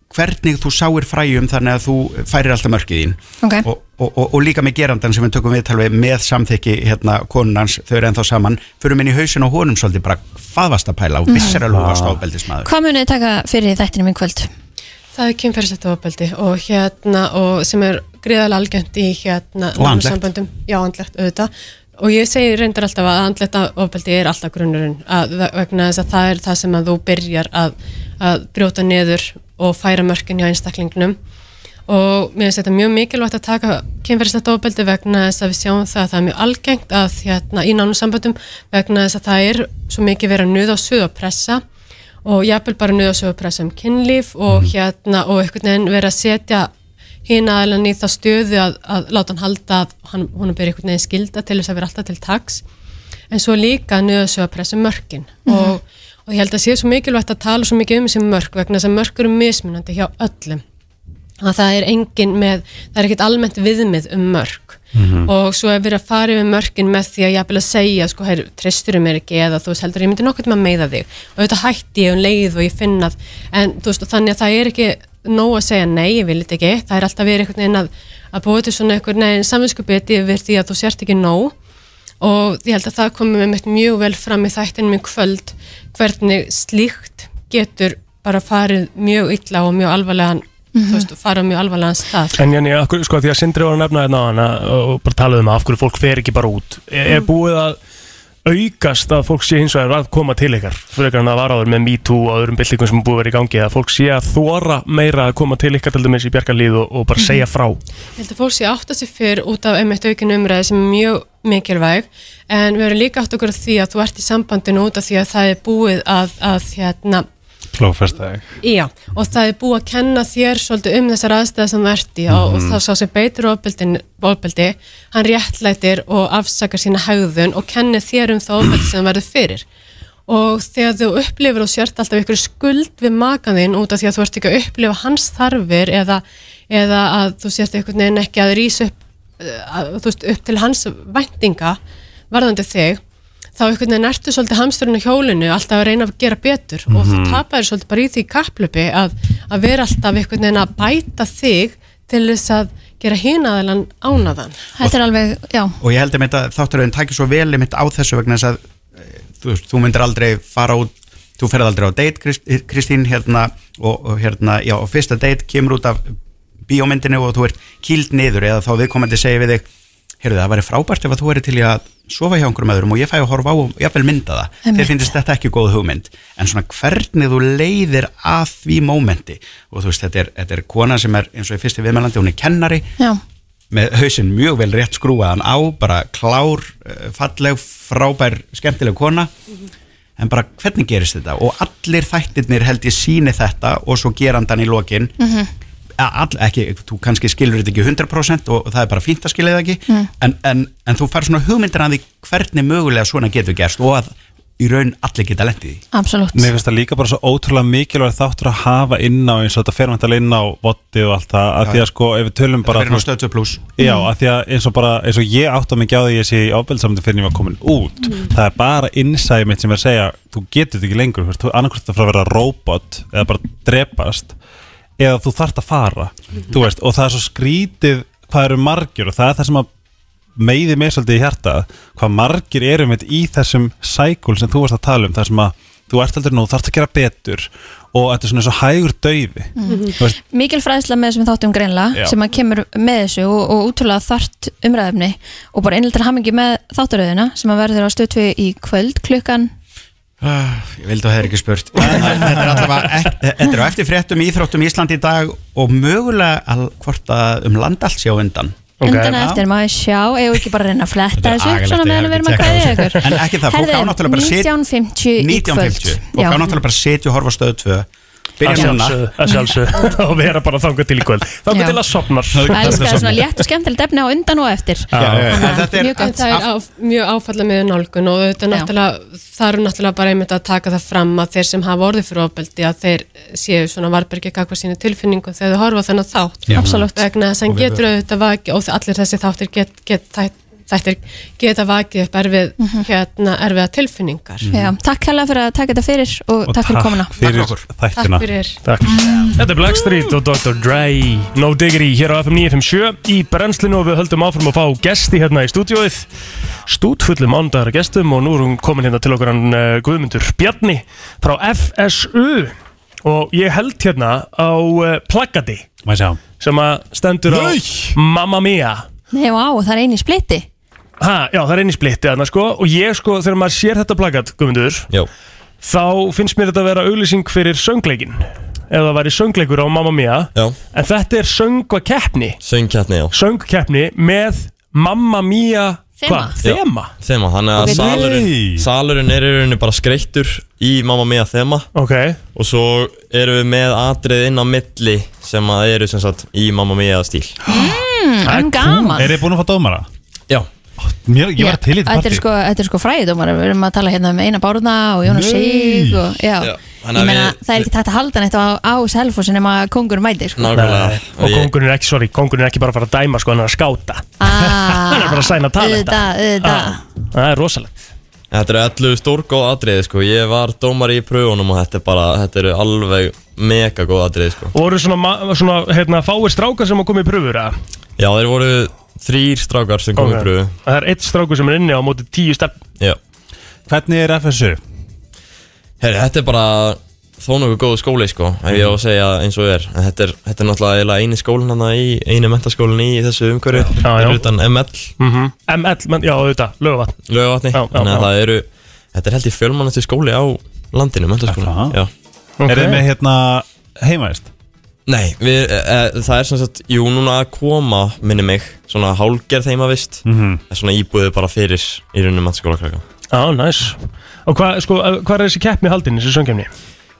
Speaker 12: hvernig þú sáir fræjum þannig að þú færir alltaf mörkið þín
Speaker 2: Ok.
Speaker 12: og, og, og, og líka með gerandan sem við tökum viðtal við með samþykki hérna konunans, þau eru ennþá saman förum inn í hausin og honum svolítið bara hvað varst að pæla og vissir alveg hvað varst ábeldismæður
Speaker 2: Mhm. Hvað munið þið taka fyrir í þættinum í kvöld?
Speaker 13: Það er kynferðisett ofbeldi og hérna og sem er gríðarlega algjönd í hérna
Speaker 2: Og andlegt.
Speaker 13: námssamböndum. Já, andlegt auðvitað og ég segi reyndar alltaf að andlegt ofbeldi er alltaf grunnurinn að, vegna þess að það er það sem að þú byrjar að, að brjóta niður og færa mörkin hjá einstaklingnum og mér finnst þetta mjög mikilvægt að taka kynferðislegt ofbeldi vegna þess að við sjáum það að það er mjög algengt að hérna, í nánum samböndum vegna þess að það er svo mikið verið að nuða og suða pressa og jafnvel bara nuða og suða pressa um kynlíf og hérna og einhvern veginn verið að setja hinn aðlan í þá stöðu að, að láta hann halda að hann, hún er einhvern veginn skilda til þess að vera alltaf til taks en svo líka nuða og suða pressa um mörkin og, og ég held að sé svo mikilvægt að tala svo mikið um þessi mörk vegna þess að mörk eru mismunandi hjá öllum að það er engin með, það er ekkert almennt viðmið um mörg
Speaker 11: Mhm.
Speaker 13: og svo er verið að fara yfir mörgin með því að ég að segja, sko, hér, tristurum mér ekki eða þú veist, heldur, ég myndi nokkert með að meiða þig og þetta hætti ég um leið og ég finn að en þú veist, og þannig að það er ekki nóg að segja nei, ég vil þetta ekki, það er alltaf verið einhvern veginn að, að búa til svona einhvern veginn saminskupið yfir því að þú sért ekki nóg og ég held að það komum við mitt mjög vel fram í þættinum í kvöld hvernig slíkt getur bara farið mjög illa og mjög alvarlegan þú veist, fara á mjög alvarlegan stað
Speaker 9: En Jenny, af hverju- sko, því að Sindri var að nefna hérna á hana og bara talaði um að af hverju fólk fer ekki bara út er,
Speaker 8: Mm.
Speaker 9: er búið að aukast að fólk sé hins vegar að koma til ykkar frekar en að vara áður með MeToo og öðrum byltingum sem er búið að vera í gangi að fólk sé að þóra meira að koma til ykkar til dæmis í bjargarlíð og, og bara segja frá
Speaker 13: Ég held að fólk sé að átta sig fyrr út af einmitt aukin umræði sem er mjög mikilvæg en við erum líka átt okkur á því að þú ert í sambandinu út af því að það er búið að, að hérna,
Speaker 8: Klófestæk
Speaker 13: já, og það er búið að kenna þér svolítið um þessar aðstæða sem þú ert í og, og
Speaker 8: Mhm.
Speaker 13: þá sá sem beitur ofbeldin, ofbeldi, hann réttlætir og afsakar sína haugðun og kennir þér um það ofbeldi sem verður fyrir og þegar þú upplifir og sért alltaf ykkur skuld við makan þinn út af því að þú ert ekki að upplifa hans þarfir eða, eða að þú sért einhvern veginn ekki að rýsa upp, eh, að, þú veist, upp til hans væntinga varðandi þig þá einhvern veginn ertu svolítið hamsturinn á hjólinu alltaf að reyna að gera betur og þú
Speaker 3: Mm.
Speaker 15: Mhm.
Speaker 13: tapar svolítið bara í því kapplöpi að, að vera alltaf einhvern veginn að bæta þig til þess að gera hinaðalann ánaðan
Speaker 2: Þetta er alveg, já,
Speaker 12: og ég held að þetta þátturöðin tækir svo vel einmitt á þessu vegna þess að eh, þú, veist, þú myndir aldrei fara út þú ferð aldrei á date Krist- Kristín hérna, og, og hérna, já, og fyrsta date kemur út af bíómyndinu og þú ert kýld niður eða þá viðkomandi segir við þig heyrðu það væri frábært ef að þú væri til í að sofa hjá einhverjum öðrum og ég fæ að horfa á og jafnvel mynda það
Speaker 14: Einmitt.
Speaker 12: þeir finnist þetta ekki góð hugmynd en svona hvernig þú leiðir að því mómenti og þú veist þetta er, þetta er kona sem er eins og í fyrsti viðmælandi hún er kennari
Speaker 2: já
Speaker 12: með hausinn mjög vel rétt skrúaðan á bara klár, eh, falleg frábær, skemmtileg kona en bara hvernig gerist þetta og allir þættirnir held ég síni þetta og svo gerandan í lokin
Speaker 14: Mhm.
Speaker 12: A- all, ekki, þú kannski skilur þetta ekki 100% og, og það er bara fínt að skilja það ekki
Speaker 14: Mm.
Speaker 12: en, en, en þú fær svona hugmyndir að því hvernig mögulega svona getur gerst og að í raun allir geta lendið í því.
Speaker 2: absolutt
Speaker 8: Mér finnst það líka bara svo ótrúlega mikilvægt þáttur að hafa inn á eins og þetta fer mæntalega inn á votti og allt það, að
Speaker 12: Já,
Speaker 8: því að
Speaker 12: já.
Speaker 8: sko ef við tölum bara
Speaker 12: fer inn á stöðtu pluss
Speaker 8: Já, að því að eins og bara, eins og ég átt á mig gjáði ég sé í ábyrðsamöndum fyrir en ég var komin út
Speaker 12: Mm.
Speaker 8: það er bara innsæði mitt sem er að segja þú getur þetta ekki lengur, þú veist, þú annarkvæmst að fara að vera robot eða bara drepast eða þú þarft að fara, þú veist og það er svo skrítið hvað eru margir og það er það sem að meiði mér svolítið í hjarta hvað margir erum við í þessum sækul sem þú varst að tala um þar sem að þú ert aldrei nú, þú þarft að gera betur og þetta er svona eins og hægur dauði
Speaker 2: Mhm.
Speaker 8: Þú veist,
Speaker 2: Mikil fræðsla með þessum þáttum greinlega
Speaker 8: Já.
Speaker 2: sem að kemur með þessu og, og útrúlega þart umræðumni og bara innlega til hamingi með þáttaröðina sem að verður á stöðtvi í kvöld klukkan
Speaker 12: Ah, Ég vildi að það er ekki spurt En Þetta er allavega ek- Þetta er á eftir fréttum í Íþróttum Ísland í dag og mögulega al, hvort að um land allt sé á undan
Speaker 2: undan að eftir, má ég sjá, eigum við ekki bara að reyna að fletta þessu upp
Speaker 12: agalegt,
Speaker 2: svona
Speaker 12: ég
Speaker 2: meðan
Speaker 12: hef
Speaker 2: við erum að
Speaker 12: ekki
Speaker 2: kveðja
Speaker 12: tékkað
Speaker 2: ykkur
Speaker 12: þessu. En ekki það, fólk á
Speaker 2: Herðu,
Speaker 12: náttúrulega bara að sitja-
Speaker 2: 19.50 í kvöld
Speaker 12: 1950 og
Speaker 2: Já.
Speaker 12: hann náttúrulega bara setja og horfa á stöðu 2 Byrja
Speaker 3: Að
Speaker 12: núna.
Speaker 3: sjálfsögðu, að sjálfsögðu og vera bara þangað til í kvöld þangað
Speaker 2: Já.
Speaker 3: til að sopnar
Speaker 2: Það elskar svona létt og skemmtilegt efni á undan og eftir Þannig að
Speaker 13: En
Speaker 2: mjög gott
Speaker 13: það er á, mjög áfalla með nálgun og þetta er náttúrulega, það eru náttúrulega bara einmitt að taka það fram að þeir sem hafa orðið fyrir ofbeldi að þeir séu svona varbergi kakvað sínu tilfinningu þegar þau horfa á þennan þátt
Speaker 2: Já. Absolutt.
Speaker 13: vegna þess að hann
Speaker 2: Og við-
Speaker 13: getur auðvitað vakið og allir þessi þáttir get, get, þætt- þættir geta vakið upp erfið, hérna, erfiða tilfinningar
Speaker 2: Mhm. Já, takk hella fyrir að taka þetta fyrir og, takk fyrir komuna Takk fyrir
Speaker 3: Takk. Þetta er Blackstreet og Dr. Dre No Diggity hér á FM 957 í brennslinu og við höldum áfram að fá gesti hérna í stúdióið stútfullum ándaðar gestum og nú er hún komin hérna til okkar hann eh, Guðmundur Bjarni frá FSU og ég held hérna á eh, plaggati sem að stendur á Mamma Mia
Speaker 2: Nei, vá, það er einu í splitti
Speaker 3: Ha, já, það er einn í splitti þarna sko og ég sko þegar maður sér þetta plakat, Guðmundur já. þá finnst mér þetta að vera auglýsing fyrir söngleikin ef það væri söngleikur á Mamma Mia já. en þetta er söngvakeppni
Speaker 14: Söngkjarni, já
Speaker 3: söngkeppni með Mamma Mia hvað? Þema
Speaker 14: Já, Þema, þannig að
Speaker 3: Ok.
Speaker 14: salurinn,
Speaker 3: Nei.
Speaker 14: salurinn er í rauninni bara skreittur í Mamma Mia þema
Speaker 3: Ok
Speaker 14: Og svo erum við með atrið inn á milli sem að eru sem sagt í Mamma Mia stíl
Speaker 2: mm, En gaman
Speaker 8: Er þið búin að fá dómara?
Speaker 14: Já
Speaker 8: Mér, Ég var til í
Speaker 2: Þetta er sko, þetta er sko fræðidómar Við erum að tala hérna um Einar Bárna og Jónas Sig og, já.
Speaker 14: Já, þannig
Speaker 2: Ég
Speaker 14: að
Speaker 2: meina,
Speaker 14: við-
Speaker 2: það er ekki tægt að halda neitt á, á selfossin nema kongur mæti sko.
Speaker 3: Nei, og kongurinn er ekki, sorry, kongurinn er ekki bara að fara að dæma sko, hann er að skáta
Speaker 2: Hann
Speaker 3: er bara að sæna
Speaker 2: talenta
Speaker 3: Það er rosalegt
Speaker 14: Þetta eru 11 stórgóð atriði sko Ég var dómari í pröfunum og þetta er bara, þetta eru alveg mega góð atriði sko
Speaker 3: og eru svona, ma- svona hérna, fáir strákar sem að koma í pröfur að
Speaker 14: Já, þeir voru þrýr strákar sem komið
Speaker 3: Ok.
Speaker 14: okay. pröfu
Speaker 3: það er eitt strákur sem er inni á móti tíu stefn
Speaker 14: Já
Speaker 8: Hvernig er FSU?
Speaker 14: Herri, þetta er bara þó nokkuð góð skóli sko, ef ég á
Speaker 3: Mhm.
Speaker 14: að segja eins og er En þetta er, þetta er náttúrulega eiginlega eini skólin hana í, eini mentaskólin í þessu umhverju
Speaker 3: Já, já.
Speaker 14: fyrir utan ML
Speaker 3: Mhm. ML, menn, já auðvitað, lögvatn
Speaker 14: Laugavatni,
Speaker 3: Já, já,
Speaker 14: þannig
Speaker 3: já.
Speaker 14: að það eru þetta er held ég fjölmannastu skóli á landinu mentaskólin, já
Speaker 8: Ok. Eruð þið með, hérna heimaðist?
Speaker 14: Nei, við, e, e, það er sem sagt, jú, núna að koma, minni mig, svona hálgerð heimavist,
Speaker 8: Mhm.
Speaker 14: það er svona íbúðið bara fyrir í rauninu mentaskóla krakka.
Speaker 3: Já, næs Og hvað sko, hva er þessi keppni haldin, þessi söngkefni?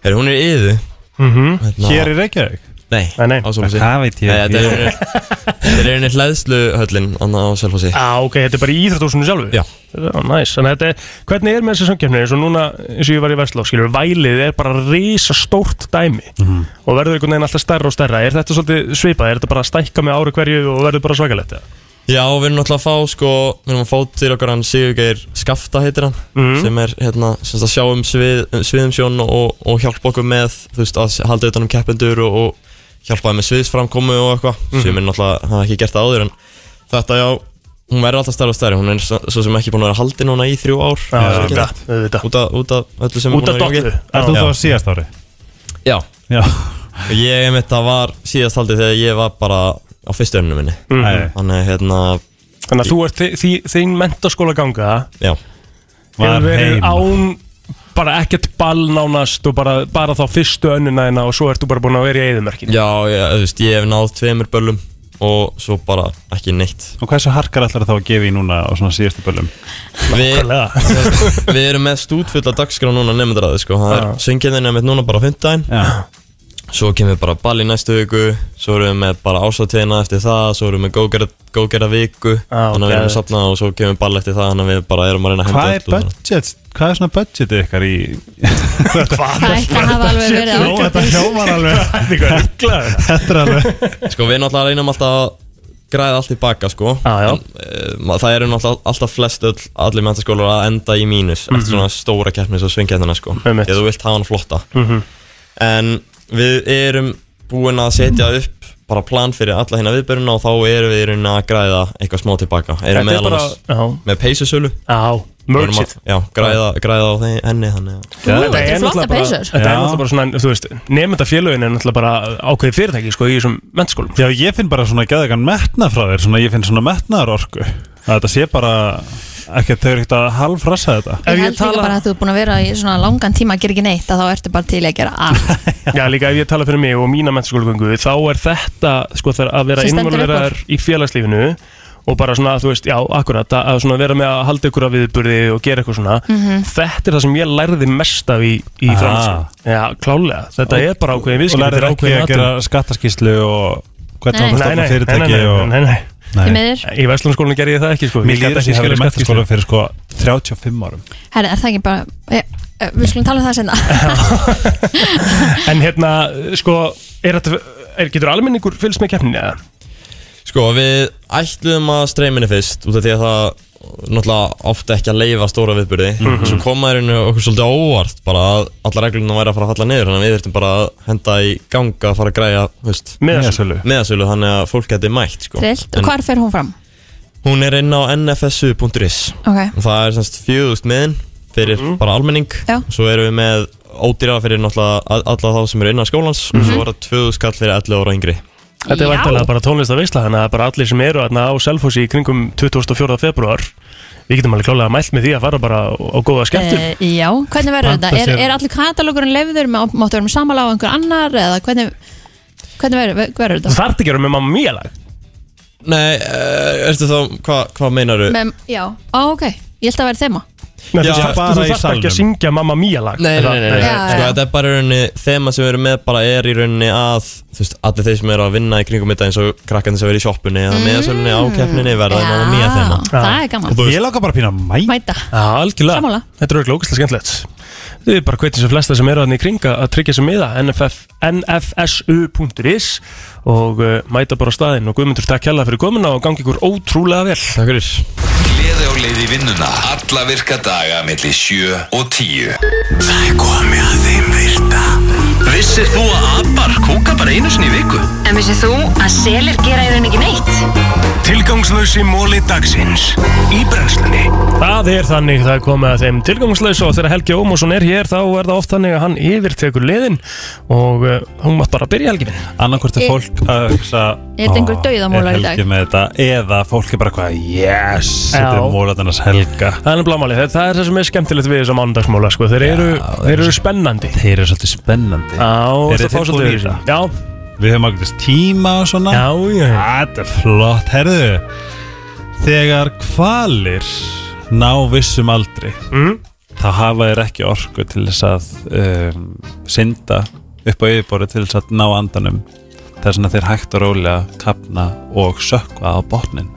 Speaker 14: Herri, hún er í Hérna- yðu
Speaker 3: Mhm. Hér í
Speaker 8: Reykjavík?
Speaker 14: Nei,
Speaker 3: Nei, nei.
Speaker 14: Ásólfossi
Speaker 3: Það veit ég
Speaker 14: Nei, þetta
Speaker 3: ekki.
Speaker 14: er í rauninni- þetta er einu hlæðsluhöllin annað á Selfossi
Speaker 3: Á, ok, þetta er bara í íþróttúsinu sjálfu
Speaker 14: Já.
Speaker 3: Já, næs, þannig að þetta er, hvernig er með þessi söngkefni eins og núna, eins og ég var í Vestló, skilur Vælið er bara risa stórt dæmi
Speaker 8: Mhm.
Speaker 3: og verður einhvern veginn alltaf stærra og stærra Er þetta svolítið svipað, er þetta bara að stækka með ári hverju og verður bara svakalegt? eða?
Speaker 14: Já, við erum náttúrulega að fá sko, við erum að fá til okkar hann Sigurgeir Skafta heitir hann
Speaker 3: Mhm.
Speaker 14: sem er hérna, sem sagt að sjá um svið, sviðum sjón og, og hjálpa okkur með þú veist, að halda utan um keppendur og, og hjálpa þeim með sviðsframkomu og eitthvað
Speaker 3: Mhm.
Speaker 14: sem er náttúrulega, hafa ekki gert það áður en þetta já, hún verður alltaf stærri og stærri hún er svo, svo sem ekki búin að vera haldi núna í þrjú ár
Speaker 3: Já,
Speaker 14: Sem er
Speaker 3: auðvitað,
Speaker 14: ekki- út af- út af öllu sem er
Speaker 3: Út af
Speaker 14: búin að vera í gangi.
Speaker 3: dottu.
Speaker 8: Er þú
Speaker 14: Já.
Speaker 8: þá á síðast ári?
Speaker 14: Já,
Speaker 8: Já.
Speaker 14: Og Ég einmitt það var síðast haldið þegar ég var bara á fyrstu önnu minni
Speaker 8: Mm.
Speaker 3: Mhm.
Speaker 14: Þannig að, hérna
Speaker 3: Þannig að þú ert þi- þi- þín mentaskóla ganga
Speaker 14: Já
Speaker 3: Hefur
Speaker 14: Var
Speaker 3: verið
Speaker 14: heima.
Speaker 3: án bara ekkert ball nánast og bara, bara þá fyrstu önnina þína og svo ert þú bara búin að vera í eðumörkinu
Speaker 14: Já, ég, þú veist, ég hef náð tveimur böllum og svo bara ekki neitt
Speaker 8: Og hversu harkar ætlar þá að gefa í núna á svona síðustu bölum?
Speaker 14: Við, við erum með stútfulla dagskrá núna nefndraði sko. Það er
Speaker 8: Já.
Speaker 14: söngiðin nefnd núna bara á fymtdæn Svo kemur bara ball í næstu viku Svo erum við með bara ásatíðina eftir það Svo erum við með góðgerða- góðgerða viku
Speaker 8: Já,
Speaker 14: Þannig að við erum
Speaker 8: geðveikt.
Speaker 14: að safna og svo kemur ball eftir það Þannig að við bara erum að reyna að
Speaker 8: Ah, Hvað er
Speaker 14: öllu saman.
Speaker 8: budget? Hvað er svona budgetið ykkar í...
Speaker 3: Hvað
Speaker 2: Það ætti að hafa alveg verið
Speaker 8: Jó, þetta hljómar alveg Þetta er alveg
Speaker 14: Sko við náttúrulega reynum alltaf að græða allt í baka sko ah, en, uh, Það eru náttúrulega alltaf flest öll, allir mentaskólar að enda í mínus
Speaker 3: Mhm.
Speaker 14: eftir svona stóra keppnis og svingjæðina sko
Speaker 3: Einmitt.
Speaker 14: Þegar þú vilt hafa hann flotta
Speaker 3: Mhm.
Speaker 14: En við erum búin að setja upp bara plan fyrir alla hérna viðbyrjuna og þá erum við í rauninni að græða eitthvað smá tilbaka
Speaker 3: Þetta er
Speaker 14: Erum meðal
Speaker 3: bara-
Speaker 14: annars
Speaker 3: já.
Speaker 14: með peysisölu
Speaker 3: Já, merge
Speaker 14: Erum að-
Speaker 3: it.
Speaker 14: Já, græða, græða á þeim, henni þannig að
Speaker 3: Þetta er náttúrulega bara, þetta er náttúrulega bara svona, þú veist, nefndafélögin er náttúrulega bara ákveðið fyrirtæki, sko, í þessum mentaskólum.
Speaker 8: Já, ég finn bara svona gæðegan metna frá þér Svona ég finn svona metnaðar orku Að þetta sé bara ekki að þau eru ekkert að halfrassa þetta
Speaker 2: Ég held líka bara að þú er búin að vera í svona langan tíma að gera ekki neitt að þá ertu bara til í að gera allt
Speaker 3: Já, líka ef ég tala fyrir mig og mína mentaskólagöngu, þá er þetta, sko, það er að vera
Speaker 2: Sem stendur upp úr.
Speaker 3: innvöldverðar í félagslífinu og bara svona, þú veist, já, akkurat að, að svona vera með að halda ykkur að viðburði og gera eitthvað svona
Speaker 16: Mhm.
Speaker 3: þetta er það sem ég lærði mest af í, í
Speaker 8: Ah.
Speaker 3: framhaldsskóla já, klálega, þetta er bara ákveðin viðskipti
Speaker 8: Og lærið ekki að gera skattaskýslu og hvernig
Speaker 3: Nei.
Speaker 8: hann
Speaker 3: Nei,
Speaker 8: stofna
Speaker 3: nei, nei,
Speaker 8: fyrirtæki
Speaker 3: nei,
Speaker 8: og...
Speaker 3: nei, nei,
Speaker 2: Því miður.
Speaker 3: í Vestlandskólinu gerði ég það ekki sko.
Speaker 8: Mér
Speaker 3: Ég gat
Speaker 8: líður
Speaker 3: ekki
Speaker 8: sem ég hafi
Speaker 3: skilið
Speaker 8: verið
Speaker 3: skattaskýrslu.
Speaker 8: mentaskóla fyrir sko 35 árum
Speaker 2: Herri, er það ekki bara eh, eh, Við skulum tala um það senna
Speaker 3: en hérna, sko er þetta, er, getur almenningur fylgst með keppninu eða?
Speaker 14: Sko, við ætluðum að streyminni fyrst út af því að það náttúrulega átti ekki að leifa stóra viðbyrði
Speaker 3: Mhm.
Speaker 14: Svo koma þeirinu okkur svolítið óvart bara að alla regluna væri að fara að falla niður þannig að við þurftum bara að henda í ganga að fara að græja, þú veist
Speaker 3: Miðasölu.
Speaker 14: Meðasölu, þannig að fólk geti mætt, sko
Speaker 2: Trillt,
Speaker 14: En
Speaker 2: hvar fer hún fram?
Speaker 14: Hún er inn á nfsu.is
Speaker 2: Ok.
Speaker 14: og það er semst fjögust miðin fyrir
Speaker 3: Mhm.
Speaker 14: bara almenning
Speaker 2: Já.
Speaker 14: svo erum við með ódýra fyrir náttúrulega a- alla þá sem eru innan skólans og
Speaker 2: Mhm.
Speaker 14: svo er það 2000 skall fyrir 11 ára og yngri
Speaker 3: Þetta er vantilega bara tónlist að veisla þannig að bara allir sem eru þarna á Selfossi í kringum 24. februar við getum alveg klálega mælt með því að fara bara á á góða skemmtum
Speaker 2: Eh, já, hvernig verður
Speaker 3: Panta
Speaker 2: þetta? Er,
Speaker 3: sér-
Speaker 2: er allir katalógurinn leifður? Má- Máttu verður með samala á einhver annar? Eða hvernig, hvernig verður, verður
Speaker 3: Þú
Speaker 2: þetta?
Speaker 3: þarft ekki að vera með mamma mía lag
Speaker 14: Nei, eh, ertu þá, hvað hva meinaru?
Speaker 2: Með, já, á, ok, ég held að verði þema
Speaker 3: Nei,
Speaker 14: Já,
Speaker 3: þú þarft-
Speaker 14: bara
Speaker 3: þú
Speaker 14: í
Speaker 3: þarft ekki
Speaker 14: salnum.
Speaker 3: að syngja mamma mía lag
Speaker 14: Nei, nei, nei, nei,
Speaker 3: Eða-
Speaker 14: nei.
Speaker 2: Já,
Speaker 14: Sko,
Speaker 2: já.
Speaker 14: þetta er bara í rauninni, þema sem við erum með bara er í rauninni að þú veist, allir þeir sem eru að vinna í kringum þetta eins og krakkandi sem eru í sjoppunni eða mm. meðasölunni á keppninni verða
Speaker 2: Já,
Speaker 14: mamma mía þema
Speaker 2: það er gaman.
Speaker 3: Ég
Speaker 8: laka bara pína mæ
Speaker 2: Mæta
Speaker 3: Já, algjörlega
Speaker 2: Sammála.
Speaker 3: Þetta er auðvitað ógæslega skemmtilegt Þið er bara hvetjum sem flesta sem eru þannig í kringa að tryggja sem miða NFF, nfsu.is og uh, mæta bara á staðinn og Guðmundur takk hella fyrir komuna og gangi ykkur ótrúlega vel
Speaker 14: Takk fyrir
Speaker 11: Gleði á leið í vinnuna Alla virka daga millir 7 og 10 Það er komið að þeim virta Vissir þú að abar kúka bara einu sinni í viku?
Speaker 1: En vissið þú að selir gera í rauninni ekki neitt?
Speaker 11: Tilgangslösi móli dagsins Í brennslunni
Speaker 3: Það er þannig það er komið að þeim tilgangslaus og þegar Helgi Ómarsson er hér þá er það oft þannig að hann yfirtekur liðin og uh, hún mátt bara byrja Helgi minn
Speaker 8: Annarkvort er fólk að hugsa
Speaker 2: Er þetta einhver
Speaker 8: "Ó,
Speaker 2: dauðamólar
Speaker 8: er
Speaker 2: í dag?"
Speaker 8: Helgi með þetta Eða fólk er bara hvað Yes, þetta
Speaker 3: Já.
Speaker 8: er mólatarnas helga
Speaker 3: Það er nefnilega málið, það- það er það sem er skemmtilegt við þess að mánudagsmóla sko. þeir, eru, þeir eru spennandi
Speaker 8: Þeir eru svolítið spennandi
Speaker 3: Já,
Speaker 8: Eru
Speaker 3: það fá
Speaker 8: tilbúin
Speaker 3: svolítið
Speaker 8: í
Speaker 3: öðruvísi.
Speaker 8: þetta?
Speaker 3: Já
Speaker 8: Við höfum ákveðist tíma og svona
Speaker 3: Já, já
Speaker 8: Þetta er flott, herðu Þegar kvalir ná vissum aldri
Speaker 3: mm.
Speaker 8: þá hafa þeir ekki orku til þess að um, synda upp á yfirborði til þess að ná andanum þess að þeir hægt og rólega kapna og sökva á botnin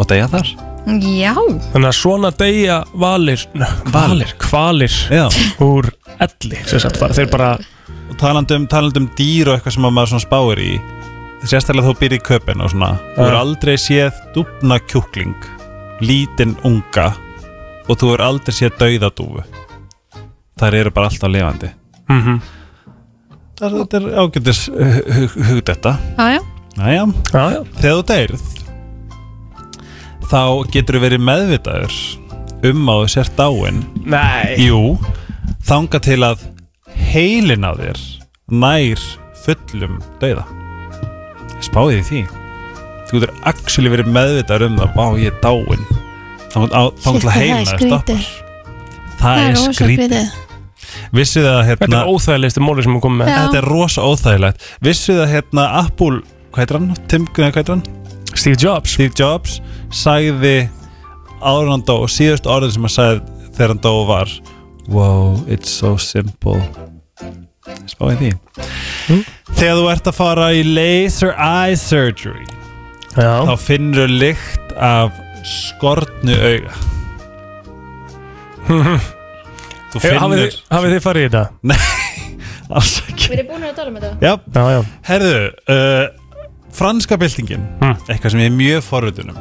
Speaker 8: og deyja þar
Speaker 2: Já,
Speaker 3: Þannig að svona deyja valir nö, Valir, kvalir
Speaker 8: Já.
Speaker 3: úr elli sem sagt, bara, Þeir bara
Speaker 8: og talandum, talandum um dýr og eitthvað sem að maður svona spáir í sérstaklega þú býr í köpinn og svona þú er
Speaker 3: Já.
Speaker 8: aldrei séð dúfna kjúkling lítinn unga og þú er aldrei séð dauða dúfu þær eru bara alltaf lifandi
Speaker 3: Mhm.
Speaker 8: Það er- þetta er ágætis uh, hug, hug þetta
Speaker 2: já, já
Speaker 8: Næja,
Speaker 3: Næja.
Speaker 8: þegar þú deyrð þá getur þú verið meðvitaður um að þú sér dáin
Speaker 3: Nei
Speaker 8: Jú, þanga til að heilin á þér nær fullum dauða Spáði því Þú getur actually verið meðvitaður um það Bá, ég er dáin Þanga til að heilin á þér stoppar Það er skrítið Vissið að hérna
Speaker 3: Þetta er óþægilegstu móli sem við komum með
Speaker 8: Já. Þetta er rosa óþægilegt Vissuð að hérna Apple, hvað heitir hann? Tim, hvað heitir hann?
Speaker 3: Steve Jobs
Speaker 8: Steve Jobs sagði áður en hann dó og síðust orðin sem hann sagði þegar hann dó var Wow, it's so simple Spáði því Þegar þú ert að fara í laser eye surgery
Speaker 3: Já.
Speaker 8: þá finnur þú lykt af skortnu auga Þú
Speaker 3: Hey, hafið
Speaker 8: finnur
Speaker 3: þið- Hafið þið farið í þetta?
Speaker 8: Nei, alls ekki
Speaker 2: Við erum búin að tala um þetta
Speaker 8: Já,
Speaker 3: já, já.
Speaker 8: Herðu, uh, franska byltingin Eitthvað sem ég er mjög forvitunum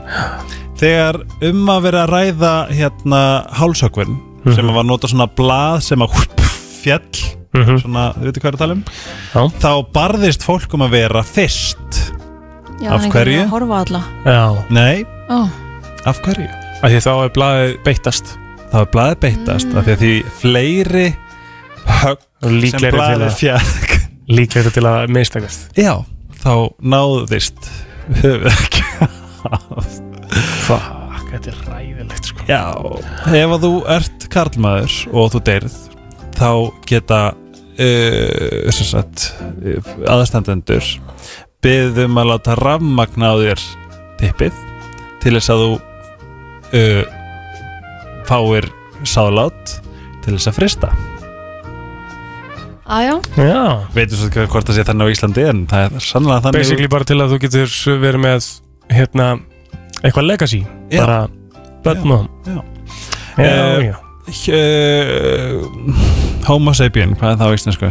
Speaker 8: Þegar um að vera að ræða hérna hálsökvinn
Speaker 3: Mhm.
Speaker 8: sem var að nota svona blað sem að húp, fjall svona, þið veitir hvað er að tala um
Speaker 3: Mhm. já.
Speaker 8: þá barðist fólk um að vera fyrst
Speaker 2: Já, þannig
Speaker 8: Af
Speaker 2: að
Speaker 8: hverju?
Speaker 2: ég horfa alla
Speaker 3: Já
Speaker 8: Nei,
Speaker 2: Ó,
Speaker 8: af hverju?
Speaker 3: Af því þá er blaðið beittast
Speaker 8: Þá er blaðið beittast af því að því fleiri högg sem blaðið fjall
Speaker 3: Líklega til að mistakast
Speaker 8: Já, þá náðist höfuðegg af
Speaker 3: Fuck, þetta er ræðilegt sko
Speaker 8: Já, ef að þú ert karlmaður og þú deyrð þá geta uh, sem sagt, um uh, aðstandendur byggðum að láta rafmagna á þér tippið til þess að þú uh, fáir sálátt til þess að frista
Speaker 2: Aðjá,
Speaker 8: Já Veitum svo ekki hvort það sé þannig á Íslandi en það er sannlega þannig
Speaker 3: Basically bara til að þú getur verið með hérna, eitthvað legacy
Speaker 8: Já.
Speaker 3: bara börn og
Speaker 8: Já,
Speaker 3: já,
Speaker 8: Eh,
Speaker 3: já.
Speaker 8: uh, Homo sapien, hvað er það á íslensku?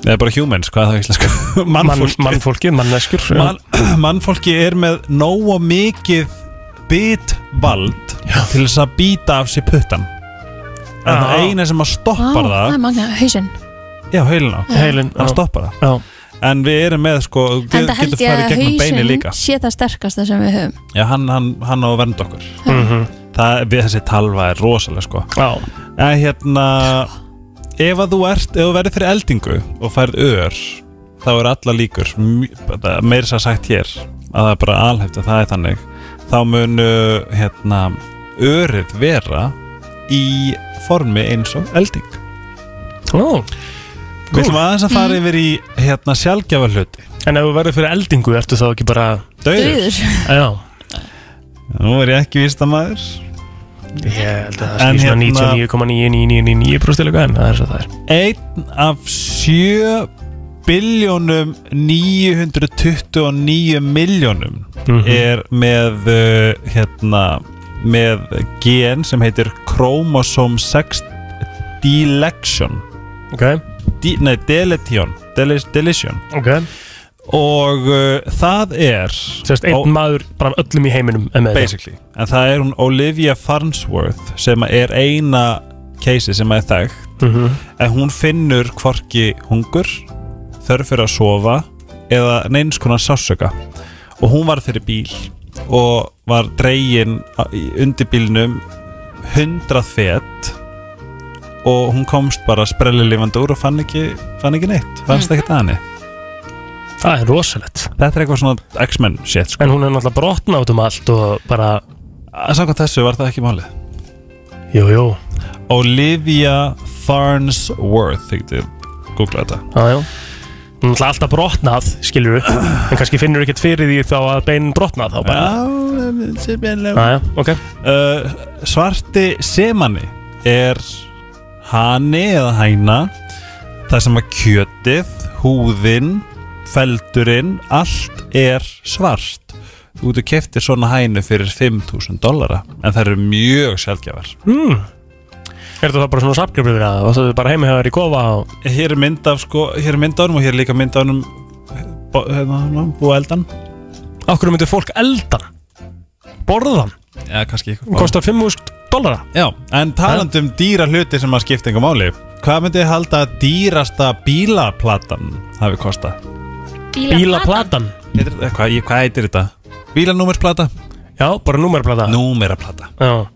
Speaker 8: Eða bara humans, hvað er það á íslensku? Mannfólki
Speaker 3: Mann- mannfólki, manneskur
Speaker 8: Man, Mannfólki er með nógu mikið bitvald til þess að býta af sér puttan En það
Speaker 2: Já.
Speaker 8: eina sem
Speaker 2: Vá,
Speaker 8: að stoppar
Speaker 2: það
Speaker 8: það
Speaker 2: er magna, hausinn
Speaker 8: Já, heilin á
Speaker 2: Já. Heilinn,
Speaker 8: Það
Speaker 2: já.
Speaker 8: stoppar það já. En við erum með sko
Speaker 2: En
Speaker 8: Getur
Speaker 2: það held
Speaker 8: farið
Speaker 2: ég að
Speaker 8: gegnum beini
Speaker 2: hausinn
Speaker 8: líka
Speaker 2: sé það sterkasta sem við höfum
Speaker 8: Já, hann, hann, hann á að vernda okkur
Speaker 2: Já.
Speaker 8: Það, við þessi talva er rosalega sko
Speaker 3: Mhm. Já
Speaker 8: En hérna Ef að þú ert, ef þú verður fyrir eldingu og færð ör þá er alla líkur, mj- bara meira sér sagt hér að það er bara alhæft að það er þannig þá mun uh, hérna, örið vera í formi eins og elding
Speaker 3: Ó
Speaker 8: Við ætlum aðeins að fara
Speaker 3: Mm.
Speaker 8: yfir í hérna, sjálfgjafa hluti
Speaker 3: En ef þú verður fyrir eldingu, ertu þá ekki bara
Speaker 8: Dauður.
Speaker 3: Já
Speaker 8: Nú er ég ekki víst að maður
Speaker 3: Ég held að
Speaker 8: En
Speaker 3: það sé svona
Speaker 8: hérna-
Speaker 3: 99,99999% eða eitthvað, en það er svo það er
Speaker 8: Einn af 7 biljónum 929 miljónum
Speaker 3: Mhm.
Speaker 8: er með uh, hérna með gen sem heitir chromosome 6 deletion
Speaker 3: okay.
Speaker 8: Di, nei, deletion Delis, deletion
Speaker 3: okay.
Speaker 8: og uh, það er
Speaker 3: Sérst, einn maður bara öllum í heiminum er með þetta.
Speaker 8: basically, en það er hún Olivia Farnsworth sem er eina keisi sem er þekkt
Speaker 3: Mhm.
Speaker 8: en hún finnur hvorki hungur þörf fyrir að sofa eða neins konar sásöka og hún var fyrir bíl og var dregin á- í- undir bílnum 100 fet og hún komst bara sprellilifandi úr og fann ekki, fann ekki neitt fannst ekkert að henni
Speaker 3: Það er rosalegt
Speaker 8: Þetta er eitthvað svona X-Men shit sko.
Speaker 3: En hún er náttúrulega brotna út um allt og bara
Speaker 8: Samkvæmt þessu var það ekki málið
Speaker 3: Jú, jú
Speaker 8: Olivia Farnsworth Ég geti googlað þetta
Speaker 3: Já, já Hún er alltaf brotnað, skilur við En kannski finnur ekkert fyrir því þá að beinin brotnað þá bara Já, já, ok
Speaker 8: uh, Svarti semanni er hani eða hæna Það sem að kjötið, húðin, feldurinn, allt er svart Þú getur keftir svona hænu fyrir 5.000 dollara En það eru mjög sjálfgjafar
Speaker 3: Hmm. Er þetta þá bara svona sapgrifur fyrir það? Og það er bara heimi hefur í kofa og...
Speaker 8: Hér er mynd af sko, hér er mynd af honum og hér er líka mynd af honum bó- hérna, hérna, Búa eldan
Speaker 3: Akkur myndir fólk eldan? Borða hann?
Speaker 8: Já, kannski eitthvað.
Speaker 3: Kostar 5.000 dollara?
Speaker 8: Já, en talandi um dýra hluti sem að skipta einhver máli Hvað myndið þið halda að dýrasta bílaplatan hafi kosta?
Speaker 3: Bílaplatan?
Speaker 8: Heitir- eh, Hvað, ég- hvað heitir þetta? Bílanúmersplata?
Speaker 3: Já, bara númerplata
Speaker 8: Númeraplata
Speaker 3: Já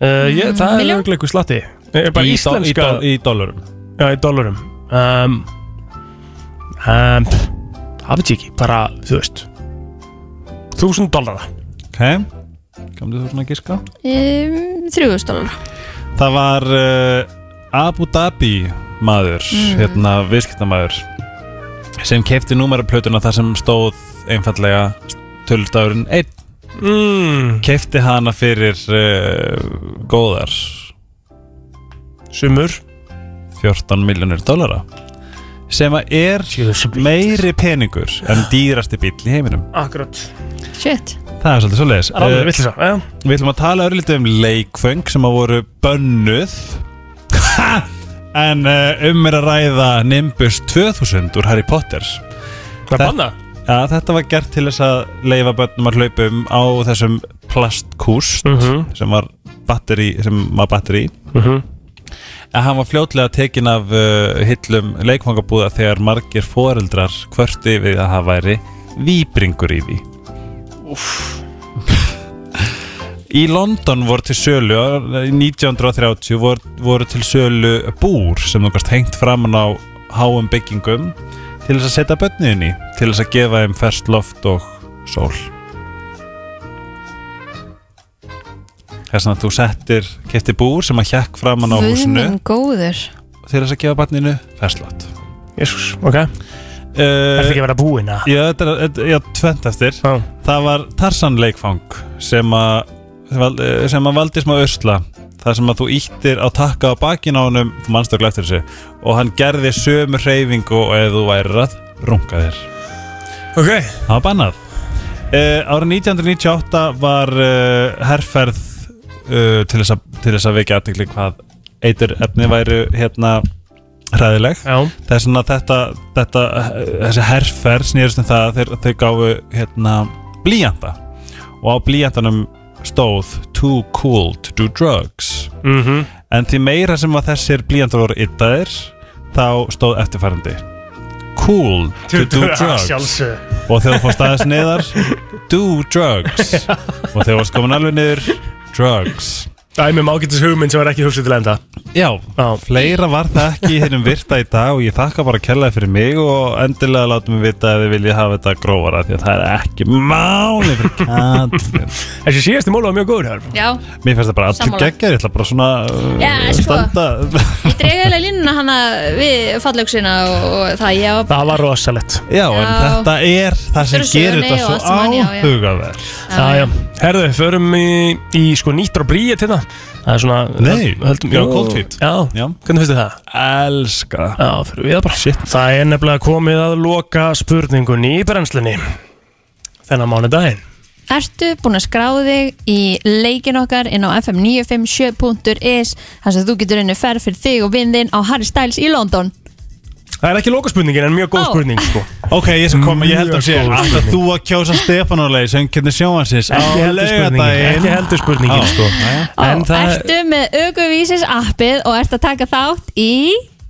Speaker 3: uh, ég, Það er
Speaker 8: Milljón?
Speaker 3: auðvitað eitthvað slatti Er bara
Speaker 8: Í do- í
Speaker 3: íslenska
Speaker 8: do- í dollurum
Speaker 3: Já, í dollurum um, um, Það veit ég ekki, bara, þú veist 1000 dollara
Speaker 8: Ok, komdu þú svona að giska?
Speaker 2: um, 3000 dólar
Speaker 8: Það var uh, Abu Dhabi maður,
Speaker 2: Mm.
Speaker 8: hérna viðskiptamaður sem kefti númeraplötuna þar sem stóð einfallega tölustafurinn 1
Speaker 3: mm.
Speaker 8: kefti hana fyrir uh, góðar
Speaker 3: Sumur
Speaker 8: 14 miljonir dollara sem að er meiri peningur en dýrasti bíll í heiminum
Speaker 3: Akkurat
Speaker 2: Shit
Speaker 8: Það er svolítið svoleiðis
Speaker 3: Það er alveg
Speaker 8: Eh,
Speaker 3: vitleysa, já.
Speaker 8: Við ætlum að tala örlítið um leikföng sem að voru bönnuð En uh, um er að ræða Nimbus 2000 úr Harry Potter
Speaker 3: Það bannað?
Speaker 8: Já, þetta var gert til þess að leifa bönnum að hlaupum á þessum plastkúst
Speaker 3: Mhm.
Speaker 8: sem var batteri sem var batteri
Speaker 3: Mhm.
Speaker 8: En hann var fljótlega tekin af uh, hillum leikfangabúða þegar margir foreldrar kvörti við að það væri víbringur í því Í London voru til sölu á- í 1930 voru, voru til sölu búr sem þú gast hengt framan á háum byggingum til þess að setja börnin í til þess að gefa þeim ferskt loft og sól Þess að þú settir kefti búr sem að hjekk framan á
Speaker 2: Guð
Speaker 8: húsinu
Speaker 2: minn góður
Speaker 8: til þess að gefa barninu ferskt loft
Speaker 3: Jésús, ok
Speaker 8: Er
Speaker 3: þetta ekki að vera búin að?
Speaker 8: Eh, Já, þetta er- þetta- já, tvent eftir Það var Tarsan leikfang sem að sem að- eh, sem að valdi smá ösla þar sem að þú íttir á takka á bakin á honum þú mannstökla eftir þessu og hann gerði sömu hreyfingu og ef þú værir að runga þér
Speaker 3: Ok
Speaker 8: Það var bannað uh, Árið 1998 var uh, herrferð uh, til þess að, til þess að vekja aðtekli hvað eitur efni væru hérna hræðileg þess að þetta, þetta eh, þessi herrferð snýrust um það að þeir, þau gáfu hérna blíjanda og á blíjandanum stóð too cool to do drugs
Speaker 3: Mhm.
Speaker 8: en því meira sem að þessir blíjandar voru yttaðir þá stóð eftirfærandi cool to do
Speaker 3: Ah,
Speaker 8: drugs
Speaker 3: sjálfsögðu.
Speaker 8: og þegar þú fórst aðeins niðar do drugs og þegar þú varst komin alveg niður drugs
Speaker 3: Dæmi um ágætis hugmynd sem var ekki hugsað til enda
Speaker 8: Já, fleira var það ekki í hinnum virta í dag og ég þakka bara kærlega fyrir mig og endilega látum við vita ef þið viljið hafa þetta grófara því að það er ekki máli fyrir kallin
Speaker 3: Þessi síðasti mól var mjög góður hér
Speaker 2: Já,
Speaker 8: Mér finnst það bara allir
Speaker 2: Sammála.
Speaker 8: geggjað, ég ætla bara svona uh,
Speaker 2: Já, sko.
Speaker 8: standa
Speaker 2: ég dreif eiginlega línuna hana við fallauksina og, og það ég var
Speaker 3: Það var rosalett
Speaker 8: Já, en
Speaker 2: Já.
Speaker 8: þetta er það
Speaker 2: Þetta
Speaker 8: sem
Speaker 2: eru
Speaker 8: gerir
Speaker 2: sögunni
Speaker 8: þetta
Speaker 2: og
Speaker 8: svo
Speaker 2: allt saman, já, já.
Speaker 8: áhugaverð
Speaker 3: Já, já, herðu, förum í, í sko nýttur og bríið til það Það er svona
Speaker 8: Nei,
Speaker 3: höldum,
Speaker 8: já,
Speaker 3: jú,
Speaker 8: cold feet.
Speaker 3: Já,
Speaker 8: Já.
Speaker 3: hvernig finnst þið það? Elska Já, fyrir við það bara Shit. Það er nefnilega komið að loka spurningunni í brennslunni Þennan mánudaginn
Speaker 2: Ertu búin að skráða þig í leikin okkar inn á fm957.is þar sem þú getur unni ferð fyrir þig og vinn þinn á Harry Styles í London
Speaker 3: Það er ekki loka spurningin en mjög góð
Speaker 2: Ó.
Speaker 3: spurning sko.
Speaker 8: Ok, ég sem kom, ég held
Speaker 3: Mjög
Speaker 8: að sé
Speaker 3: góð
Speaker 8: Alltaf
Speaker 3: spurning.
Speaker 8: þú að kjósa Stefanuleg sem kynni sjóhansins á
Speaker 3: Ekki heldur spurningin,
Speaker 8: laugardaginn
Speaker 3: ekki heldur spurningin
Speaker 8: Á.
Speaker 3: sko. En það
Speaker 2: Ertu með aukuvísis appið og ert að taka þátt í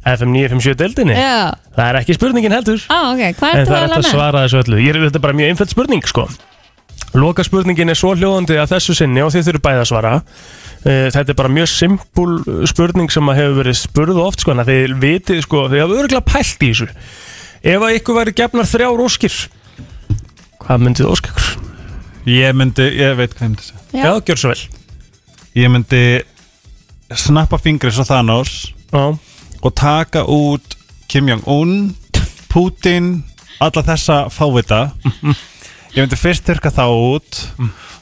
Speaker 3: FM 957 deildinni
Speaker 2: Já,
Speaker 3: Það er ekki spurningin heldur
Speaker 2: á, ok, hvað
Speaker 3: En
Speaker 2: ertu að
Speaker 3: það er hægt að
Speaker 2: lana?
Speaker 3: svara þessu öllu Ég er, Þetta er bara mjög einföld spurning sko Loka spurningin er svo hljóðandi að þessu sinni og þið þurfum bæði að svara Eh, Þetta er bara mjög simpul spurning sem að hefur verið spurð oft sko en að þið vitið sko, þið hafa örgulega pælt í þessu Ef að ykkur væri gefnar þrjár óskir Hvað myndið ósk ykkur?
Speaker 8: Ég myndi, ég veit hvað ég myndi segja
Speaker 3: Já, gjör svo vel
Speaker 8: Ég myndi snappa fingri svo Thanos
Speaker 3: Já.
Speaker 8: og taka út Kim Jong-un, Putin alla þessa fávita Ég myndi fyrst þurka þá út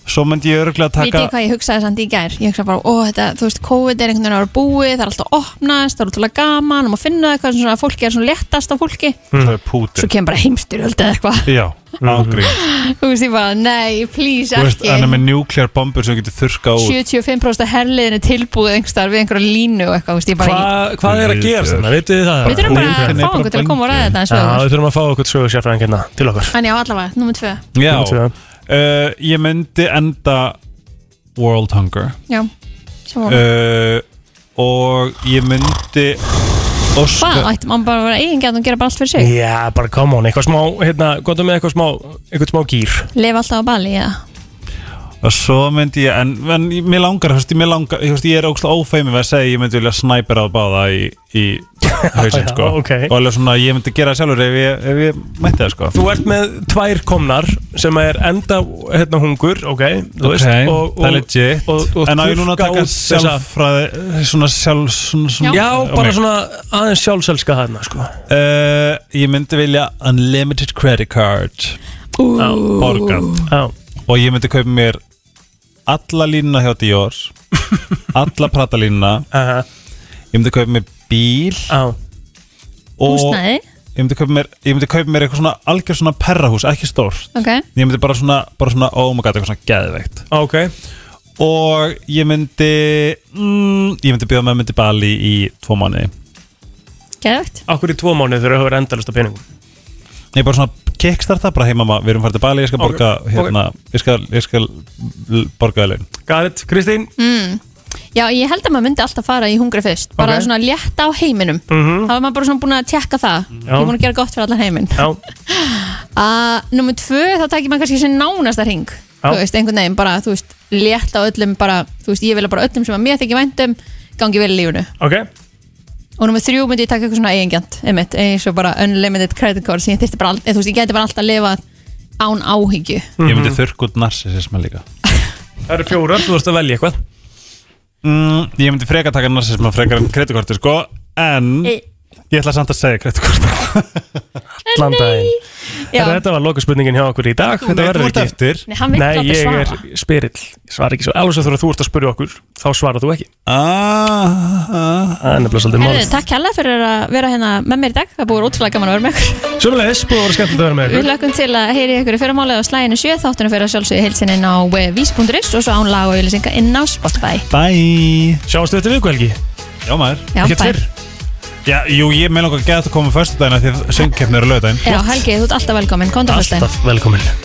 Speaker 8: svo myndi ég örgulega
Speaker 2: Vitið
Speaker 8: taka
Speaker 2: þið hvað ég hugsaði samt í gær? Ég hugsaði bara, ó, þetta, þú veist, COVID er einhvern veginn að vera búið, það er alltaf að opnast, það er alltaf gaman, og maður finna það hvað svona fólki er svona léttast af fólki.
Speaker 8: mm. Putin
Speaker 2: Svo kemur bara heimstyrjöld eða eitthvað.
Speaker 8: Já,
Speaker 3: Mhm.
Speaker 8: ágrín
Speaker 2: Þú veist, ég bara, nei, please,
Speaker 8: Þú veist, hann er
Speaker 2: ekki.
Speaker 8: með nuclear bombur sem þú getur þurka út
Speaker 2: 75% af herliðinu tilbúið einhverstar við einhverja línu og eitthvað, þú veist, ég bara,
Speaker 3: Hva, hvað er að gera þarna, vitið þið það?
Speaker 2: Við þurfum bara að Putin er fá bara einhvern til að koma og ræða þetta aðeins við
Speaker 3: Já,
Speaker 2: okkur.
Speaker 3: við þurfum að fá okkur sögur sérfræðingina til okkar
Speaker 2: ég, en já, allavega, nummið tvö.
Speaker 8: Já,
Speaker 3: Númer tvö.
Speaker 8: uh, ég myndi enda World Hunger
Speaker 2: Já, saman.
Speaker 8: uh, og ég myndi óska
Speaker 2: Hvað, ættum maður bara að vera eigingjarn og gera bara allt fyrir sig?
Speaker 3: Já, bara come on, eitthvað smá, hérna, gott með eitthvað smá, eitthvað smá gýr
Speaker 2: Lifa alltaf á Bali, eða?
Speaker 8: og svo myndi ég en, en ég- mér langar, þú veist, mér langar þú veist, ég er ógst ófeimum að segja, ég myndi vilja snæpera á báða í, í hausinn,
Speaker 3: Já,
Speaker 8: sko
Speaker 3: ok.
Speaker 8: og alveg svona, ég myndi gera það sjálfur ef ég, ef ég mætti það, sko
Speaker 3: Þú ert með tvær komnar sem er enda hérna hungur, ok, þú veist
Speaker 8: Ok,
Speaker 3: og, og,
Speaker 8: það er legit
Speaker 3: og, og,
Speaker 8: En á ég núna að
Speaker 3: þurrka
Speaker 8: taka
Speaker 3: út þessa-
Speaker 8: sjálfræði Svona sjálf svona, svona,
Speaker 3: Já, bara
Speaker 8: Ok.
Speaker 3: svona aðeins sjálfselska þarna, sko
Speaker 8: Uh, ég myndi vilja unlimited credit card Borgan Og ég myndi kaupa mér Alla línuna hjá Dior Alla pratalínuna Ég myndi kaupa mér bíl
Speaker 3: uh.
Speaker 2: Húsnæði.
Speaker 8: Ég myndi kaupa mér, ég myndi kaupa mér eitthvað svona Algjör svona perrahús, ekki stórt
Speaker 2: Ok.
Speaker 8: Ég myndi bara svona, bara svona Oh my god, eitthvað svona geðveikt
Speaker 3: Ah, Ok
Speaker 8: Og ég myndi mm, Ég myndi bjóða með myndi Bali í tvo mánuði
Speaker 2: Geðvægt.
Speaker 3: Akkur í tvo mánuð þurfa að vera endalasta peningum
Speaker 8: Ég bara svona kickstarta bara heima maður, við erum farið til Bali, ég skal
Speaker 3: Ok,
Speaker 8: borga
Speaker 3: ok.
Speaker 8: hérna, ég skal, ég skal l- borga það laun.
Speaker 3: Garrett, Kristín
Speaker 2: Mm. Já, ég held að maður myndi alltaf fara í hungri fyrst bara
Speaker 3: Ok.
Speaker 2: svona létt á heiminum
Speaker 3: Mhm.
Speaker 2: þá er maður bara svona búin að tjekka það
Speaker 3: Já.
Speaker 2: ég er búin að gera gott fyrir allan heiminn
Speaker 3: Já,
Speaker 2: uh, Númer tvö, þá takir maður kannski sem nánasta ring
Speaker 3: Já.
Speaker 2: þú veist, einhvern veginn bara, þú veist, létt á öllum bara, þú veist, ég vilja bara öllum sem að mér þykir væntum gangi vel í lífunu
Speaker 3: ok
Speaker 2: og númer þrjú myndi ég taka eitthvað svona eigingjant einmitt, eins og bara unlimited credit cards ég þyrfti bara, all- eða þú veist, ég geti bara alltaf að lifa án áhyggju
Speaker 3: Mm.
Speaker 8: Ég
Speaker 3: Mhm.
Speaker 8: myndi þurrk út narsisisma líka.
Speaker 3: Það eru fjórar, þú vorst að velja eitthvað
Speaker 8: Mm, ég myndi freka taka narsisma frekar en kreditkorti sko, en
Speaker 2: Í-
Speaker 3: Ég ætla samt að segja hvert hvort Allan daginn
Speaker 2: Já.
Speaker 3: Herra, Þetta var lokaspurningin hjá okkur í dag
Speaker 2: Nei,
Speaker 3: Þetta
Speaker 2: þú
Speaker 3: verður
Speaker 2: ert
Speaker 3: ekki
Speaker 2: eftir. Nei, hann vill láta
Speaker 3: ég
Speaker 2: svara.
Speaker 3: er spyrill Ég svara ekki svo Alveg svo þegar þú ert að spyrja okkur Þá svarar þú ekki
Speaker 8: Ah.
Speaker 3: Það er nefnilega svolítið
Speaker 2: Herðu,
Speaker 3: málið
Speaker 2: takk kjalla fyrir að vera hérna með mér í dag Það búið útrúlega gaman að vera með ykkur
Speaker 3: Sjöfumlega, búið að vera skemmt að vera með
Speaker 2: Við
Speaker 3: ykkur
Speaker 2: lögum til að heyri ykkur í fyrramálið á slæginu 7 þáttunum fyrir að sjálfsögja heilsin inn á eh, vísi.is og svo án lag og ylisinga inn á Spotify
Speaker 3: Bye Sjáumstu þetta viku Helgi
Speaker 8: Já maður
Speaker 2: Já, Ekkert bye. fyrr.
Speaker 8: Já, jú, ég meðlum að geta að koma fyrstu dagina því að söngkeppni eru lögdæn
Speaker 2: Já, Helgi, þú ert alltaf velkomin, konta
Speaker 8: Alltaf velkomin